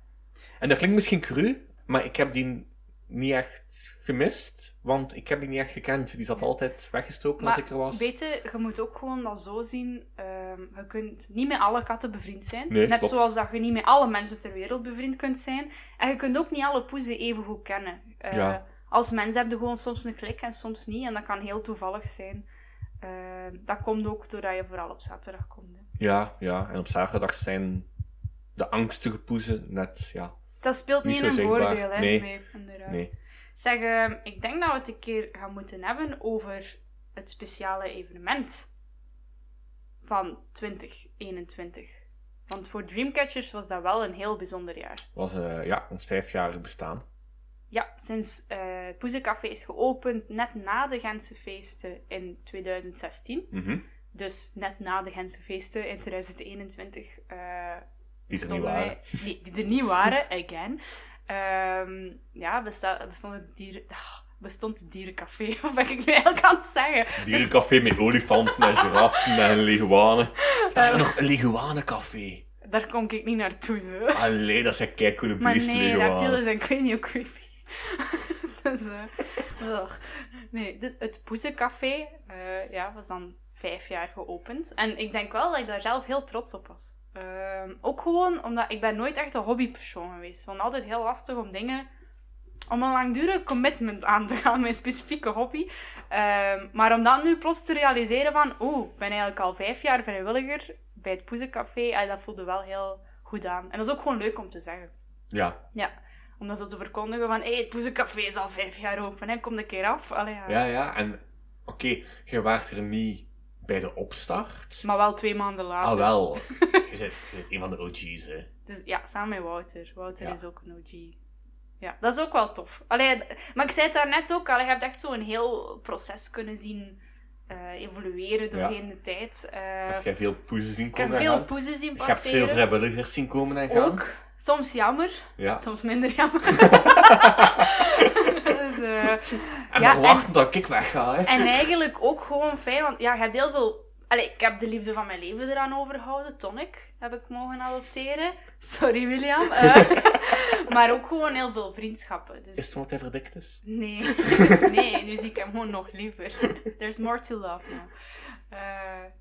Speaker 1: En dat klinkt misschien cru, maar ik heb die niet echt gemist. Want ik heb die niet echt gekend. Die zat altijd weggestoken als ik er was.
Speaker 2: Weet je, je moet ook gewoon dat zo zien. ehm, je kunt niet met alle katten bevriend zijn.
Speaker 1: Nee,
Speaker 2: Net
Speaker 1: klopt.
Speaker 2: zoals dat je niet met alle mensen ter wereld bevriend kunt zijn. En je kunt ook niet alle poezen even goed kennen. Eh,
Speaker 1: Ja.
Speaker 2: als mens heb je gewoon soms een klik en soms niet. En dat kan heel toevallig zijn. Eh, dat komt ook doordat je vooral op zaterdag komt. hè.
Speaker 1: Ja, ja. En op zaterdag zijn de angstige poezen net, ja.
Speaker 2: Dat speelt
Speaker 1: Niet
Speaker 2: niet,
Speaker 1: zo
Speaker 2: in een
Speaker 1: zichtbaar.
Speaker 2: voordeel, hè?
Speaker 1: Nee.
Speaker 2: inderdaad.
Speaker 1: Nee.
Speaker 2: Zeg, eh, ik denk dat we het een keer gaan moeten hebben over het speciale evenement van 2021. Want voor Dreamcatchers was dat wel een heel bijzonder jaar.
Speaker 1: Was eh, ja, ons vijfjarig bestaan.
Speaker 2: Ja, sinds eh het Poezencafé is geopend net na de Gentse feesten in 2016.
Speaker 1: Mhm.
Speaker 2: Dus net na de Gentse feesten in 2021 eh,
Speaker 1: Die er niet
Speaker 2: stonden
Speaker 1: waren.
Speaker 2: wij- die, die er niet waren, again. Ehm, ja, besta- bestond het dieren... ah, bestond het dierencafé, wat ben ik nu eigenlijk aan het zeggen?
Speaker 1: Dierencafé met olifanten en giraffen en leguanen. Dat is
Speaker 2: Eh.
Speaker 1: nog een leguanencafé.
Speaker 2: Dus daar kom ik niet naartoe, zo.
Speaker 1: Allee, dat zijn keicoole
Speaker 2: Maar
Speaker 1: beesten
Speaker 2: nee,
Speaker 1: leguanen.
Speaker 2: reptielen zijn, ik weet niet hoe creepy. dus, eh, ugh. Nee, dus het Poezencafé eh, ja, was dan vijf jaar geopend. En ik denk wel dat ik daar zelf heel trots op was. Ehm, ook gewoon omdat ik ben nooit echt een hobbypersoon geweest. Ik vond het altijd heel lastig om dingen... Om een langdurig commitment aan te gaan, mijn specifieke hobby. Ehm, maar om dan nu plots te realiseren van... Oeh, ik ben eigenlijk al vijf jaar vrijwilliger bij het Poezencafé. Ah, dat voelde wel heel goed aan. En dat is ook gewoon leuk om te zeggen.
Speaker 1: Ja.
Speaker 2: Ja, om dat zo te verkondigen van, hé, hey, het Poezencafé is al vijf jaar open, hè, kom een keer af. Allee, ja.
Speaker 1: ja, ja. En oké, je waart er niet bij de opstart.
Speaker 2: Maar wel twee maanden later.
Speaker 1: Ah, wel. Je bent, je bent een van de OG's, hè.
Speaker 2: Dus ja, samen met Wouter. Wouter
Speaker 1: Ja.
Speaker 2: is ook een OG. Ja, dat is ook wel tof. Allee, d- maar ik zei het daarnet ook al, je hebt echt zo'n heel proces kunnen zien eh, evolueren doorheen de tijd. Eh,
Speaker 1: Heb jij veel poezen zien
Speaker 2: ik heb
Speaker 1: komen en
Speaker 2: veel
Speaker 1: gaan?
Speaker 2: poezen zien
Speaker 1: Je hebt veel
Speaker 2: passeren.
Speaker 1: vrijwilligers zien komen en gaan.
Speaker 2: ook. Soms jammer,
Speaker 1: Ja.
Speaker 2: soms minder jammer. dus, eh,
Speaker 1: En
Speaker 2: Ja,
Speaker 1: dan wachten dat ik wegga, hè.
Speaker 2: En eigenlijk ook gewoon fijn, want ja, je hebt heel veel... Allee, ik heb de liefde van mijn leven eraan overgehouden. Tonic heb ik mogen adopteren. Sorry, William. Eh, maar ook gewoon heel veel vriendschappen. Dus...
Speaker 1: Is het omdat hij verdikt is?
Speaker 2: Nee. nee, nu zie ik hem gewoon nog liever. There's more to love now. Eh,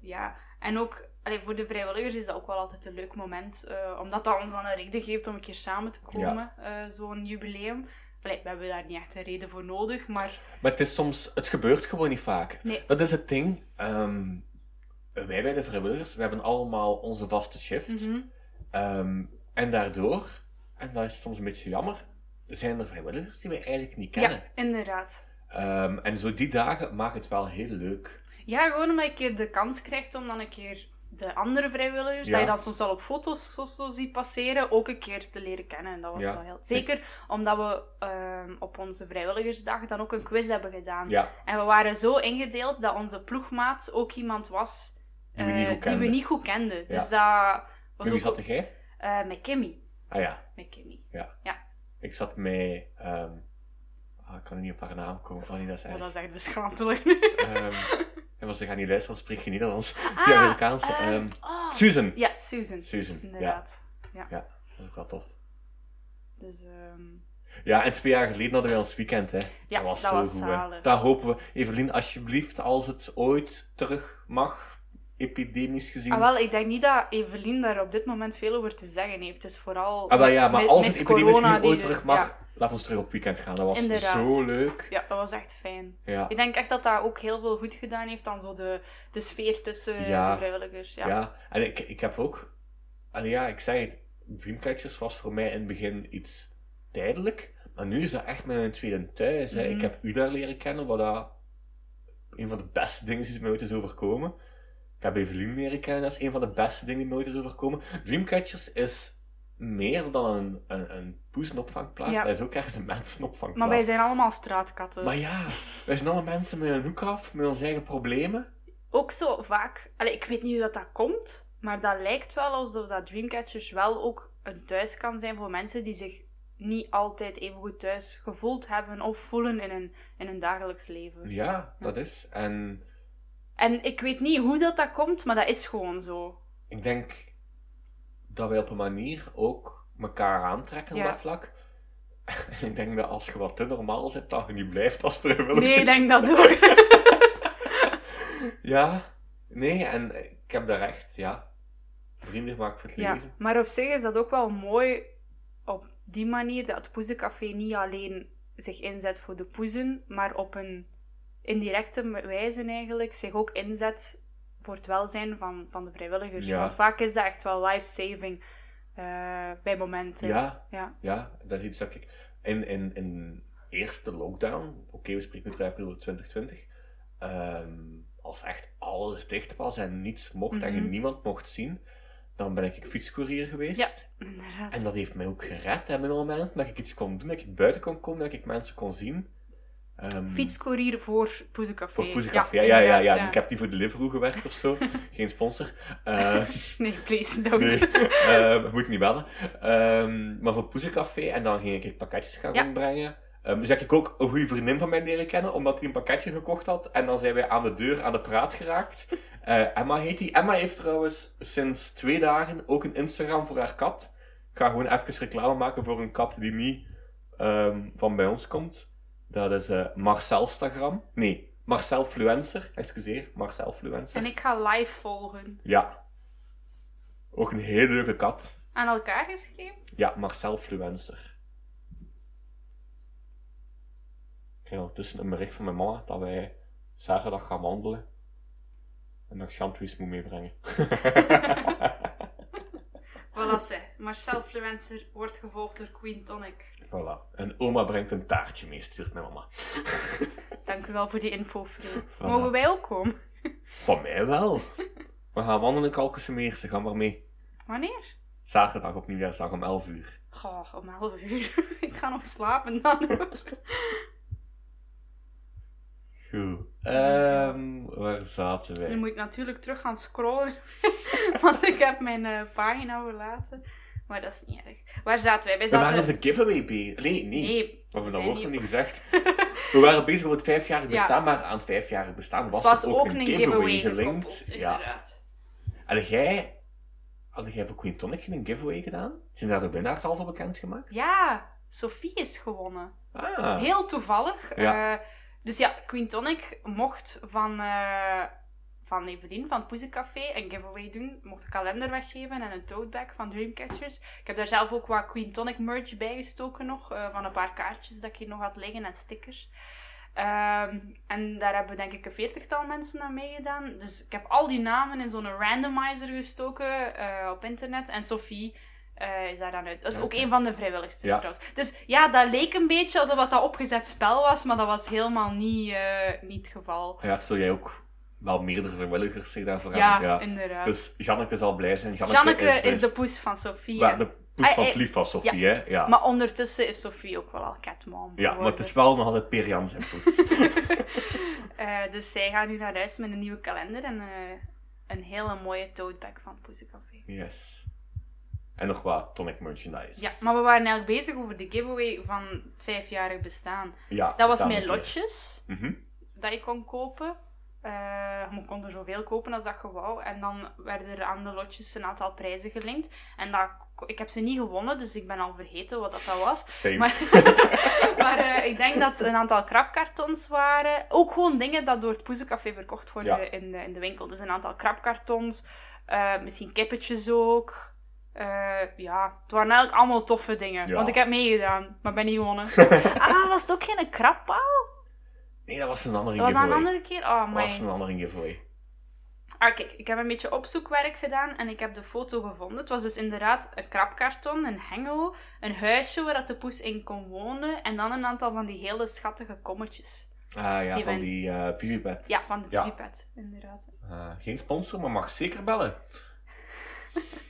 Speaker 2: ja, en ook allee, voor de vrijwilligers is dat ook wel altijd een leuk moment. eh, omdat dat ons dan een reden geeft om een keer samen te komen. eh, Zo'n jubileum. Allee, we hebben daar niet echt een reden voor nodig, maar...
Speaker 1: Maar het is soms... Het gebeurt gewoon niet vaak.
Speaker 2: Nee.
Speaker 1: Dat is het ding. Ehm, wij bij de vrijwilligers, we hebben allemaal onze vaste shift.
Speaker 2: mhm.
Speaker 1: Ehm, en daardoor, en dat is soms een beetje jammer, zijn er vrijwilligers die wij eigenlijk niet kennen.
Speaker 2: Ja, inderdaad.
Speaker 1: Ehm, en zo die dagen maken het wel heel leuk.
Speaker 2: Ja, gewoon omdat je een keer de kans krijgt om dan een keer de andere vrijwilligers,
Speaker 1: Ja.
Speaker 2: dat je dan soms wel op foto's zo, zo ziet passeren, ook een keer te leren kennen. En dat was
Speaker 1: Ja.
Speaker 2: wel heel... Zeker omdat we ehm, op onze vrijwilligersdag dan ook een quiz hebben gedaan.
Speaker 1: Ja,
Speaker 2: En we waren zo ingedeeld dat onze ploegmaat ook iemand was
Speaker 1: die we
Speaker 2: eh,
Speaker 1: niet goed
Speaker 2: die
Speaker 1: kennen.
Speaker 2: we niet goed kenden. Dus dat
Speaker 1: Met
Speaker 2: was
Speaker 1: wie
Speaker 2: ook...
Speaker 1: zat jij?
Speaker 2: eh, met Kimmy.
Speaker 1: Ah ja,
Speaker 2: Met Kimmy.
Speaker 1: ik zat met... ehm, ah, ik kan niet op haar naam komen, van die dat is
Speaker 2: Oh,
Speaker 1: erg.
Speaker 2: dat is echt beschamelijk nu.
Speaker 1: Ehm, en als ze gaan niet luisteren, dan spreek je Nederlands.
Speaker 2: Ah,
Speaker 1: die Amerikaanse.
Speaker 2: eh,
Speaker 1: ehm,
Speaker 2: oh.
Speaker 1: Susan.
Speaker 2: Ja, Susan.
Speaker 1: Susan, ja.
Speaker 2: Inderdaad.
Speaker 1: Dat is ook wel tof.
Speaker 2: Dus... ehm,
Speaker 1: Ja, en twee jaar geleden hadden wij ons weekend, hè.
Speaker 2: Ja, dat was
Speaker 1: hè.
Speaker 2: zalig.
Speaker 1: Daar hopen we. Evelien, alsjeblieft, als het ooit terug mag, epidemisch gezien.
Speaker 2: Ah, wel, ik denk niet dat Evelien daar op dit moment veel over te zeggen heeft. Het is vooral.
Speaker 1: Ah, wel ja, maar
Speaker 2: met-
Speaker 1: als
Speaker 2: met
Speaker 1: het epidemisch
Speaker 2: corona
Speaker 1: gezien
Speaker 2: die
Speaker 1: ooit
Speaker 2: er-
Speaker 1: terug mag,
Speaker 2: Ja,
Speaker 1: laat ons terug op weekend gaan. Dat was
Speaker 2: Inderdaad.
Speaker 1: zo leuk.
Speaker 2: Ja, dat was echt fijn.
Speaker 1: Ja.
Speaker 2: Ik denk echt dat dat ook heel veel goed gedaan heeft aan zo de, de sfeer tussen
Speaker 1: Ja.
Speaker 2: de vrijwilligers. Ja.
Speaker 1: Ja. en ik, ik heb ook... Allee, ja, ik zei het, Dreamcatchers was voor mij in het begin iets tijdelijk, maar nu is dat echt mijn tweede thuis. Hè.
Speaker 2: Mhm.
Speaker 1: Ik heb u daar leren kennen, wat dat een van de beste dingen is die mij ooit is overkomen. Ik heb Evelien leren kennen, dat is een van de beste dingen die mij ooit is overkomen. Dreamcatchers is meer dan een, een, een poesenopvangplaats,
Speaker 2: Ja.
Speaker 1: dat is ook ergens een mensenopvangplaats.
Speaker 2: Maar wij zijn allemaal straatkatten.
Speaker 1: Maar ja, wij zijn allemaal mensen met een hoek af, met onze eigen problemen.
Speaker 2: Ook zo vaak. Allee, ik weet niet hoe dat, dat komt, maar dat lijkt wel alsof dat Dreamcatchers wel ook een thuis kan zijn voor mensen die zich niet altijd even goed thuis gevoeld hebben of voelen in hun, in hun dagelijks leven.
Speaker 1: Ja, dat is. En
Speaker 2: En ik weet niet hoe dat, dat komt, maar dat is gewoon zo.
Speaker 1: ik denk dat wij op een manier ook elkaar aantrekken op
Speaker 2: Ja.
Speaker 1: dat vlak. En ik denk dat als je wat te normaal zit, dat je niet blijft als vrijwilliger.
Speaker 2: Nee, ik denk dat ook.
Speaker 1: Ja, nee, en ik heb daar echt, ja, vrienden gemaakt voor het
Speaker 2: Ja,
Speaker 1: leven.
Speaker 2: maar op zich is dat ook wel mooi op die manier dat het Poezencafé niet alleen zich inzet voor de poezen, maar op een indirecte wijze eigenlijk zich ook inzet voor het welzijn van, van de vrijwilligers.
Speaker 1: Ja.
Speaker 2: Want vaak is dat echt wel life-saving eh, bij momenten.
Speaker 1: Ja,
Speaker 2: Ja.
Speaker 1: ja, dat iets dat ik. In, in, in eerste lockdown, oké, we spreken nu 3 april 2020. ehm, als echt alles dicht was en niets mocht en je
Speaker 2: Mhm.
Speaker 1: niemand mocht zien, dan ben ik fietscourier geweest.
Speaker 2: Inderdaad.
Speaker 1: En dat heeft mij ook gered hè, op een moment dat ik iets kon doen, dat ik buiten kon komen, dat ik mensen kon zien. Ehm,
Speaker 2: Fietscourier voor Poezencafé.
Speaker 1: Voor Poezencafé, ja, ja, ja, ja,
Speaker 2: inderdaad,
Speaker 1: Ik heb die voor Deliveroo gewerkt of zo. Geen sponsor. Eh,
Speaker 2: Nee, please, don't.
Speaker 1: Nee, eh, moet niet bellen. Ehm, maar voor Poezencafé en dan ging ik pakketjes gaan
Speaker 2: Ja.
Speaker 1: rondbrengen. Ehm, dus heb ik ook een goede vriendin van mij leren kennen, omdat hij een pakketje gekocht had. En dan zijn wij aan de deur aan de praat geraakt. Eh, Emma heet die. Emma heeft trouwens sinds twee dagen ook een Instagram voor haar kat. Ik ga gewoon even reclame maken voor een kat die niet ehm, van bij ons komt. Dat is eh Marcelstagram. Nee, Marcel Fluencer. Excuseer, Marcel Fluencer.
Speaker 2: En ik ga live volgen.
Speaker 1: Ja. Ook een hele leuke kat.
Speaker 2: Aan elkaar geschreven?
Speaker 1: Ja, Marcel Fluencer. Ik kreeg ondertussen een bericht van mijn mama dat wij zaterdag gaan wandelen. En dat ik Chantries moet meebrengen.
Speaker 2: Voilà, ze. Marcel Fluencer wordt gevolgd door Queen Tonic.
Speaker 1: voilà. En oma brengt een taartje mee, stuurt mijn mama.
Speaker 2: Dank u wel voor die info, Flo.
Speaker 1: Voilà.
Speaker 2: Mogen wij ook komen?
Speaker 1: Van mij wel. We gaan wandelen in Kalkensche Meersen, ga maar mee.
Speaker 2: Wanneer?
Speaker 1: Zaterdag op Nieuwjaarsdag om 11 uur.
Speaker 2: Goh, om 11 uur. ik ga nog slapen dan. hoor.
Speaker 1: Goed. Ehm, waar zaten
Speaker 2: nu
Speaker 1: wij?
Speaker 2: moet ik natuurlijk terug gaan scrollen. want ik heb mijn eh, pagina verlaten. Maar dat is niet erg. Waar zaten wij? Wij
Speaker 1: We waren
Speaker 2: zaten...
Speaker 1: op de giveaway bezig. Nee, nee.
Speaker 2: Nee,
Speaker 1: Of
Speaker 2: we
Speaker 1: we dat
Speaker 2: zijn
Speaker 1: wordt nog
Speaker 2: niet-
Speaker 1: niet gezegd. We waren bezig met het vijfjarig
Speaker 2: Ja.
Speaker 1: bestaan, maar aan het vijfjarig bestaan was,
Speaker 2: het was
Speaker 1: er
Speaker 2: ook een giveaway gelinkt.
Speaker 1: gelinkt. Ja.
Speaker 2: Inderdaad.
Speaker 1: Had jij, had jij voor Queen Tonic een giveaway gedaan? Zijn daar de winnaars al voor bekendgemaakt?
Speaker 2: Ja, Sophie is gewonnen.
Speaker 1: Ah,
Speaker 2: Heel toevallig.
Speaker 1: Ja.
Speaker 2: Eh, dus ja, Queen Tonic mocht van, eh van Evelien van het Poezencafé een giveaway doen. Mocht een kalender weggeven en een tote bag van Dreamcatchers. Ik heb daar zelf ook wat Queen Tonic merch bij gestoken nog. eh, van een paar kaartjes dat ik hier nog had liggen en stickers. Ehm, en daar hebben denk ik een veertigtal mensen aan meegedaan. Dus ik heb al die namen in zo'n randomizer gestoken eh, op internet. En Sophie eh, is daar dan uit. Dat is ook
Speaker 1: Oké.
Speaker 2: een van de vrijwilligsters
Speaker 1: Ja.
Speaker 2: trouwens. Dus ja, dat leek een beetje alsof dat, dat opgezet spel was. Maar dat was helemaal niet, eh, niet het geval.
Speaker 1: ja, zo jij ook wel meerdere vrijwilligers zich daarvoor
Speaker 2: Ja,
Speaker 1: hebben. Ja.
Speaker 2: inderdaad.
Speaker 1: Dus Janneke zal blij zijn. Janneke,
Speaker 2: Janneke
Speaker 1: is,
Speaker 2: is, de poes van Sophie.
Speaker 1: maar
Speaker 2: hè.
Speaker 1: de poes van
Speaker 2: Ah,
Speaker 1: het
Speaker 2: eh,
Speaker 1: lief was, Sofie, hè? Ja.
Speaker 2: Maar ondertussen is Sophie ook wel al catmom
Speaker 1: ja, maar het
Speaker 2: geworden.
Speaker 1: is wel nog altijd Per Jan zijn poes.
Speaker 2: Eh, dus zij gaan nu naar huis met een nieuwe kalender en eh, een hele mooie tote bag van Poezencafé.
Speaker 1: yes. En nog wat Tonic merchandise.
Speaker 2: Ja, maar we waren eigenlijk bezig over de giveaway van het vijfjarig bestaan.
Speaker 1: Ja,
Speaker 2: Dat was
Speaker 1: vertel
Speaker 2: mijn
Speaker 1: een keer.
Speaker 2: lotjes
Speaker 1: Mhm.
Speaker 2: dat je kon kopen. Eh je kon er zoveel kopen als dat je wou. En dan werden er aan de lotjes een aantal prijzen gelinkt. En dat, ik heb ze niet gewonnen, dus ik ben al vergeten wat dat, dat was.
Speaker 1: Same.
Speaker 2: Maar, maar eh, ik denk dat het een aantal krapkartons waren. Ook gewoon dingen dat door het Poezencafé verkocht worden
Speaker 1: Ja.
Speaker 2: in, de, in de winkel. Dus een aantal krapkartons, eh, misschien kippetjes ook. Eh, ja, het waren eigenlijk allemaal toffe dingen.
Speaker 1: Ja.
Speaker 2: Want ik heb meegedaan, maar ben niet gewonnen. ah, was het ook geen krappaal?
Speaker 1: Nee, dat was een andere
Speaker 2: Dat was dat
Speaker 1: giveaway.
Speaker 2: een andere keer? Oh,
Speaker 1: Dat was
Speaker 2: my.
Speaker 1: een andere giveaway.
Speaker 2: Ah, kijk, ik heb een beetje opzoekwerk gedaan en ik heb de foto gevonden. Het was dus inderdaad een krapkarton, een hengel, een huisje waar dat de poes in kon wonen en dan een aantal van die hele schattige kommetjes.
Speaker 1: Ah ja, van
Speaker 2: Die van-
Speaker 1: die eh Vivipets.
Speaker 2: Ja, van de Vlieppet, inderdaad.
Speaker 1: Eh, geen sponsor, maar mag zeker bellen.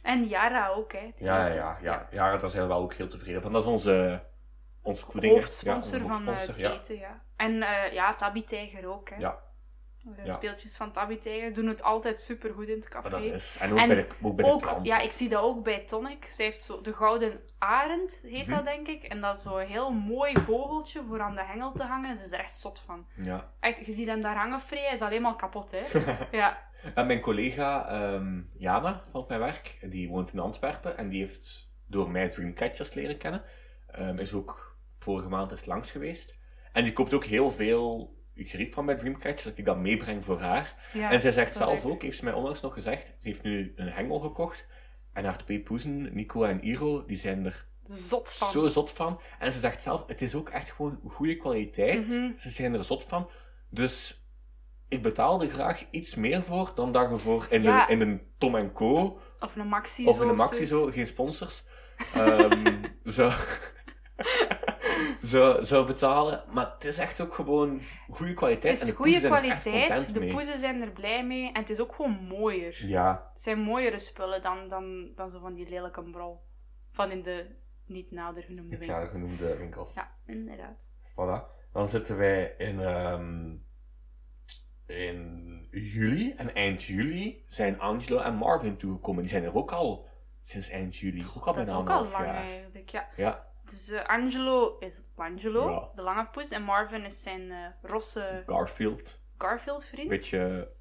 Speaker 2: En Yara ook, hè. die
Speaker 1: Ja, ja,
Speaker 2: had-
Speaker 1: ja. ja. ja daar zijn we wel ook heel tevreden van. Dat is onze, eh, onze voeding. hè.
Speaker 2: Hoofdsponsor
Speaker 1: onze
Speaker 2: van eh,
Speaker 1: hoofdsponsor,
Speaker 2: het eten, ja. En eh, ja, Tabby Tiger ook, hè.
Speaker 1: Ja.
Speaker 2: De
Speaker 1: Ja.
Speaker 2: speeltjes van Tabby Tiger doen het altijd supergoed in het
Speaker 1: Ja,
Speaker 2: café.
Speaker 1: dat is. En ook
Speaker 2: En
Speaker 1: bij de, ook bij
Speaker 2: ook,
Speaker 1: de krant.
Speaker 2: Ja, ik zie dat ook bij Tonic. Zij heeft zo de gouden arend, heet
Speaker 1: Mhm.
Speaker 2: dat denk ik. En dat is zo'n heel mooi vogeltje voor aan de hengel te hangen. En ze is er echt zot van.
Speaker 1: Ja.
Speaker 2: Echt, je ziet hem daar hangen, Free. Hij is alleen maar kapot, hè. ja.
Speaker 1: En mijn collega ehm, Jana van mijn werk, die woont in Antwerpen en die heeft door mij Dreamcatchers leren kennen. Ehm, is ook vorige maand eens langs geweest. En die koopt ook heel veel grief van mijn Dreamcatchers, dat ik dat meebreng voor haar.
Speaker 2: ja.
Speaker 1: En zij zegt
Speaker 2: dat
Speaker 1: zelf
Speaker 2: leuk.
Speaker 1: ook, heeft ze mij onlangs nog gezegd, ze heeft nu een hengel gekocht. En haar twee poezen, Nico en Iro, die zijn er
Speaker 2: zot van.
Speaker 1: Zo zot van. En ze zegt zelf, het is ook echt gewoon goede kwaliteit.
Speaker 2: Mhm.
Speaker 1: Ze zijn er zot van. Dus ik betaal er graag iets meer voor dan dat je voor in,
Speaker 2: Ja.
Speaker 1: een, in een Tom en Co.
Speaker 2: Of een maxi
Speaker 1: of in een Maxi
Speaker 2: zoiets.
Speaker 1: zo, geen sponsors. ehm, zou, zou, zou betalen. Maar het is echt ook gewoon goede kwaliteit.
Speaker 2: Het is
Speaker 1: en de
Speaker 2: goede
Speaker 1: poezen zijn er echt
Speaker 2: kwaliteit,
Speaker 1: content
Speaker 2: de
Speaker 1: mee.
Speaker 2: poezen zijn er blij mee en het is ook gewoon mooier.
Speaker 1: Ja,
Speaker 2: Het zijn mooiere spullen dan, dan, dan zo van die lelijke brol. Van in de niet nader genoemde
Speaker 1: het jaar
Speaker 2: winkels.
Speaker 1: genoemde winkels.
Speaker 2: Ja, inderdaad.
Speaker 1: Voilà. Dan zitten wij in, ehm, in juli. En eind juli zijn Angelo en Marvin toegekomen. Die zijn er ook al sinds eind juli. Ook al
Speaker 2: dat
Speaker 1: bijna
Speaker 2: is ook al
Speaker 1: anderhalf
Speaker 2: lang
Speaker 1: jaar.
Speaker 2: eigenlijk, ja.
Speaker 1: Ja,
Speaker 2: Dus eh, Angelo is Angelo,
Speaker 1: Ja.
Speaker 2: de lange poes. En Marvin is zijn eh rosse
Speaker 1: Garfield. Een
Speaker 2: Garfield-vriend.
Speaker 1: beetje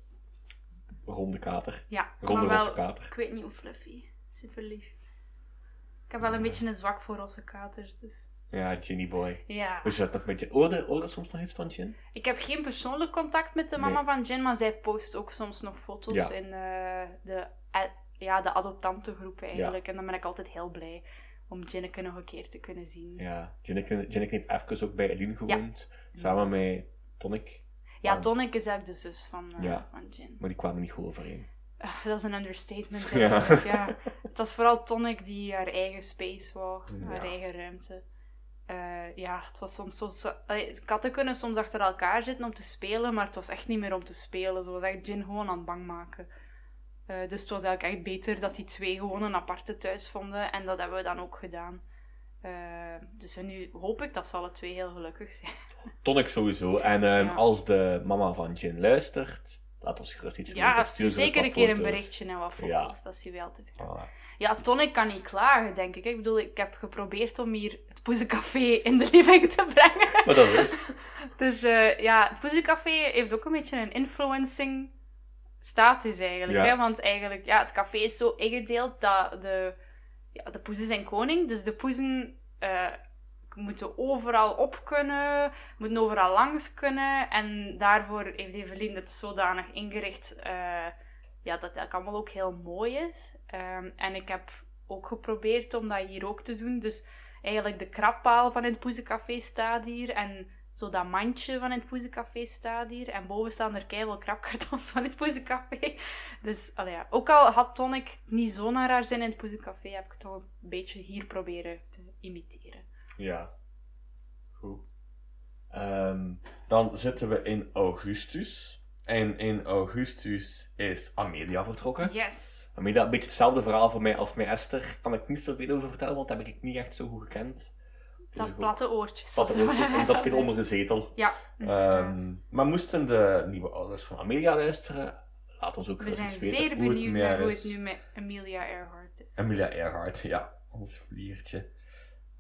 Speaker 1: ronde kater.
Speaker 2: Ja,
Speaker 1: Ronde
Speaker 2: maar
Speaker 1: rosse
Speaker 2: wel,
Speaker 1: kater.
Speaker 2: ik weet niet hoe fluffy. Super lief. Ik heb wel een
Speaker 1: Ja.
Speaker 2: beetje een zwak voor rosse katers, dus...
Speaker 1: Ja, Ginny boy.
Speaker 2: Ja.
Speaker 1: Dus dat nog met je... Hoorde, hoorde soms nog iets van Gin?
Speaker 2: Ik heb geen persoonlijk contact met de mama
Speaker 1: Nee.
Speaker 2: van Jen, maar zij post ook soms nog foto's
Speaker 1: Ja.
Speaker 2: in eh, de, eh, ja, de adoptantengroep eigenlijk. En dan ben ik altijd heel blij om Jinneke nog een keer te kunnen zien. Ja,
Speaker 1: Ja. Jinneke Jinneke heeft even ook bij Eline gewoond. Samen met Tonic. Ja.
Speaker 2: Tonic is eigenlijk de zus van, eh,
Speaker 1: Ja.
Speaker 2: van Jin.
Speaker 1: Maar die kwamen niet goed overeen.
Speaker 2: Ah, dat is een understatement.
Speaker 1: Ja.
Speaker 2: eigenlijk, Ja. Het was vooral Tonic die haar eigen space wou, haar
Speaker 1: Ja.
Speaker 2: eigen ruimte. Eh, ja, het was soms zo... zo- allee, katten kunnen soms achter elkaar zitten om te spelen, maar het was echt niet meer om te spelen. Ze was echt Jin gewoon aan het bang maken. Eh, dus het was eigenlijk echt beter dat die twee gewoon een aparte thuis vonden. En dat hebben we dan ook gedaan. Eh, dus en nu hoop ik dat ze alle twee heel gelukkig zijn.
Speaker 1: Tonic sowieso. En ehm,
Speaker 2: Ja.
Speaker 1: als de mama van Jin luistert, laat ons gerust iets
Speaker 2: Ja,
Speaker 1: weten.
Speaker 2: stuur
Speaker 1: ze ons
Speaker 2: zeker
Speaker 1: wat
Speaker 2: een keer een
Speaker 1: foto's.
Speaker 2: berichtje en wat
Speaker 1: Ja.
Speaker 2: foto's. Dat zien we altijd graag.
Speaker 1: Voilà.
Speaker 2: Ja, Tonic kan niet klagen, denk ik. Ik bedoel, ik heb geprobeerd om hier het Poezencafé in de living te brengen.
Speaker 1: Maar dat is.
Speaker 2: Dus eh, ja, het Poezencafé heeft ook een beetje een influencing status eigenlijk.
Speaker 1: Ja.
Speaker 2: Hè? Want eigenlijk, ja, het café is zo ingedeeld dat de, ja, de poezen zijn koning. Dus de poezen eh, moeten overal op kunnen, moeten overal langs kunnen. En daarvoor heeft Evelien het zodanig ingericht eh, ja, dat dat allemaal ook heel mooi is. Ehm, en ik heb ook geprobeerd om dat hier ook te doen. Dus eigenlijk de krabpaal van het Poezencafé staat hier. En zo dat mandje van het Poezencafé staat hier. En boven staan er keihard krabkartons van het Poezencafé. Dus allee, ja. ook al had Tonic niet zo naar haar zin in het Poezencafé, heb ik het toch een beetje hier proberen te imiteren.
Speaker 1: Ja. Goed. Ehm, dan zitten we in augustus. En in augustus is Amelia vertrokken.
Speaker 2: Yes!
Speaker 1: Amelia, een beetje hetzelfde verhaal voor mij als met Esther. Kan ik niet zoveel over vertellen, want dat heb ik niet echt zo goed gekend. Dus ik
Speaker 2: Dat
Speaker 1: ook-
Speaker 2: platte oortjes.
Speaker 1: Platte
Speaker 2: zoals we
Speaker 1: oortjes, en
Speaker 2: net
Speaker 1: dat viel
Speaker 2: hadden.
Speaker 1: onder een zetel.
Speaker 2: Ja,
Speaker 1: Ehm,
Speaker 2: inderdaad.
Speaker 1: maar moesten de nieuwe ouders van Amelia luisteren? Laat ons ook
Speaker 2: We
Speaker 1: gerust
Speaker 2: zijn
Speaker 1: iets weten
Speaker 2: zeer
Speaker 1: hoe het
Speaker 2: benieuwd
Speaker 1: met
Speaker 2: naar
Speaker 1: haar
Speaker 2: hoe
Speaker 1: is. Ehm,
Speaker 2: het nu met Amelia Earhart is.
Speaker 1: Amelia Earhart, ja. Ons vliertje.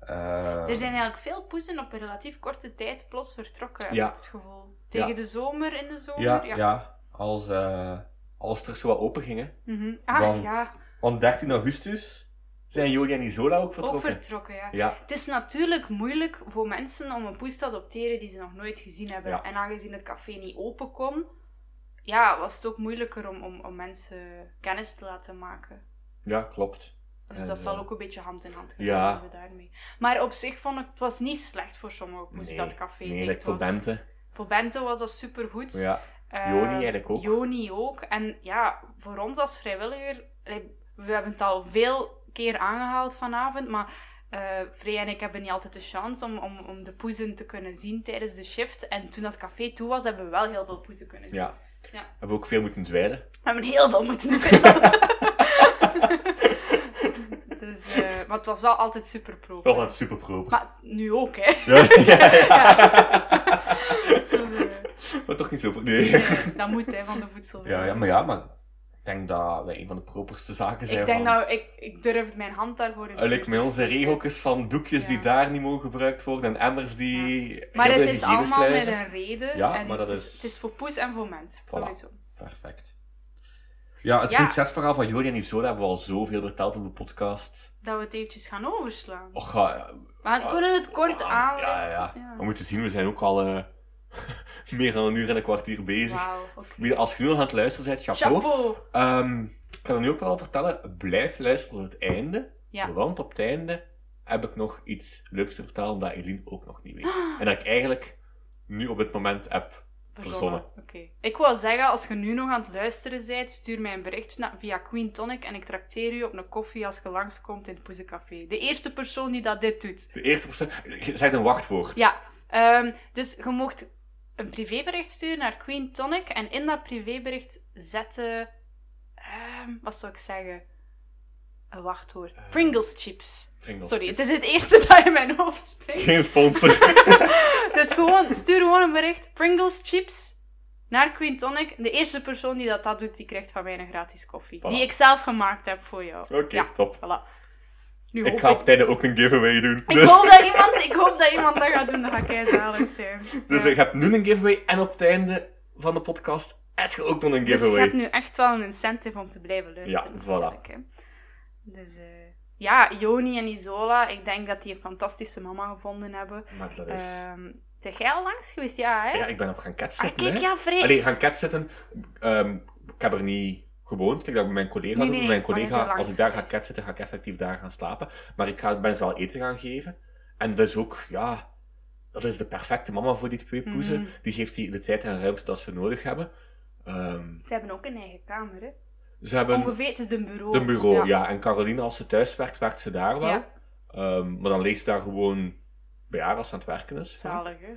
Speaker 1: Eh,
Speaker 2: Er zijn eigenlijk veel poezen op een relatief korte tijd plots vertrokken, heb
Speaker 1: Ja.
Speaker 2: ik het gevoel. Tegen
Speaker 1: Ja.
Speaker 2: de zomer, in de zomer.
Speaker 1: Ja, ja. als, eh, als er zo wat open gingen.
Speaker 2: Mhm. Ah,
Speaker 1: Want
Speaker 2: ja.
Speaker 1: Want 13 augustus zijn Jori en Isola ook vertrokken.
Speaker 2: Ook vertrokken, ja.
Speaker 1: Ja,
Speaker 2: Het is natuurlijk moeilijk voor mensen om een poes te adopteren die ze nog nooit gezien hebben.
Speaker 1: Ja.
Speaker 2: En aangezien het café niet open kon, ja, was het ook moeilijker om, om, om mensen kennis te laten maken.
Speaker 1: ja, klopt.
Speaker 2: Dus
Speaker 1: En,
Speaker 2: dat
Speaker 1: eh,
Speaker 2: zal ook een beetje hand in hand gaan
Speaker 1: ja.
Speaker 2: hebben daarmee. Maar op zich vond ik, het was niet slecht voor sommige poes dat het café
Speaker 1: nee,
Speaker 2: dicht
Speaker 1: like voor
Speaker 2: was.
Speaker 1: Bente.
Speaker 2: Voor Bente was dat supergoed.
Speaker 1: Ja.
Speaker 2: Eh,
Speaker 1: Joni eigenlijk ook.
Speaker 2: Joni ook. En ja, voor ons als vrijwilliger, allee, we hebben het al veel keer aangehaald vanavond, maar eh Frey en ik hebben niet altijd de chance om, om, om de poezen te kunnen zien tijdens de shift. En toen dat café toe was, hebben we wel heel veel poezen kunnen zien.
Speaker 1: ja.
Speaker 2: Ja.
Speaker 1: Hebben we ook veel moeten dweilen.
Speaker 2: We hebben heel veel moeten doen. dus, eh, maar het was wel altijd super pro.
Speaker 1: Wel wat superproper.
Speaker 2: Maar nu ook, hè.
Speaker 1: Ja,
Speaker 2: Eh,
Speaker 1: maar toch niet zo... Nee.
Speaker 2: eh, dat moet, hè, van de voedsel.
Speaker 1: Ja, ja, maar ja, maar ik denk dat wij een van de properste zaken zijn
Speaker 2: Ik denk
Speaker 1: van...
Speaker 2: dat ik, ik durf mijn hand daarvoor in te
Speaker 1: Eigenlijk met
Speaker 2: steken.
Speaker 1: onze regeltjes van doekjes
Speaker 2: Ja.
Speaker 1: die daar niet mogen gebruikt worden en emmers die...
Speaker 2: Maar
Speaker 1: heel
Speaker 2: het
Speaker 1: de
Speaker 2: is
Speaker 1: hygiënische
Speaker 2: allemaal met
Speaker 1: kluizen.
Speaker 2: een reden.
Speaker 1: Ja,
Speaker 2: en
Speaker 1: maar dat
Speaker 2: het, is,
Speaker 1: is-
Speaker 2: het is voor poes en voor mens, sowieso.
Speaker 1: Perfect. Ja, het
Speaker 2: Ja.
Speaker 1: succesverhaal van Jori en Isola hebben we al zoveel verteld op de podcast.
Speaker 2: Dat we het eventjes gaan overslaan.
Speaker 1: Och, ja,
Speaker 2: maar we kunnen het kort aan.
Speaker 1: Oh, Ja, ja, ja. We moeten zien, we zijn ook al eh, meer dan een uur en een kwartier bezig.
Speaker 2: Wauw, oké.
Speaker 1: Wie- Als je nu nog aan het luisteren bent, chapeau.
Speaker 2: Chapeau!
Speaker 1: Ehm, ik kan het nu ook wel vertellen, blijf luisteren tot het einde.
Speaker 2: Ja.
Speaker 1: Want op het einde heb ik nog iets leuks te vertellen dat Eline ook nog niet weet. En dat ik eigenlijk nu op dit moment heb. Verzonnen.
Speaker 2: Oké. Ik wou zeggen, als je nu nog aan het luisteren bent, stuur mij een bericht na- via Queen Tonic en ik trakteer u op een koffie als je langskomt in het Poezencafé. De eerste persoon die dat dit doet.
Speaker 1: De eerste persoon... Je zegt een wachtwoord.
Speaker 2: Ja, ehm, dus je mocht een privébericht sturen naar Queen Tonic en in dat privébericht zetten... ehm, wat zou ik zeggen? Een wachtwoord.
Speaker 1: Eh,
Speaker 2: Pringles chips.
Speaker 1: Pringles
Speaker 2: Sorry,
Speaker 1: chips.
Speaker 2: het is het eerste dat in mijn hoofd springt.
Speaker 1: Geen sponsor.
Speaker 2: Dus gewoon, stuur gewoon een bericht. Pringles chips naar Queen Tonic. De eerste persoon die dat, dat doet, die krijgt van mij een gratis koffie.
Speaker 1: Voilà.
Speaker 2: Die ik zelf gemaakt heb voor jou.
Speaker 1: Oké, top.
Speaker 2: Voilà. Nu hoop
Speaker 1: Ik
Speaker 2: ik,
Speaker 1: ga op tijden ook een giveaway doen.
Speaker 2: ik
Speaker 1: Dus,
Speaker 2: hoop dat iemand, ik hoop dat iemand dat gaat doen. Dat ga ik zalig zijn.
Speaker 1: dus
Speaker 2: Ja.
Speaker 1: ik heb nu een giveaway en op het einde van de podcast heb je ook nog een
Speaker 2: Dus je
Speaker 1: giveaway.
Speaker 2: hebt nu echt wel een incentive om te blijven luisteren.
Speaker 1: Ja, voilà.
Speaker 2: natuurlijk, hè. Dus eh, ja, Joni en Isola, ik denk dat die een fantastische mama gevonden hebben.
Speaker 1: Maar dat is...
Speaker 2: Ehm zijn jij al langs geweest? Ja, hè?
Speaker 1: Ja, ik ben op gaan
Speaker 2: ah,
Speaker 1: catzitten.
Speaker 2: kijk,
Speaker 1: hè.
Speaker 2: ja, vreemd.
Speaker 1: Allee, gaan catzitten. Ehm ik heb er niet gewoond. Ik denk dat ik met mijn collega
Speaker 2: Nee,
Speaker 1: doe.
Speaker 2: nee,
Speaker 1: mijn
Speaker 2: maar je
Speaker 1: collega,
Speaker 2: bent langs
Speaker 1: als ik daar ga
Speaker 2: geweest.
Speaker 1: catzitten, ga ik effectief daar gaan slapen. Maar ik ga mensen wel eten gaan geven. En dat is ook, ja... Dat is de perfecte mama voor die twee poezen.
Speaker 2: Mhm.
Speaker 1: Die geeft die de tijd en ruimte dat ze nodig hebben. Ehm,
Speaker 2: Ze hebben ook een eigen kamer, hè?
Speaker 1: ze hebben...
Speaker 2: Ongeveer, het is de bureau.
Speaker 1: Een bureau, ja. En Caroline, als ze thuis werkt, werkt ze daar Ah, wel.
Speaker 2: Ja.
Speaker 1: Ehm, maar dan leest ze daar gewoon bij haar als ze aan het werken is.
Speaker 2: Zalig, hè?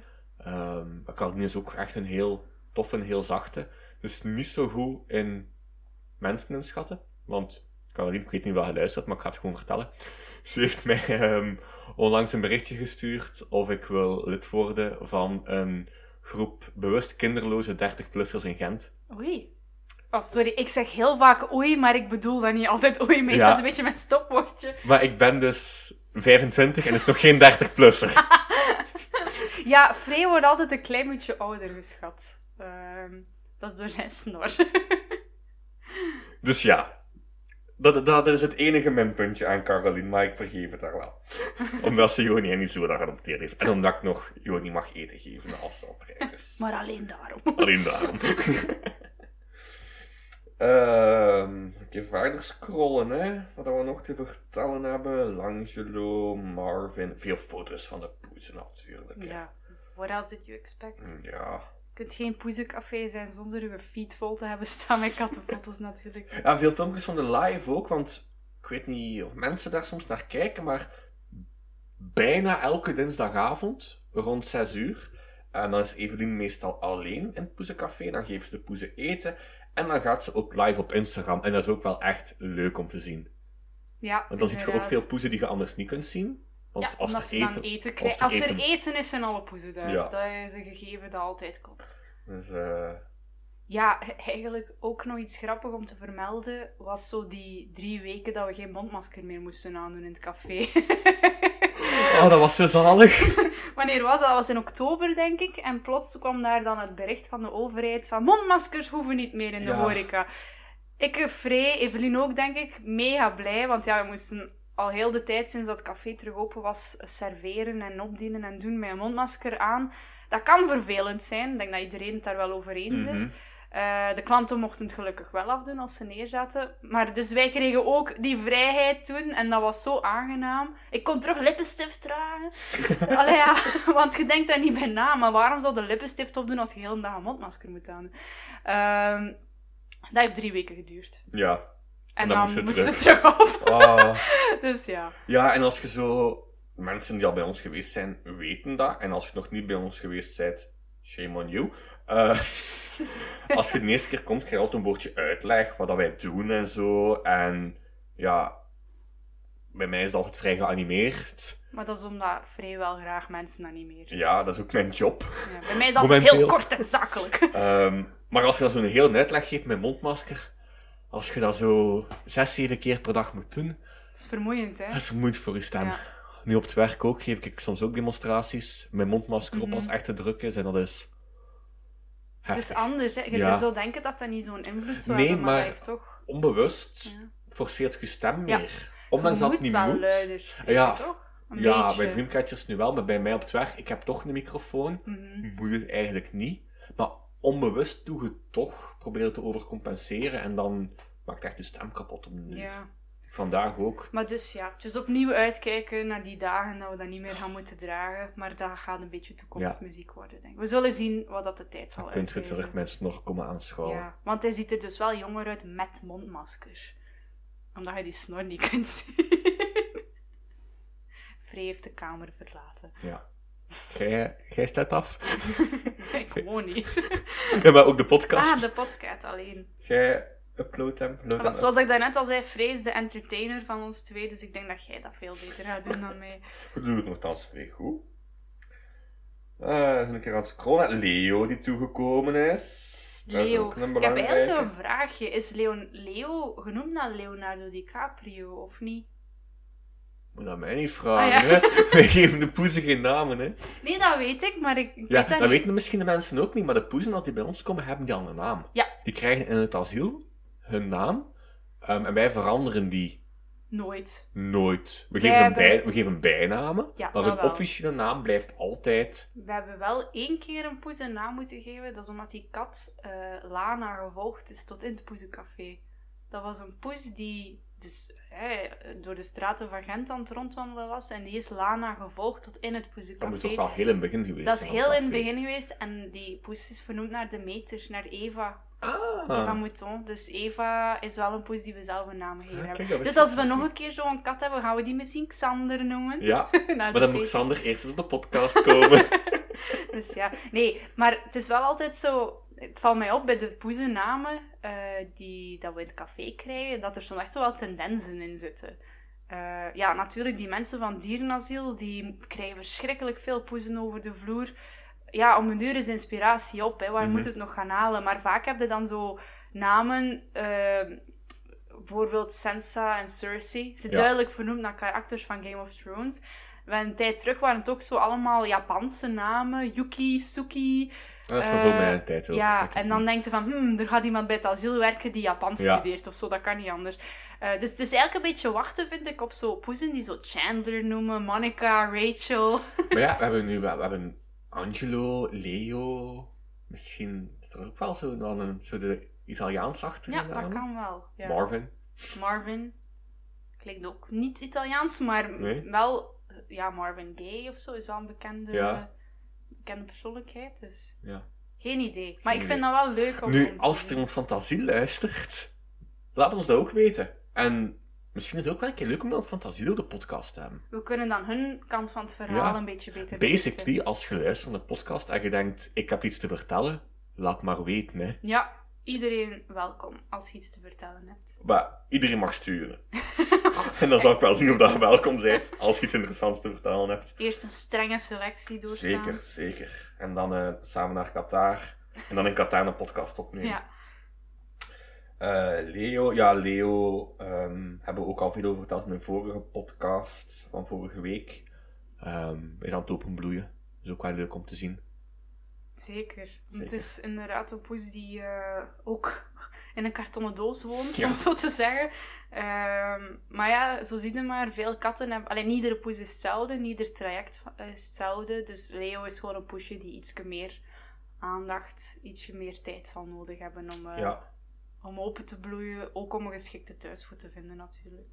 Speaker 1: Ehm, maar Caroline is ook echt een heel toffe, een heel zachte. Dus niet zo goed in mensen inschatten. Want Caroline, ik weet niet wat je luistert, maar ik ga het gewoon vertellen. Ze heeft mij ehm, onlangs een berichtje gestuurd of ik wil lid worden van een groep bewust kinderloze 30-plussers in Gent.
Speaker 2: Oei. Oh, sorry, ik zeg heel vaak oei, maar ik bedoel dat niet altijd oei mee.
Speaker 1: Ja.
Speaker 2: Dat is een beetje mijn stopwoordje.
Speaker 1: Maar ik ben dus 25 en is nog geen 30-plusser.
Speaker 2: Ja, Frey wordt altijd een klein beetje ouder geschat. Ehm, dat is door zijn snor.
Speaker 1: Dus ja, dat, dat is het enige minpuntje aan Caroline, maar ik vergeef het haar wel. Omdat ze Joni en Isola geadopteerd heeft. En omdat ik nog Joni mag eten geven als ze op reis is.
Speaker 2: maar alleen daarom.
Speaker 1: Alleen daarom. Ehm even verder scrollen, hè. Wat we nog te vertellen hebben. Langelo, Marvin. Veel foto's van de poezen natuurlijk. hè. Mm,
Speaker 2: Ja, what else did you expect?
Speaker 1: Ja.
Speaker 2: Je kunt geen poezencafé zijn zonder uw feed vol te hebben staan met kattenfoto's natuurlijk.
Speaker 1: Ja, veel filmpjes van de live ook, want ik weet niet of mensen daar soms naar kijken, maar bijna elke dinsdagavond rond 6 uur. En dan is Evelien meestal alleen in het Poezencafé. Dan geven ze de poezen eten. En dan gaat ze ook live op Instagram. En dat is ook wel echt leuk om te zien.
Speaker 2: Ja,
Speaker 1: Want dan ziet je ook
Speaker 2: inderdaad.
Speaker 1: veel poezen die je anders niet kunt zien. Want
Speaker 2: ja,
Speaker 1: als
Speaker 2: omdat
Speaker 1: er
Speaker 2: ze
Speaker 1: eten...
Speaker 2: dan eten
Speaker 1: als
Speaker 2: krijgen.
Speaker 1: er
Speaker 2: Als er
Speaker 1: eten-
Speaker 2: eten, is, zijn alle poezen daar.
Speaker 1: Ja.
Speaker 2: Dat is een gegeven dat altijd klopt.
Speaker 1: Dus, eh,
Speaker 2: Ja, he- eigenlijk ook nog iets grappig om te vermelden was zo die drie weken dat we geen mondmasker meer moesten aandoen in het café.
Speaker 1: Oh, dat was zo zalig.
Speaker 2: Wanneer was dat? Dat was in oktober, denk ik. En plots kwam daar dan het bericht van de overheid van mondmaskers hoeven niet meer in de
Speaker 1: Ja.
Speaker 2: horeca. Ik, eh, Frey, Evelien ook, denk ik, mega blij. Want ja, we moesten al heel de tijd sinds dat café terug open was serveren en opdienen en doen met een mondmasker aan. Dat kan vervelend zijn. Ik denk dat iedereen het daar wel over eens is.
Speaker 1: Mhm.
Speaker 2: Eh, de klanten mochten het gelukkig wel afdoen als ze neerzaten. Maar dus wij kregen ook die vrijheid toen. En dat was zo aangenaam. Ik kon terug lippenstift dragen. Allee ja, want je denkt daar niet bij na. Maar waarom zou de lippenstift opdoen als je heel de dag een mondmasker moet aan? Ehm, dat heeft drie weken geduurd.
Speaker 1: Ja.
Speaker 2: En,
Speaker 1: En dan
Speaker 2: dan,
Speaker 1: moest je
Speaker 2: moest het
Speaker 1: terug.
Speaker 2: terug op.
Speaker 1: Ah.
Speaker 2: Dus ja.
Speaker 1: Ja, en als je zo... Mensen die al bij ons geweest zijn, weten dat. En als je nog niet bij ons geweest bent, shame on you. Eh, als je de eerste keer komt, krijg je altijd een woordje uitleg. Wat dat wij doen en zo. En ja... Bij mij is het altijd vrij geanimeerd.
Speaker 2: Maar dat is omdat Frey wel graag mensen animeert.
Speaker 1: Ja, dat is ook mijn job.
Speaker 2: Ja, bij mij is dat altijd
Speaker 1: Momenteel.
Speaker 2: heel kort en zakelijk.
Speaker 1: Ehm, maar als je dan zo'n heel uitleg geeft met mondmasker... Als je dat zo zes, zeven keer per dag moet doen...
Speaker 2: Dat is vermoeiend, hè?
Speaker 1: Dat is moeite voor je stem.
Speaker 2: Ja.
Speaker 1: Nu op het werk ook geef ik soms ook demonstraties. Mijn mondmasker op
Speaker 2: Mhm.
Speaker 1: als het echt te druk is en dat is.
Speaker 2: Het is
Speaker 1: Heftig.
Speaker 2: anders, hè. Je
Speaker 1: Ja.
Speaker 2: zou denken dat dat niet zo'n invloed zou
Speaker 1: Nee,
Speaker 2: hebben, maar,
Speaker 1: maar-
Speaker 2: dat heeft toch...
Speaker 1: Onbewust
Speaker 2: Ja.
Speaker 1: forceert je stem
Speaker 2: Ja.
Speaker 1: meer. Ondanks
Speaker 2: Je
Speaker 1: dat het
Speaker 2: moet
Speaker 1: niet
Speaker 2: wel
Speaker 1: moet.
Speaker 2: luider spreken,
Speaker 1: Ja.
Speaker 2: toch? Een
Speaker 1: ja,
Speaker 2: beetje.
Speaker 1: bij dreamcatchers nu wel, maar bij mij op het werk, ik heb toch een microfoon.
Speaker 2: Mhm.
Speaker 1: Moet het eigenlijk niet. Maar onbewust doe je het toch. Probeer het te overcompenseren en dan maakt echt je stem kapot. Om
Speaker 2: Ja.
Speaker 1: Vandaag ook.
Speaker 2: Maar dus ja, dus opnieuw uitkijken naar die dagen dat we dat niet meer gaan moeten dragen. Maar dat gaat een beetje toekomstmuziek worden, denk ik. We zullen zien wat dat de tijd zal
Speaker 1: Dan kunt je
Speaker 2: uitwijzen.
Speaker 1: terug met snor komen aanschouwen.
Speaker 2: Ja, want hij ziet er dus wel jonger uit met mondmaskers. Omdat je die snor niet kunt zien. Free heeft de kamer verlaten.
Speaker 1: Ja. Jij, jij stelt af.
Speaker 2: Ik woon hier.
Speaker 1: Ja, maar ook de podcast.
Speaker 2: Ah, de podcast alleen.
Speaker 1: Jij uploadt hem. load hem
Speaker 2: Want zoals ik daarnet al zei, Free is de entertainer van ons twee. Dus ik denk dat jij dat veel beter gaat doen dan mij.
Speaker 1: Ik doe het nogthans vrij goed. Eh, eens een keer aan het scrollen. Leo die toegekomen is. Dat is
Speaker 2: Leo.
Speaker 1: ook een
Speaker 2: Ik heb eigenlijk
Speaker 1: belangrijke.
Speaker 2: een vraagje. Is Leon, Leo genoemd naar Leonardo DiCaprio of niet?
Speaker 1: Moet dat mij niet vragen,
Speaker 2: Ah,
Speaker 1: hè?
Speaker 2: ja.
Speaker 1: Wij geven de poezen geen namen, hè?
Speaker 2: Nee, dat weet ik, maar ik, ik
Speaker 1: Ja,
Speaker 2: weet
Speaker 1: dat
Speaker 2: dat niet.
Speaker 1: weten misschien de mensen ook niet, maar de poezen als die bij ons komen, hebben die al een naam.
Speaker 2: Ja.
Speaker 1: Die krijgen in het asiel hun naam ehm, en wij veranderen die
Speaker 2: Nooit.
Speaker 1: nooit. We
Speaker 2: Wij
Speaker 1: geven,
Speaker 2: hebben-
Speaker 1: bij, we geven bijnamen,
Speaker 2: Ja,
Speaker 1: maar
Speaker 2: dat
Speaker 1: hun
Speaker 2: wel.
Speaker 1: officiële naam blijft altijd.
Speaker 2: We hebben wel één keer een poes een naam moeten geven. Dat is omdat die kat eh, Lana gevolgd is tot in het poezencafé. Dat was een poes die dus, hè, door de straten van Gent aan het rondwandelen was. En die is Lana gevolgd tot in het
Speaker 1: Dat moet toch
Speaker 2: poezencafé.
Speaker 1: wel heel in het begin geweest
Speaker 2: Dat is
Speaker 1: zijn,
Speaker 2: heel in het
Speaker 1: café.
Speaker 2: begin geweest. En die poes is vernoemd naar de meter, naar Eva. Eva
Speaker 1: Ah.
Speaker 2: Mouton. Dus Eva is wel een poes die we zelf een naam gegeven
Speaker 1: Ah,
Speaker 2: hebben.
Speaker 1: kijk, dat wist
Speaker 2: Dus
Speaker 1: ik
Speaker 2: als we
Speaker 1: nog
Speaker 2: nog
Speaker 1: niet.
Speaker 2: een keer zo'n kat hebben, gaan we die misschien Xander noemen.
Speaker 1: Ja,
Speaker 2: Naar de
Speaker 1: maar dan moet
Speaker 2: Peter.
Speaker 1: Xander eerst eens op de podcast komen.
Speaker 2: Dus ja, nee, maar het is wel altijd zo. Het valt mij op bij de poezennamen eh, die dat we in het café krijgen, dat er soms echt zo wel tendensen in zitten. Eh, ja, natuurlijk, die mensen van dierenasiel, die krijgen verschrikkelijk veel poezen over de vloer. Ja, om een duur is inspiratie op, hè. waar
Speaker 1: Mhm.
Speaker 2: moet het nog gaan halen? Maar vaak heb je dan zo namen, eh, bijvoorbeeld Sansa en Cersei. Ze
Speaker 1: Ja.
Speaker 2: duidelijk vernoemd naar karakters van Game of Thrones. We een tijd terug waren het ook zo allemaal Japanse namen. Yuki, Suki.
Speaker 1: Dat is
Speaker 2: Eh,
Speaker 1: voor mij een tijd ook.
Speaker 2: ja,
Speaker 1: Ik-
Speaker 2: en dan denk je van, hmm, er gaat iemand bij het asiel werken die Japans
Speaker 1: Ja.
Speaker 2: studeert of zo, dat kan niet anders. Eh, dus het is eigenlijk een beetje wachten, vind ik, op zo poezen die zo Chandler noemen, Monica, Rachel.
Speaker 1: Maar ja, we hebben nu wel- we hebben Angelo, Leo. Misschien is er ook wel zo, dan een, zo de Italiaans achter.
Speaker 2: Ja, dat kan wel. Ja.
Speaker 1: Marvin.
Speaker 2: Marvin. Klinkt ook niet Italiaans, maar m-
Speaker 1: Nee.
Speaker 2: wel... eh, Ja, Marvin Gaye of zo is wel een bekende,
Speaker 1: Ja.
Speaker 2: bekende persoonlijkheid, dus...
Speaker 1: Ja.
Speaker 2: Geen idee. Maar ik
Speaker 1: Geen
Speaker 2: vind dat wel leuk om om
Speaker 1: Nu,
Speaker 2: te
Speaker 1: als er
Speaker 2: zien.
Speaker 1: een fantasie luistert, laat ons dat ook weten. En misschien is het ook wel een keer leuk om een fantasie door de podcast te hebben.
Speaker 2: We kunnen dan hun kant van het verhaal
Speaker 1: Ja.
Speaker 2: een beetje beter weten.
Speaker 1: Basically, als je luistert naar de podcast en je denkt, ik heb iets te vertellen, laat maar weten. Hè.
Speaker 2: Ja, iedereen welkom als je iets te vertellen hebt.
Speaker 1: Maar iedereen mag sturen. en dan zal ik wel zien of dat je welkom bent, als je iets interessants te vertellen hebt.
Speaker 2: Eerst een strenge selectie doorstaan.
Speaker 1: Zeker, zeker. En dan eh, samen naar Qatar. En dan in Qatar een podcast opnemen.
Speaker 2: Ja,
Speaker 1: Eh, Leo, ja, Leo ehm, hebben we ook al veel over verteld in mijn vorige podcast van vorige week. Ehm, is aan het openbloeien. Is ook wel leuk om te zien.
Speaker 2: zeker. Want Het
Speaker 1: Zeker.
Speaker 2: is inderdaad een poes die eh, ook in een kartonnen doos woont,
Speaker 1: Ja.
Speaker 2: om het zo te zeggen. Ehm, maar ja, zo zie je maar, veel katten hebben... Alleen, iedere poes is hetzelfde, ieder traject va- is hetzelfde. Dus Leo is gewoon een poesje die ietsje meer aandacht, ietsje meer tijd zal nodig hebben om, eh,
Speaker 1: Ja,
Speaker 2: om open te bloeien. Ook om een geschikte thuis voor te vinden, natuurlijk.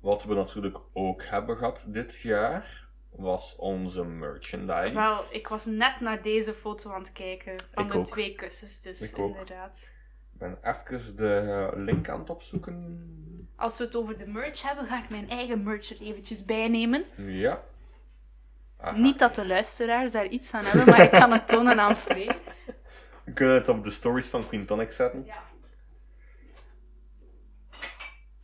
Speaker 1: wat we natuurlijk ook hebben gehad dit jaar, was onze merchandise.
Speaker 2: Wel, ik was net naar deze foto aan het kijken. Van
Speaker 1: Ik
Speaker 2: de
Speaker 1: ook.
Speaker 2: twee kussens, dus
Speaker 1: Ik ook.
Speaker 2: inderdaad.
Speaker 1: Ik ben even de eh, link aan het opzoeken.
Speaker 2: Als we het over de merch hebben, ga ik mijn eigen merch er eventjes bij nemen.
Speaker 1: Ja. Aha.
Speaker 2: Niet dat de luisteraars daar iets aan hebben, maar ik kan het tonen aan Free.
Speaker 1: We kunnen het op de stories van Quintonic zetten.
Speaker 2: Ja.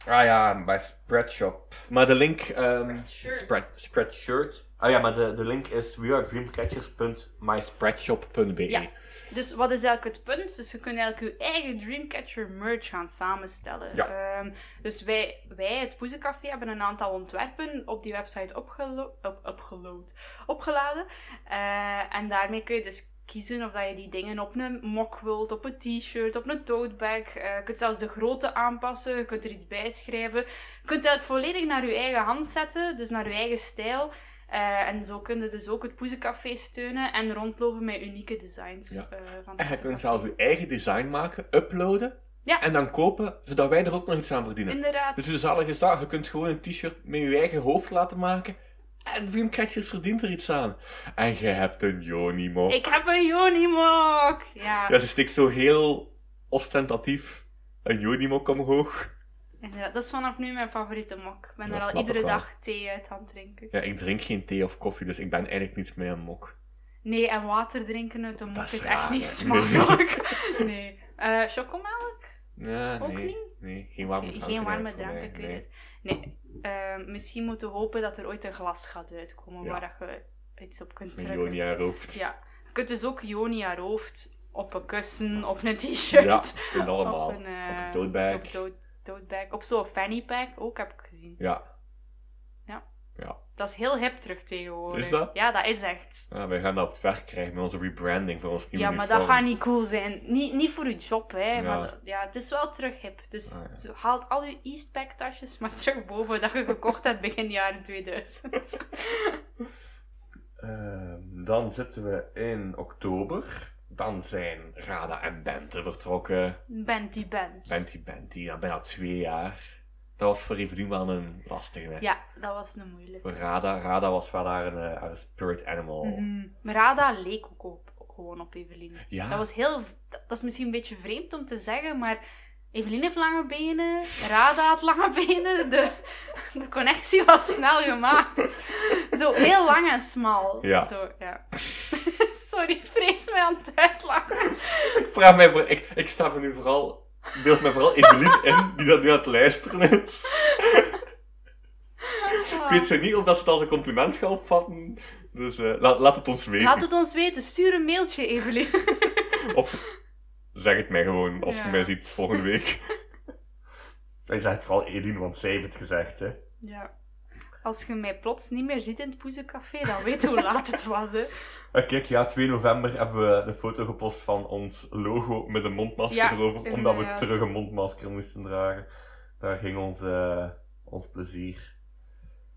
Speaker 1: Ah ja, bij Spreadshop. Maar de link... ehm
Speaker 2: Spreadshirt.
Speaker 1: spread, spreadshirt. Ah ja, maar de, de link is wearedreamcatchers.myspreadshop.be
Speaker 2: Ja. Dus wat is eigenlijk het punt? Dus je kunt eigenlijk je eigen Dreamcatcher merch gaan samenstellen.
Speaker 1: Ja.
Speaker 2: Ehm, dus wij, wij, het Poezencafé, hebben een aantal ontwerpen op die website opgelo- op, opgeload, opgeladen. Eh, en daarmee kun je dus kiezen of dat je die dingen op een mok wilt, op een t-shirt, op een tote bag. Eh, je kunt zelfs de grootte aanpassen, je kunt er iets bij schrijven. Je kunt het eigenlijk volledig naar je eigen hand zetten, dus naar je eigen stijl. Eh, en zo kun je dus ook het Poezencafé steunen en rondlopen met unieke designs.
Speaker 1: Ja.
Speaker 2: eh, van
Speaker 1: En je kunt
Speaker 2: het Poezencafé.
Speaker 1: zelf je eigen design maken, uploaden
Speaker 2: Ja.
Speaker 1: En dan kopen, zodat wij er ook nog iets aan verdienen.
Speaker 2: Inderdaad.
Speaker 1: Dus de zalige is daar, je kunt gewoon een t-shirt met je eigen hoofd laten maken. En Dream Catchers verdient er iets aan. En je hebt een Jonimo.
Speaker 2: Ik heb een Unimog! Ja,
Speaker 1: Ja, ze steekt zo heel ostentatief een Jonimok omhoog.
Speaker 2: inderdaad. Dat is vanaf nu mijn favoriete mok. Ik ben
Speaker 1: Dat
Speaker 2: er al
Speaker 1: snap ik
Speaker 2: iedere
Speaker 1: wel.
Speaker 2: dag thee uit aan het drinken.
Speaker 1: Ja, ik drink geen thee of koffie, dus ik ben eigenlijk niets meer een mok.
Speaker 2: Nee, en water drinken uit een mok
Speaker 1: is
Speaker 2: is
Speaker 1: raar,
Speaker 2: echt niet
Speaker 1: hè?
Speaker 2: smakelijk. Nee. Eh chocomelk?
Speaker 1: Ja,
Speaker 2: Ook
Speaker 1: nee.
Speaker 2: niet?
Speaker 1: Nee, geen warme drank.
Speaker 2: Geen warme drank, ik weet het. Nee, eh, misschien moeten we hopen dat er ooit een glas gaat uitkomen
Speaker 1: Ja.
Speaker 2: waar dat je iets op kunt
Speaker 1: Met
Speaker 2: drukken.
Speaker 1: Jonia hoofd.
Speaker 2: Ja. Je kunt dus ook Jonia hoofd op een kussen, op een t-shirt.
Speaker 1: Ja, ik vind allemaal.
Speaker 2: Op een, eh,
Speaker 1: Op een toadbag.
Speaker 2: Op, tote- toteback. op zo'n fanny pack ook heb ik gezien.
Speaker 1: Ja.
Speaker 2: Dat is heel hip terug tegenwoordig.
Speaker 1: Is dat?
Speaker 2: Ja, dat is echt.
Speaker 1: Ah, wij gaan dat op het werk krijgen met onze rebranding voor ons nieuwe
Speaker 2: Ja, maar dat
Speaker 1: uniform.
Speaker 2: gaat niet cool zijn. Niet, niet voor je job, hè.
Speaker 1: Ja.
Speaker 2: Maar dat- ja, het is wel terug hip. Dus
Speaker 1: Ah, ja.
Speaker 2: zo, haalt al je Eastpack tasjes maar terug boven dat je gekocht hebt begin jaren 2000.
Speaker 1: Ehm, dan zitten we in oktober. Dan zijn Rada en Bente vertrokken.
Speaker 2: Bent u bent.
Speaker 1: Benty Benty, ja, bijna twee jaar. Dat was voor Evelien wel een lastige. hè.
Speaker 2: Ja, dat was een moeilijke.
Speaker 1: Voor Rada, Rada was wel haar, een, eh, haar spirit animal.
Speaker 2: Mhm. Maar Rada leek ook op, gewoon op Evelien.
Speaker 1: Ja.
Speaker 2: Dat was heel... Dat dat is misschien een beetje vreemd om te zeggen, maar... Evelien heeft lange benen, Rada had lange benen. De, de connectie was snel gemaakt. Zo heel lang en smal.
Speaker 1: Ja.
Speaker 2: Zo, ja. Sorry, ik vrees mij aan het uitlachen.
Speaker 1: Ik vraag mij voor, ik, ik sta me nu vooral, ik beeld me vooral Evelien in, die dat nu aan het luisteren is. Ik weet zo niet of dat ze het als een compliment gaan opvatten. Dus eh, laat, laat het ons weten.
Speaker 2: Laat het ons weten. Stuur een mailtje, Evelien.
Speaker 1: Of zeg het mij gewoon als
Speaker 2: Ja.
Speaker 1: je mij ziet volgende week. Hij zegt vooral Eline, want zij heeft het gezegd, hè.
Speaker 2: Ja. Als je mij plots niet meer ziet in het Poezencafé, dan weet je hoe laat het was, hè.
Speaker 1: Ah, kijk, ja, 2 november hebben we een foto gepost van ons logo met een mondmasker
Speaker 2: Ja,
Speaker 1: erover, omdat we
Speaker 2: inderdaad.
Speaker 1: terug een mondmasker moesten dragen. Daar ging ons, eh, ons plezier.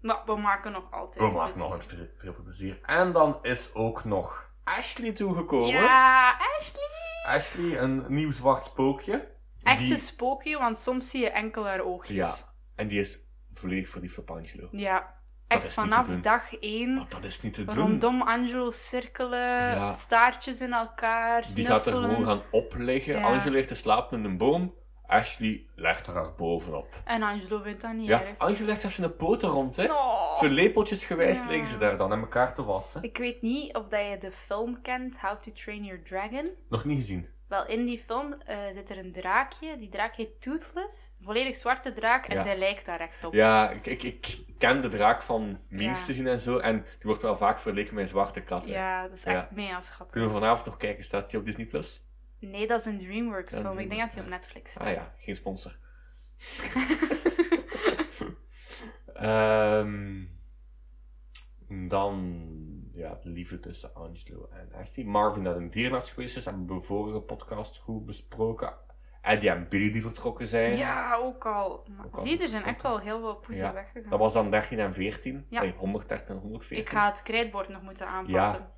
Speaker 2: Maar we maken nog altijd dus-
Speaker 1: We maken nog eens veel, veel plezier. En dan is ook nog Ashley toegekomen.
Speaker 2: Ja, Ashley.
Speaker 1: Ashley, een nieuw zwart spookje.
Speaker 2: Echte
Speaker 1: Die-
Speaker 2: spookje, want soms zie je enkel haar oogjes.
Speaker 1: Ja, en die is volledig verliefd op Angelo.
Speaker 2: Ja.
Speaker 1: is
Speaker 2: Echt
Speaker 1: niet te
Speaker 2: vanaf
Speaker 1: doen.
Speaker 2: dag één.
Speaker 1: Maar dat is niet te doen.
Speaker 2: Rondom Angelo cirkelen,
Speaker 1: Ja.
Speaker 2: staartjes in elkaar,
Speaker 1: Die gaat er
Speaker 2: snuffelen.
Speaker 1: gewoon gaan opleggen.
Speaker 2: Ja.
Speaker 1: Angelo ligt te slapen in een boom. Ashley legt er haar bovenop.
Speaker 2: En Angelo vindt dat niet
Speaker 1: Ja,
Speaker 2: erg.
Speaker 1: Angelo legt zelfs zijn poten rond, hè.
Speaker 2: Oh.
Speaker 1: Zo lepeltjesgewijs
Speaker 2: Ja.
Speaker 1: liggen ze daar dan aan elkaar te wassen.
Speaker 2: Ik weet niet of dat je de film kent, How to Train Your Dragon.
Speaker 1: Nog niet gezien.
Speaker 2: Wel, in die film eh, zit er een draakje. Die draak heet Toothless. Een volledig zwarte draak. En
Speaker 1: Ja.
Speaker 2: zij lijkt daar echt op.
Speaker 1: Ja, ik, ik, ik ken de draak van memes
Speaker 2: Oh. Ja.
Speaker 1: te zien en zo. En die wordt wel vaak vergeleken met een zwarte kat. hè.
Speaker 2: Ja, dat is
Speaker 1: Ja.
Speaker 2: echt mega schattig.
Speaker 1: Kunnen we vanavond nog kijken? Staat die op Disney+. Plus?
Speaker 2: Nee, dat is een DreamWorks
Speaker 1: Ja,
Speaker 2: film. Ik denk dat
Speaker 1: DreamWorks,
Speaker 2: die op
Speaker 1: ja.
Speaker 2: Netflix staat.
Speaker 1: Ah ja, geen sponsor. Ehm, dan ja, de liefde tussen Angelo en Ashley. Marvin dat een dierenarts geweest is, hebben we vorige podcast goed besproken. Eddie en Billy die vertrokken zijn.
Speaker 2: Ja, ook al. Maar
Speaker 1: Ook al.
Speaker 2: zie, je, er zijn echt wel heel veel poezen
Speaker 1: Ja,
Speaker 2: weggegaan.
Speaker 1: Dat was dan 13 en 14.
Speaker 2: Ja.
Speaker 1: Nee, 113 en 114.
Speaker 2: Ik ga het krijtbord nog moeten aanpassen.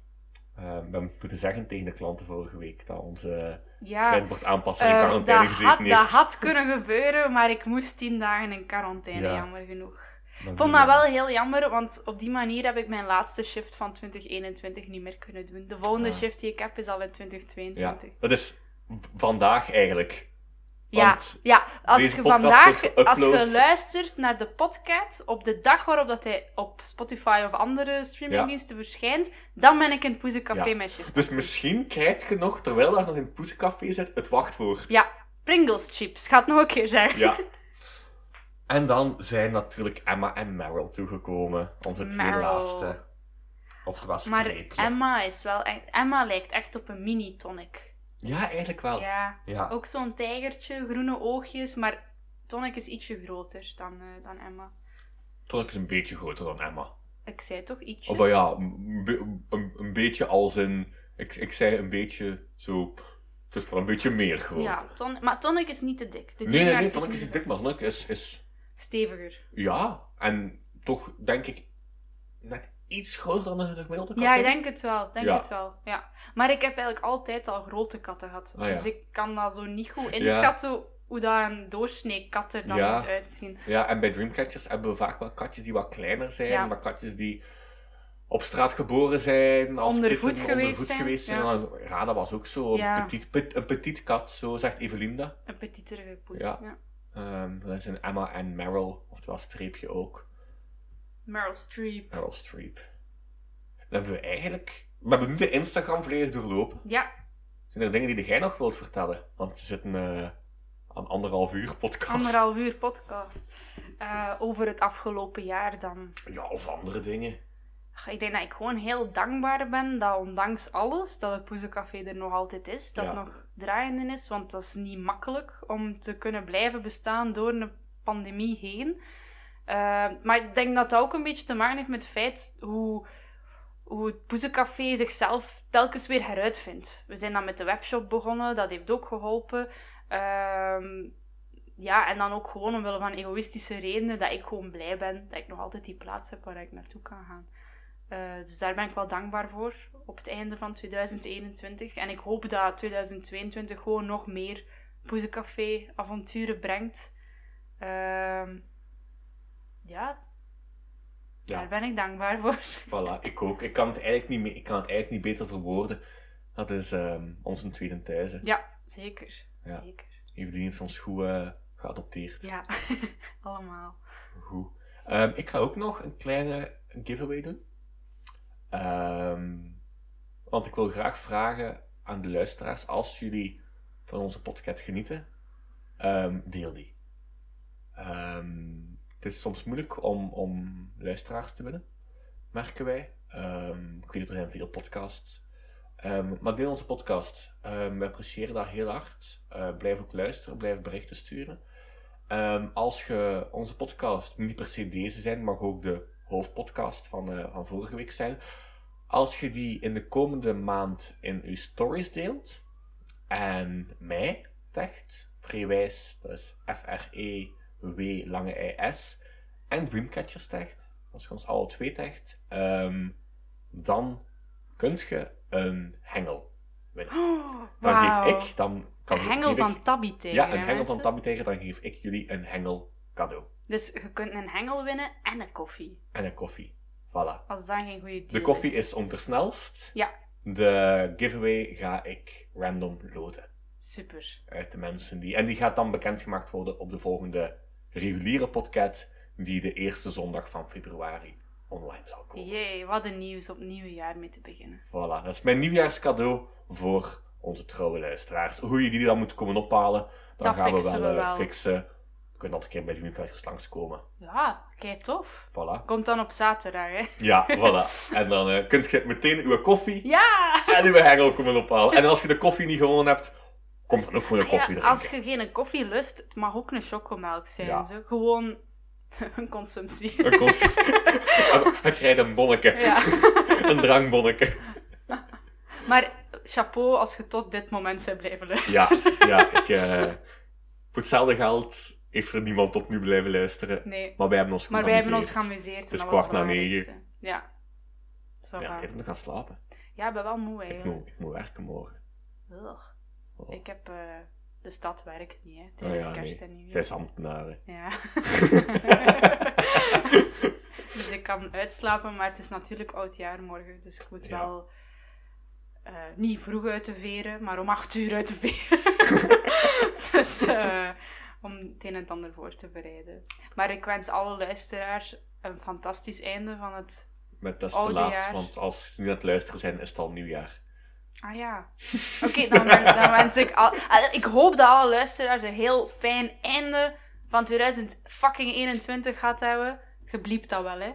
Speaker 1: Ehm, we hebben moeten zeggen tegen de klanten vorige week dat onze
Speaker 2: Ja,
Speaker 1: krijtbord aanpassen in
Speaker 2: ehm,
Speaker 1: quarantaine
Speaker 2: dat,
Speaker 1: gezeten
Speaker 2: had,
Speaker 1: heeft.
Speaker 2: dat had kunnen gebeuren, maar ik moest tien dagen in quarantaine,
Speaker 1: Ja.
Speaker 2: jammer genoeg.
Speaker 1: Dan
Speaker 2: Ik vond
Speaker 1: doe
Speaker 2: dat
Speaker 1: je-
Speaker 2: wel heel jammer, want op die manier heb ik mijn laatste shift van 2021 niet meer kunnen doen. De volgende
Speaker 1: Ah.
Speaker 2: shift die ik heb is al in 2022.
Speaker 1: Ja, dat is v- vandaag eigenlijk.
Speaker 2: Ja,
Speaker 1: Want
Speaker 2: ja. als
Speaker 1: deze
Speaker 2: je
Speaker 1: podcast
Speaker 2: vandaag,
Speaker 1: wordt geüpload.
Speaker 2: als je luistert naar de podcast op de dag waarop dat hij op Spotify of andere streamingdiensten verschijnt, dan ben ik in het Poezencafé
Speaker 1: Ja.
Speaker 2: met shift.
Speaker 1: Dus misschien krijg je nog, terwijl daar nog een poesencafé zit, het wachtwoord.
Speaker 2: Ja, Pringles chips. Gaat nog een keer zeggen.
Speaker 1: Ja. En dan zijn natuurlijk Emma en Meryl toegekomen. Onze twee
Speaker 2: Meryl.
Speaker 1: laatste. Oftewel
Speaker 2: Maar
Speaker 1: streepje.
Speaker 2: Emma is wel echt... Emma lijkt echt op een mini-tonic.
Speaker 1: Ja, eigenlijk wel. Ja.
Speaker 2: Ja. Oh.
Speaker 1: Ja.
Speaker 2: Ook zo'n tijgertje, groene oogjes, maar tonic is ietsje groter dan, eh, dan Emma.
Speaker 1: Tonic is een beetje groter dan Emma.
Speaker 2: Ik zei toch ietsje?
Speaker 1: Oh, maar ja, een, be- een, een beetje als in... Ik, ik zei een beetje zo... Het is wel een beetje meer groter.
Speaker 2: ja, ton- maar tonic is niet te dik. De
Speaker 1: nee, nee,
Speaker 2: dierenarts
Speaker 1: nee.
Speaker 2: heeft
Speaker 1: Tonic
Speaker 2: niet
Speaker 1: is niet
Speaker 2: gezegd.
Speaker 1: dik, maar Tonic is, is...
Speaker 2: Steviger.
Speaker 1: Ja. En toch denk ik net iets groter dan een gemiddelde kat.
Speaker 2: Ja, ik denk het wel. Denk
Speaker 1: Ja.
Speaker 2: het wel. Ja. Maar ik heb eigenlijk altijd al grote katten gehad.
Speaker 1: Ah, ja.
Speaker 2: Dus ik kan dat zo niet goed inschatten hoe dat een doorsnee kat er dan
Speaker 1: Ja.
Speaker 2: moet uitzien.
Speaker 1: Ja, en bij Dreamcatchers hebben we vaak wel katjes die wat kleiner zijn,
Speaker 2: Ja.
Speaker 1: maar katjes die op straat geboren zijn, als
Speaker 2: Onder
Speaker 1: kippen
Speaker 2: voet geweest
Speaker 1: voet
Speaker 2: zijn,
Speaker 1: geweest zijn.
Speaker 2: ja.
Speaker 1: En dan- Ja, dat was ook zo.
Speaker 2: Ja.
Speaker 1: Een, petit, pet- een petit kat, zo zegt Evelinda.
Speaker 2: Een petiterige poes.
Speaker 1: Ja.
Speaker 2: Ja.
Speaker 1: Ehm, dat zijn Emma en Meryl, oftewel Streepje ook.
Speaker 2: Meryl Streep.
Speaker 1: Meryl Streep. Dan hebben we eigenlijk... We hebben nu de Instagram volledig doorlopen.
Speaker 2: Ja,
Speaker 1: Zijn er dingen die jij nog wilt vertellen? Want we zitten eh, aan anderhalf uur podcast.
Speaker 2: anderhalf uur podcast. Eh, over het afgelopen jaar dan.
Speaker 1: Ja, of andere dingen.
Speaker 2: Ach, Ik denk dat ik gewoon heel dankbaar ben dat ondanks alles, dat het Poezencafé er nog altijd is, dat
Speaker 1: Ja.
Speaker 2: het nog draaiende is, want dat is niet makkelijk om te kunnen blijven bestaan door een pandemie heen. Eh, maar ik denk dat dat ook een beetje te maken heeft met het feit hoe, hoe het Poezencafé zichzelf telkens weer heruitvindt. We zijn dan met de webshop begonnen, dat heeft ook geholpen. Ehm, ja, en dan ook gewoon omwille van egoïstische redenen dat ik gewoon blij ben dat ik nog altijd die plaats heb waar ik naartoe kan gaan. Eh, dus daar ben ik wel dankbaar voor op het einde van 2021. En ik hoop dat 2022 gewoon nog meer Poezencafé-avonturen brengt. Ehm, ja.
Speaker 1: Ja.
Speaker 2: daar ben ik dankbaar voor.
Speaker 1: Voilà, ik ook. Ik kan het eigenlijk niet, meer, ik kan het eigenlijk niet beter verwoorden. Dat is ehm, onze tweede thuis. hè.
Speaker 2: Ja, zeker.
Speaker 1: Ja.
Speaker 2: zeker.
Speaker 1: Evelien heeft ons goed eh, geadopteerd.
Speaker 2: Ja, allemaal.
Speaker 1: Goed. Ehm, ik ga ook nog een kleine giveaway doen. Ehm, want ik wil graag vragen aan de luisteraars, als jullie van onze podcast genieten, ehm, deel die. Ehm, het is soms moeilijk om, om luisteraars te winnen, merken wij. Ehm, ik weet dat er zijn veel podcasts. Ehm, maar deel onze podcast. Ehm, we appreciëren dat heel hard. Eh, blijf ook luisteren, blijf berichten sturen. Ehm, als je onze podcast, niet per se deze zijn, maar ook de hoofdpodcast van, eh, van vorige week zijn. Als je die in de komende maand in je stories deelt en mij tagt, Vreewijs, dat is F-R-E-W lange I-S, en Dreamcatchers tagt, als je ons alle twee tagt, ehm, dan kun je een hengel winnen.
Speaker 2: Oh,
Speaker 1: Dan
Speaker 2: wauw.
Speaker 1: geef ik, dan kan
Speaker 2: Een hengel
Speaker 1: geef ik-
Speaker 2: van Tabby tegen.
Speaker 1: ja,
Speaker 2: hè,
Speaker 1: een hengel van
Speaker 2: mensen?
Speaker 1: Tabby tegen, dan geef ik jullie een hengel cadeau.
Speaker 2: Dus je kunt een hengel winnen en een koffie.
Speaker 1: En een koffie. Voilà.
Speaker 2: Als dat geen goede deal
Speaker 1: De koffie is ondersnelst.
Speaker 2: Ja,
Speaker 1: De giveaway ga ik random loten
Speaker 2: super.
Speaker 1: uit de mensen die. En die gaat dan bekendgemaakt worden op de volgende reguliere podcast, die de eerste zondag van februari online zal komen.
Speaker 2: Jee, wat een nieuws om het nieuwe jaar mee te beginnen.
Speaker 1: Voilà, dat is mijn nieuwjaarscadeau voor onze trouwe luisteraars. Hoe je die dan moet komen ophalen, dan
Speaker 2: Dat
Speaker 1: gaan we
Speaker 2: fixen
Speaker 1: wel,
Speaker 2: we
Speaker 1: eh,
Speaker 2: wel.
Speaker 1: fixen. We kunnen altijd een keer bij de Dreamcatchers langskomen.
Speaker 2: Ja, kijk tof.
Speaker 1: Voilà.
Speaker 2: Komt dan op zaterdag, hè?
Speaker 1: Ja, voilà. En dan eh, kunt je meteen uw koffie
Speaker 2: Ja!
Speaker 1: en uw hengel komen ophalen. En als je de koffie niet gewonnen hebt, kom dan ook gewoon een koffie
Speaker 2: Ja,
Speaker 1: drinken.
Speaker 2: als je geen koffie lust, het mag ook een chocomelk zijn.
Speaker 1: Ja.
Speaker 2: Zo. Gewoon een consumptie.
Speaker 1: Een kost... En dan krijg je een bonnetje.
Speaker 2: Ja.
Speaker 1: Een drankbonnetje.
Speaker 2: Maar chapeau als je tot dit moment bent blijven
Speaker 1: Ja,
Speaker 2: luisteren.
Speaker 1: ja ik, eh, voor hetzelfde geld heeft er niemand tot nu blijven luisteren.
Speaker 2: Nee,
Speaker 1: Maar wij hebben ons
Speaker 2: maar wij hebben ons
Speaker 1: geamuseerd.
Speaker 2: geamuseerd. en
Speaker 1: Het is
Speaker 2: dat was het
Speaker 1: kwart na negen.
Speaker 2: belangrijkste. Ja. Zo
Speaker 1: Ja,
Speaker 2: gaan.
Speaker 1: ik heb nog gaan slapen.
Speaker 2: ja, ik ben wel moe
Speaker 1: Ik
Speaker 2: eigenlijk.
Speaker 1: moet, ik moet werken morgen.
Speaker 2: Ugh.
Speaker 1: Oh.
Speaker 2: Ik heb eh, de stad werkt niet, hè? Tijdens
Speaker 1: ja,
Speaker 2: kerst
Speaker 1: nee.
Speaker 2: en nieuwjaar.
Speaker 1: Zij is ambtenaren.
Speaker 2: Ja. dus ik kan uitslapen, maar het is natuurlijk oudjaar morgen. Dus ik moet
Speaker 1: Ja.
Speaker 2: wel eh, niet vroeg uit de veren, maar om acht uur uit de veren. dus eh, om het een en het ander voor te bereiden. Maar ik wens alle luisteraars een fantastisch einde van het.
Speaker 1: Maar dat is te
Speaker 2: Oude
Speaker 1: laat,
Speaker 2: Oh, jaar.
Speaker 1: want als ze nu aan het luisteren zijn, is het al nieuwjaar.
Speaker 2: Ah ja. Oké, dan, wen- dan wens ik al. eh, Ik hoop dat alle luisteraars een heel fijn einde van 2021 gehad hebben. Gebliept dat wel, hè?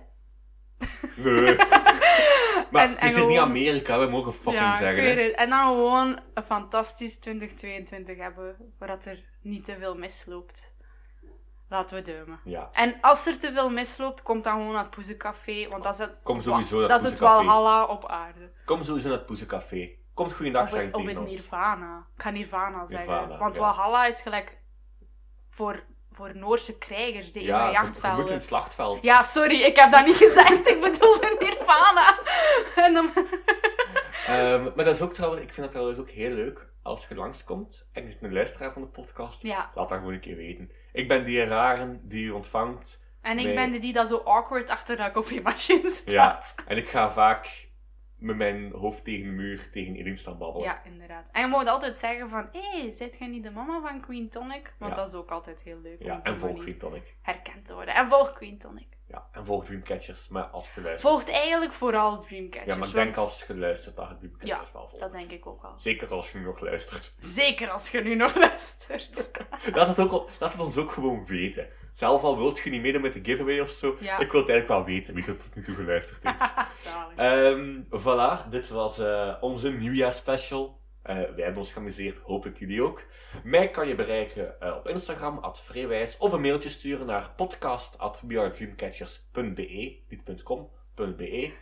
Speaker 1: Nee. Maar
Speaker 2: En-
Speaker 1: het
Speaker 2: en
Speaker 1: is hier niet
Speaker 2: gewoon-
Speaker 1: Amerika, we mogen fucking
Speaker 2: ja,
Speaker 1: zeggen.
Speaker 2: ik weet
Speaker 1: hè.
Speaker 2: het. En dan gewoon een fantastisch 2022 hebben, waar dat er niet te veel misloopt. Laten we duimen.
Speaker 1: Ja,
Speaker 2: En als er te veel misloopt, komt dan gewoon naar het Poezencafé, want dat is het,
Speaker 1: Kom sowieso naar
Speaker 2: dat
Speaker 1: het
Speaker 2: is het
Speaker 1: Poezencafé.
Speaker 2: Walhalla op aarde.
Speaker 1: kom sowieso naar het Poezencafé. Kom eens goeiedag
Speaker 2: of
Speaker 1: zeggen
Speaker 2: in, of
Speaker 1: tegen
Speaker 2: in
Speaker 1: ons.
Speaker 2: Nirvana. Ik ga Nirvana zeggen.
Speaker 1: Nirvana,
Speaker 2: want
Speaker 1: ja.
Speaker 2: Walhalla is gelijk voor, voor Noorse krijgers, die in de
Speaker 1: Ja, je- je moet
Speaker 2: jachtvelden.
Speaker 1: in het slachtveld.
Speaker 2: Ja, sorry, ik heb dat niet gezegd. Ik bedoelde Nirvana. En dan...
Speaker 1: Ehm, maar dat is ook trouwens, ik vind dat trouwens ook heel leuk. als je langskomt en je is een luisteraar van de podcast,
Speaker 2: Ja.
Speaker 1: laat dat gewoon een keer weten. Ik ben die rare die je ontvangt.
Speaker 2: En ik
Speaker 1: Nee.
Speaker 2: ben de die dat zo awkward achter de koffiemachine
Speaker 1: Ja.
Speaker 2: staat.
Speaker 1: En ik ga vaak met mijn hoofd tegen de muur tegen iedereen staan
Speaker 2: Ja,
Speaker 1: babbelen.
Speaker 2: inderdaad. En je moet altijd zeggen van, hé, hey, zit jij niet de mama van Queen Tonic? Want
Speaker 1: Ja.
Speaker 2: dat is ook altijd heel leuk
Speaker 1: Ja,
Speaker 2: om op
Speaker 1: en
Speaker 2: die
Speaker 1: volg
Speaker 2: manier
Speaker 1: Green Tonic.
Speaker 2: herkend te worden. En volg Queen Tonic.
Speaker 1: Ja, en volg Dreamcatchers, maar als je luistert.
Speaker 2: Volgt eigenlijk vooral Dreamcatchers.
Speaker 1: Ja, maar ik denk
Speaker 2: want
Speaker 1: als je luistert, dat je Dreamcatchers
Speaker 2: Ja,
Speaker 1: wel volgt.
Speaker 2: Dat denk ik ook wel.
Speaker 1: Zeker als je nu nog luistert.
Speaker 2: Zeker als je nu nog luistert.
Speaker 1: Laat het, ook, al- laat het ons ook gewoon weten. Zelf al wilt je niet meedoen met de giveaway of zo.
Speaker 2: Ja.
Speaker 1: Ik wil het eigenlijk wel weten wie er tot nu toe geluisterd heeft.
Speaker 2: Zalig.
Speaker 1: Ehm, voilà, dit was eh, onze nieuwjaarspecial. Eh, wij hebben ons geamuseerd, hopelijk jullie ook. Mij kan je bereiken eh, op Instagram, at vreewijs, of een mailtje sturen naar podcast.wearedreamcatchers.be, niet .com, .be.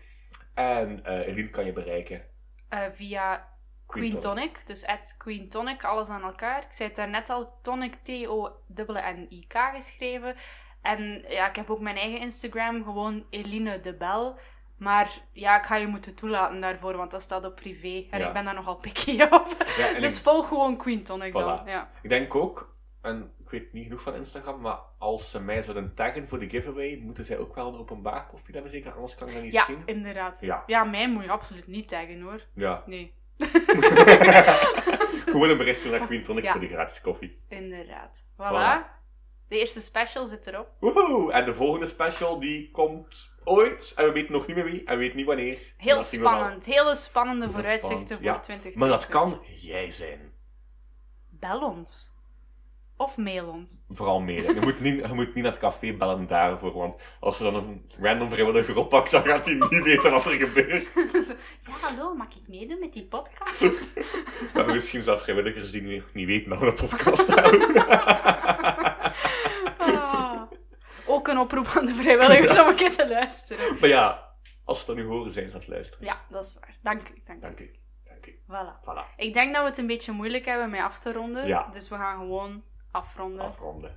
Speaker 1: En eh Eline kan je bereiken.
Speaker 2: Eh, via
Speaker 1: Queen
Speaker 2: Queen Tonic, dus at Queen Tonic, alles aan elkaar. Ik zei het daarnet al, Tonic, T-O-N-N-I-K geschreven. En ja, ik heb ook mijn eigen Instagram, gewoon Eline de Bel. Maar ja, ik ga je moeten toelaten daarvoor, want dat staat op privé. En
Speaker 1: Ja.
Speaker 2: ik ben daar nogal picky op.
Speaker 1: Ja, en
Speaker 2: Dus
Speaker 1: ik,
Speaker 2: volg gewoon Queen Tonic dan.
Speaker 1: Voilà.
Speaker 2: Ja.
Speaker 1: ik denk ook, en ik weet niet genoeg van Instagram, maar als ze mij zouden taggen voor de giveaway, moeten zij ook wel een openbaar profiel hebben zeker, anders kan ik dat niet
Speaker 2: ja,
Speaker 1: zien.
Speaker 2: inderdaad.
Speaker 1: Ja.
Speaker 2: mij moet je absoluut niet taggen hoor.
Speaker 1: Ja.
Speaker 2: Nee,
Speaker 1: Gewoon een bericht sturen naar Queen Tonic
Speaker 2: Ja.
Speaker 1: voor de gratis koffie.
Speaker 2: inderdaad. Voilà.
Speaker 1: Voilà.
Speaker 2: De eerste special zit erop.
Speaker 1: Woehoe! En de volgende special die komt ooit. En we weten nog niet meer wie en we weten niet wanneer.
Speaker 2: Heel
Speaker 1: Dat zien we wel.
Speaker 2: spannend. Hele spannende
Speaker 1: Heel
Speaker 2: vooruitzichten
Speaker 1: spannend,
Speaker 2: voor
Speaker 1: ja.
Speaker 2: 2020.
Speaker 1: Maar dat kan jij zijn.
Speaker 2: bel ons. Of mail ons.
Speaker 1: Vooral meer. Je moet, niet, je moet niet naar het café bellen daarvoor, want als ze dan een random vrijwilliger oppakt, dan gaat hij niet weten wat er gebeurt.
Speaker 2: ja, hallo, mag ik meedoen met die podcast?
Speaker 1: We hebben misschien zelfs vrijwilligers die nog niet weten dat we een podcast hebben.
Speaker 2: Ah. Ook een oproep aan de vrijwilligers om een keer te luisteren.
Speaker 1: Maar ja, als ze dat nu horen, zijn ze aan het luisteren.
Speaker 2: Ja, dat is waar. Dank u. Dank u.
Speaker 1: Dank u. Dank u.
Speaker 2: Voilà.
Speaker 1: Voilà.
Speaker 2: Ik denk dat we het een beetje moeilijk hebben mee af te ronden.
Speaker 1: Ja.
Speaker 2: Dus we gaan gewoon afronden.
Speaker 1: Afronden.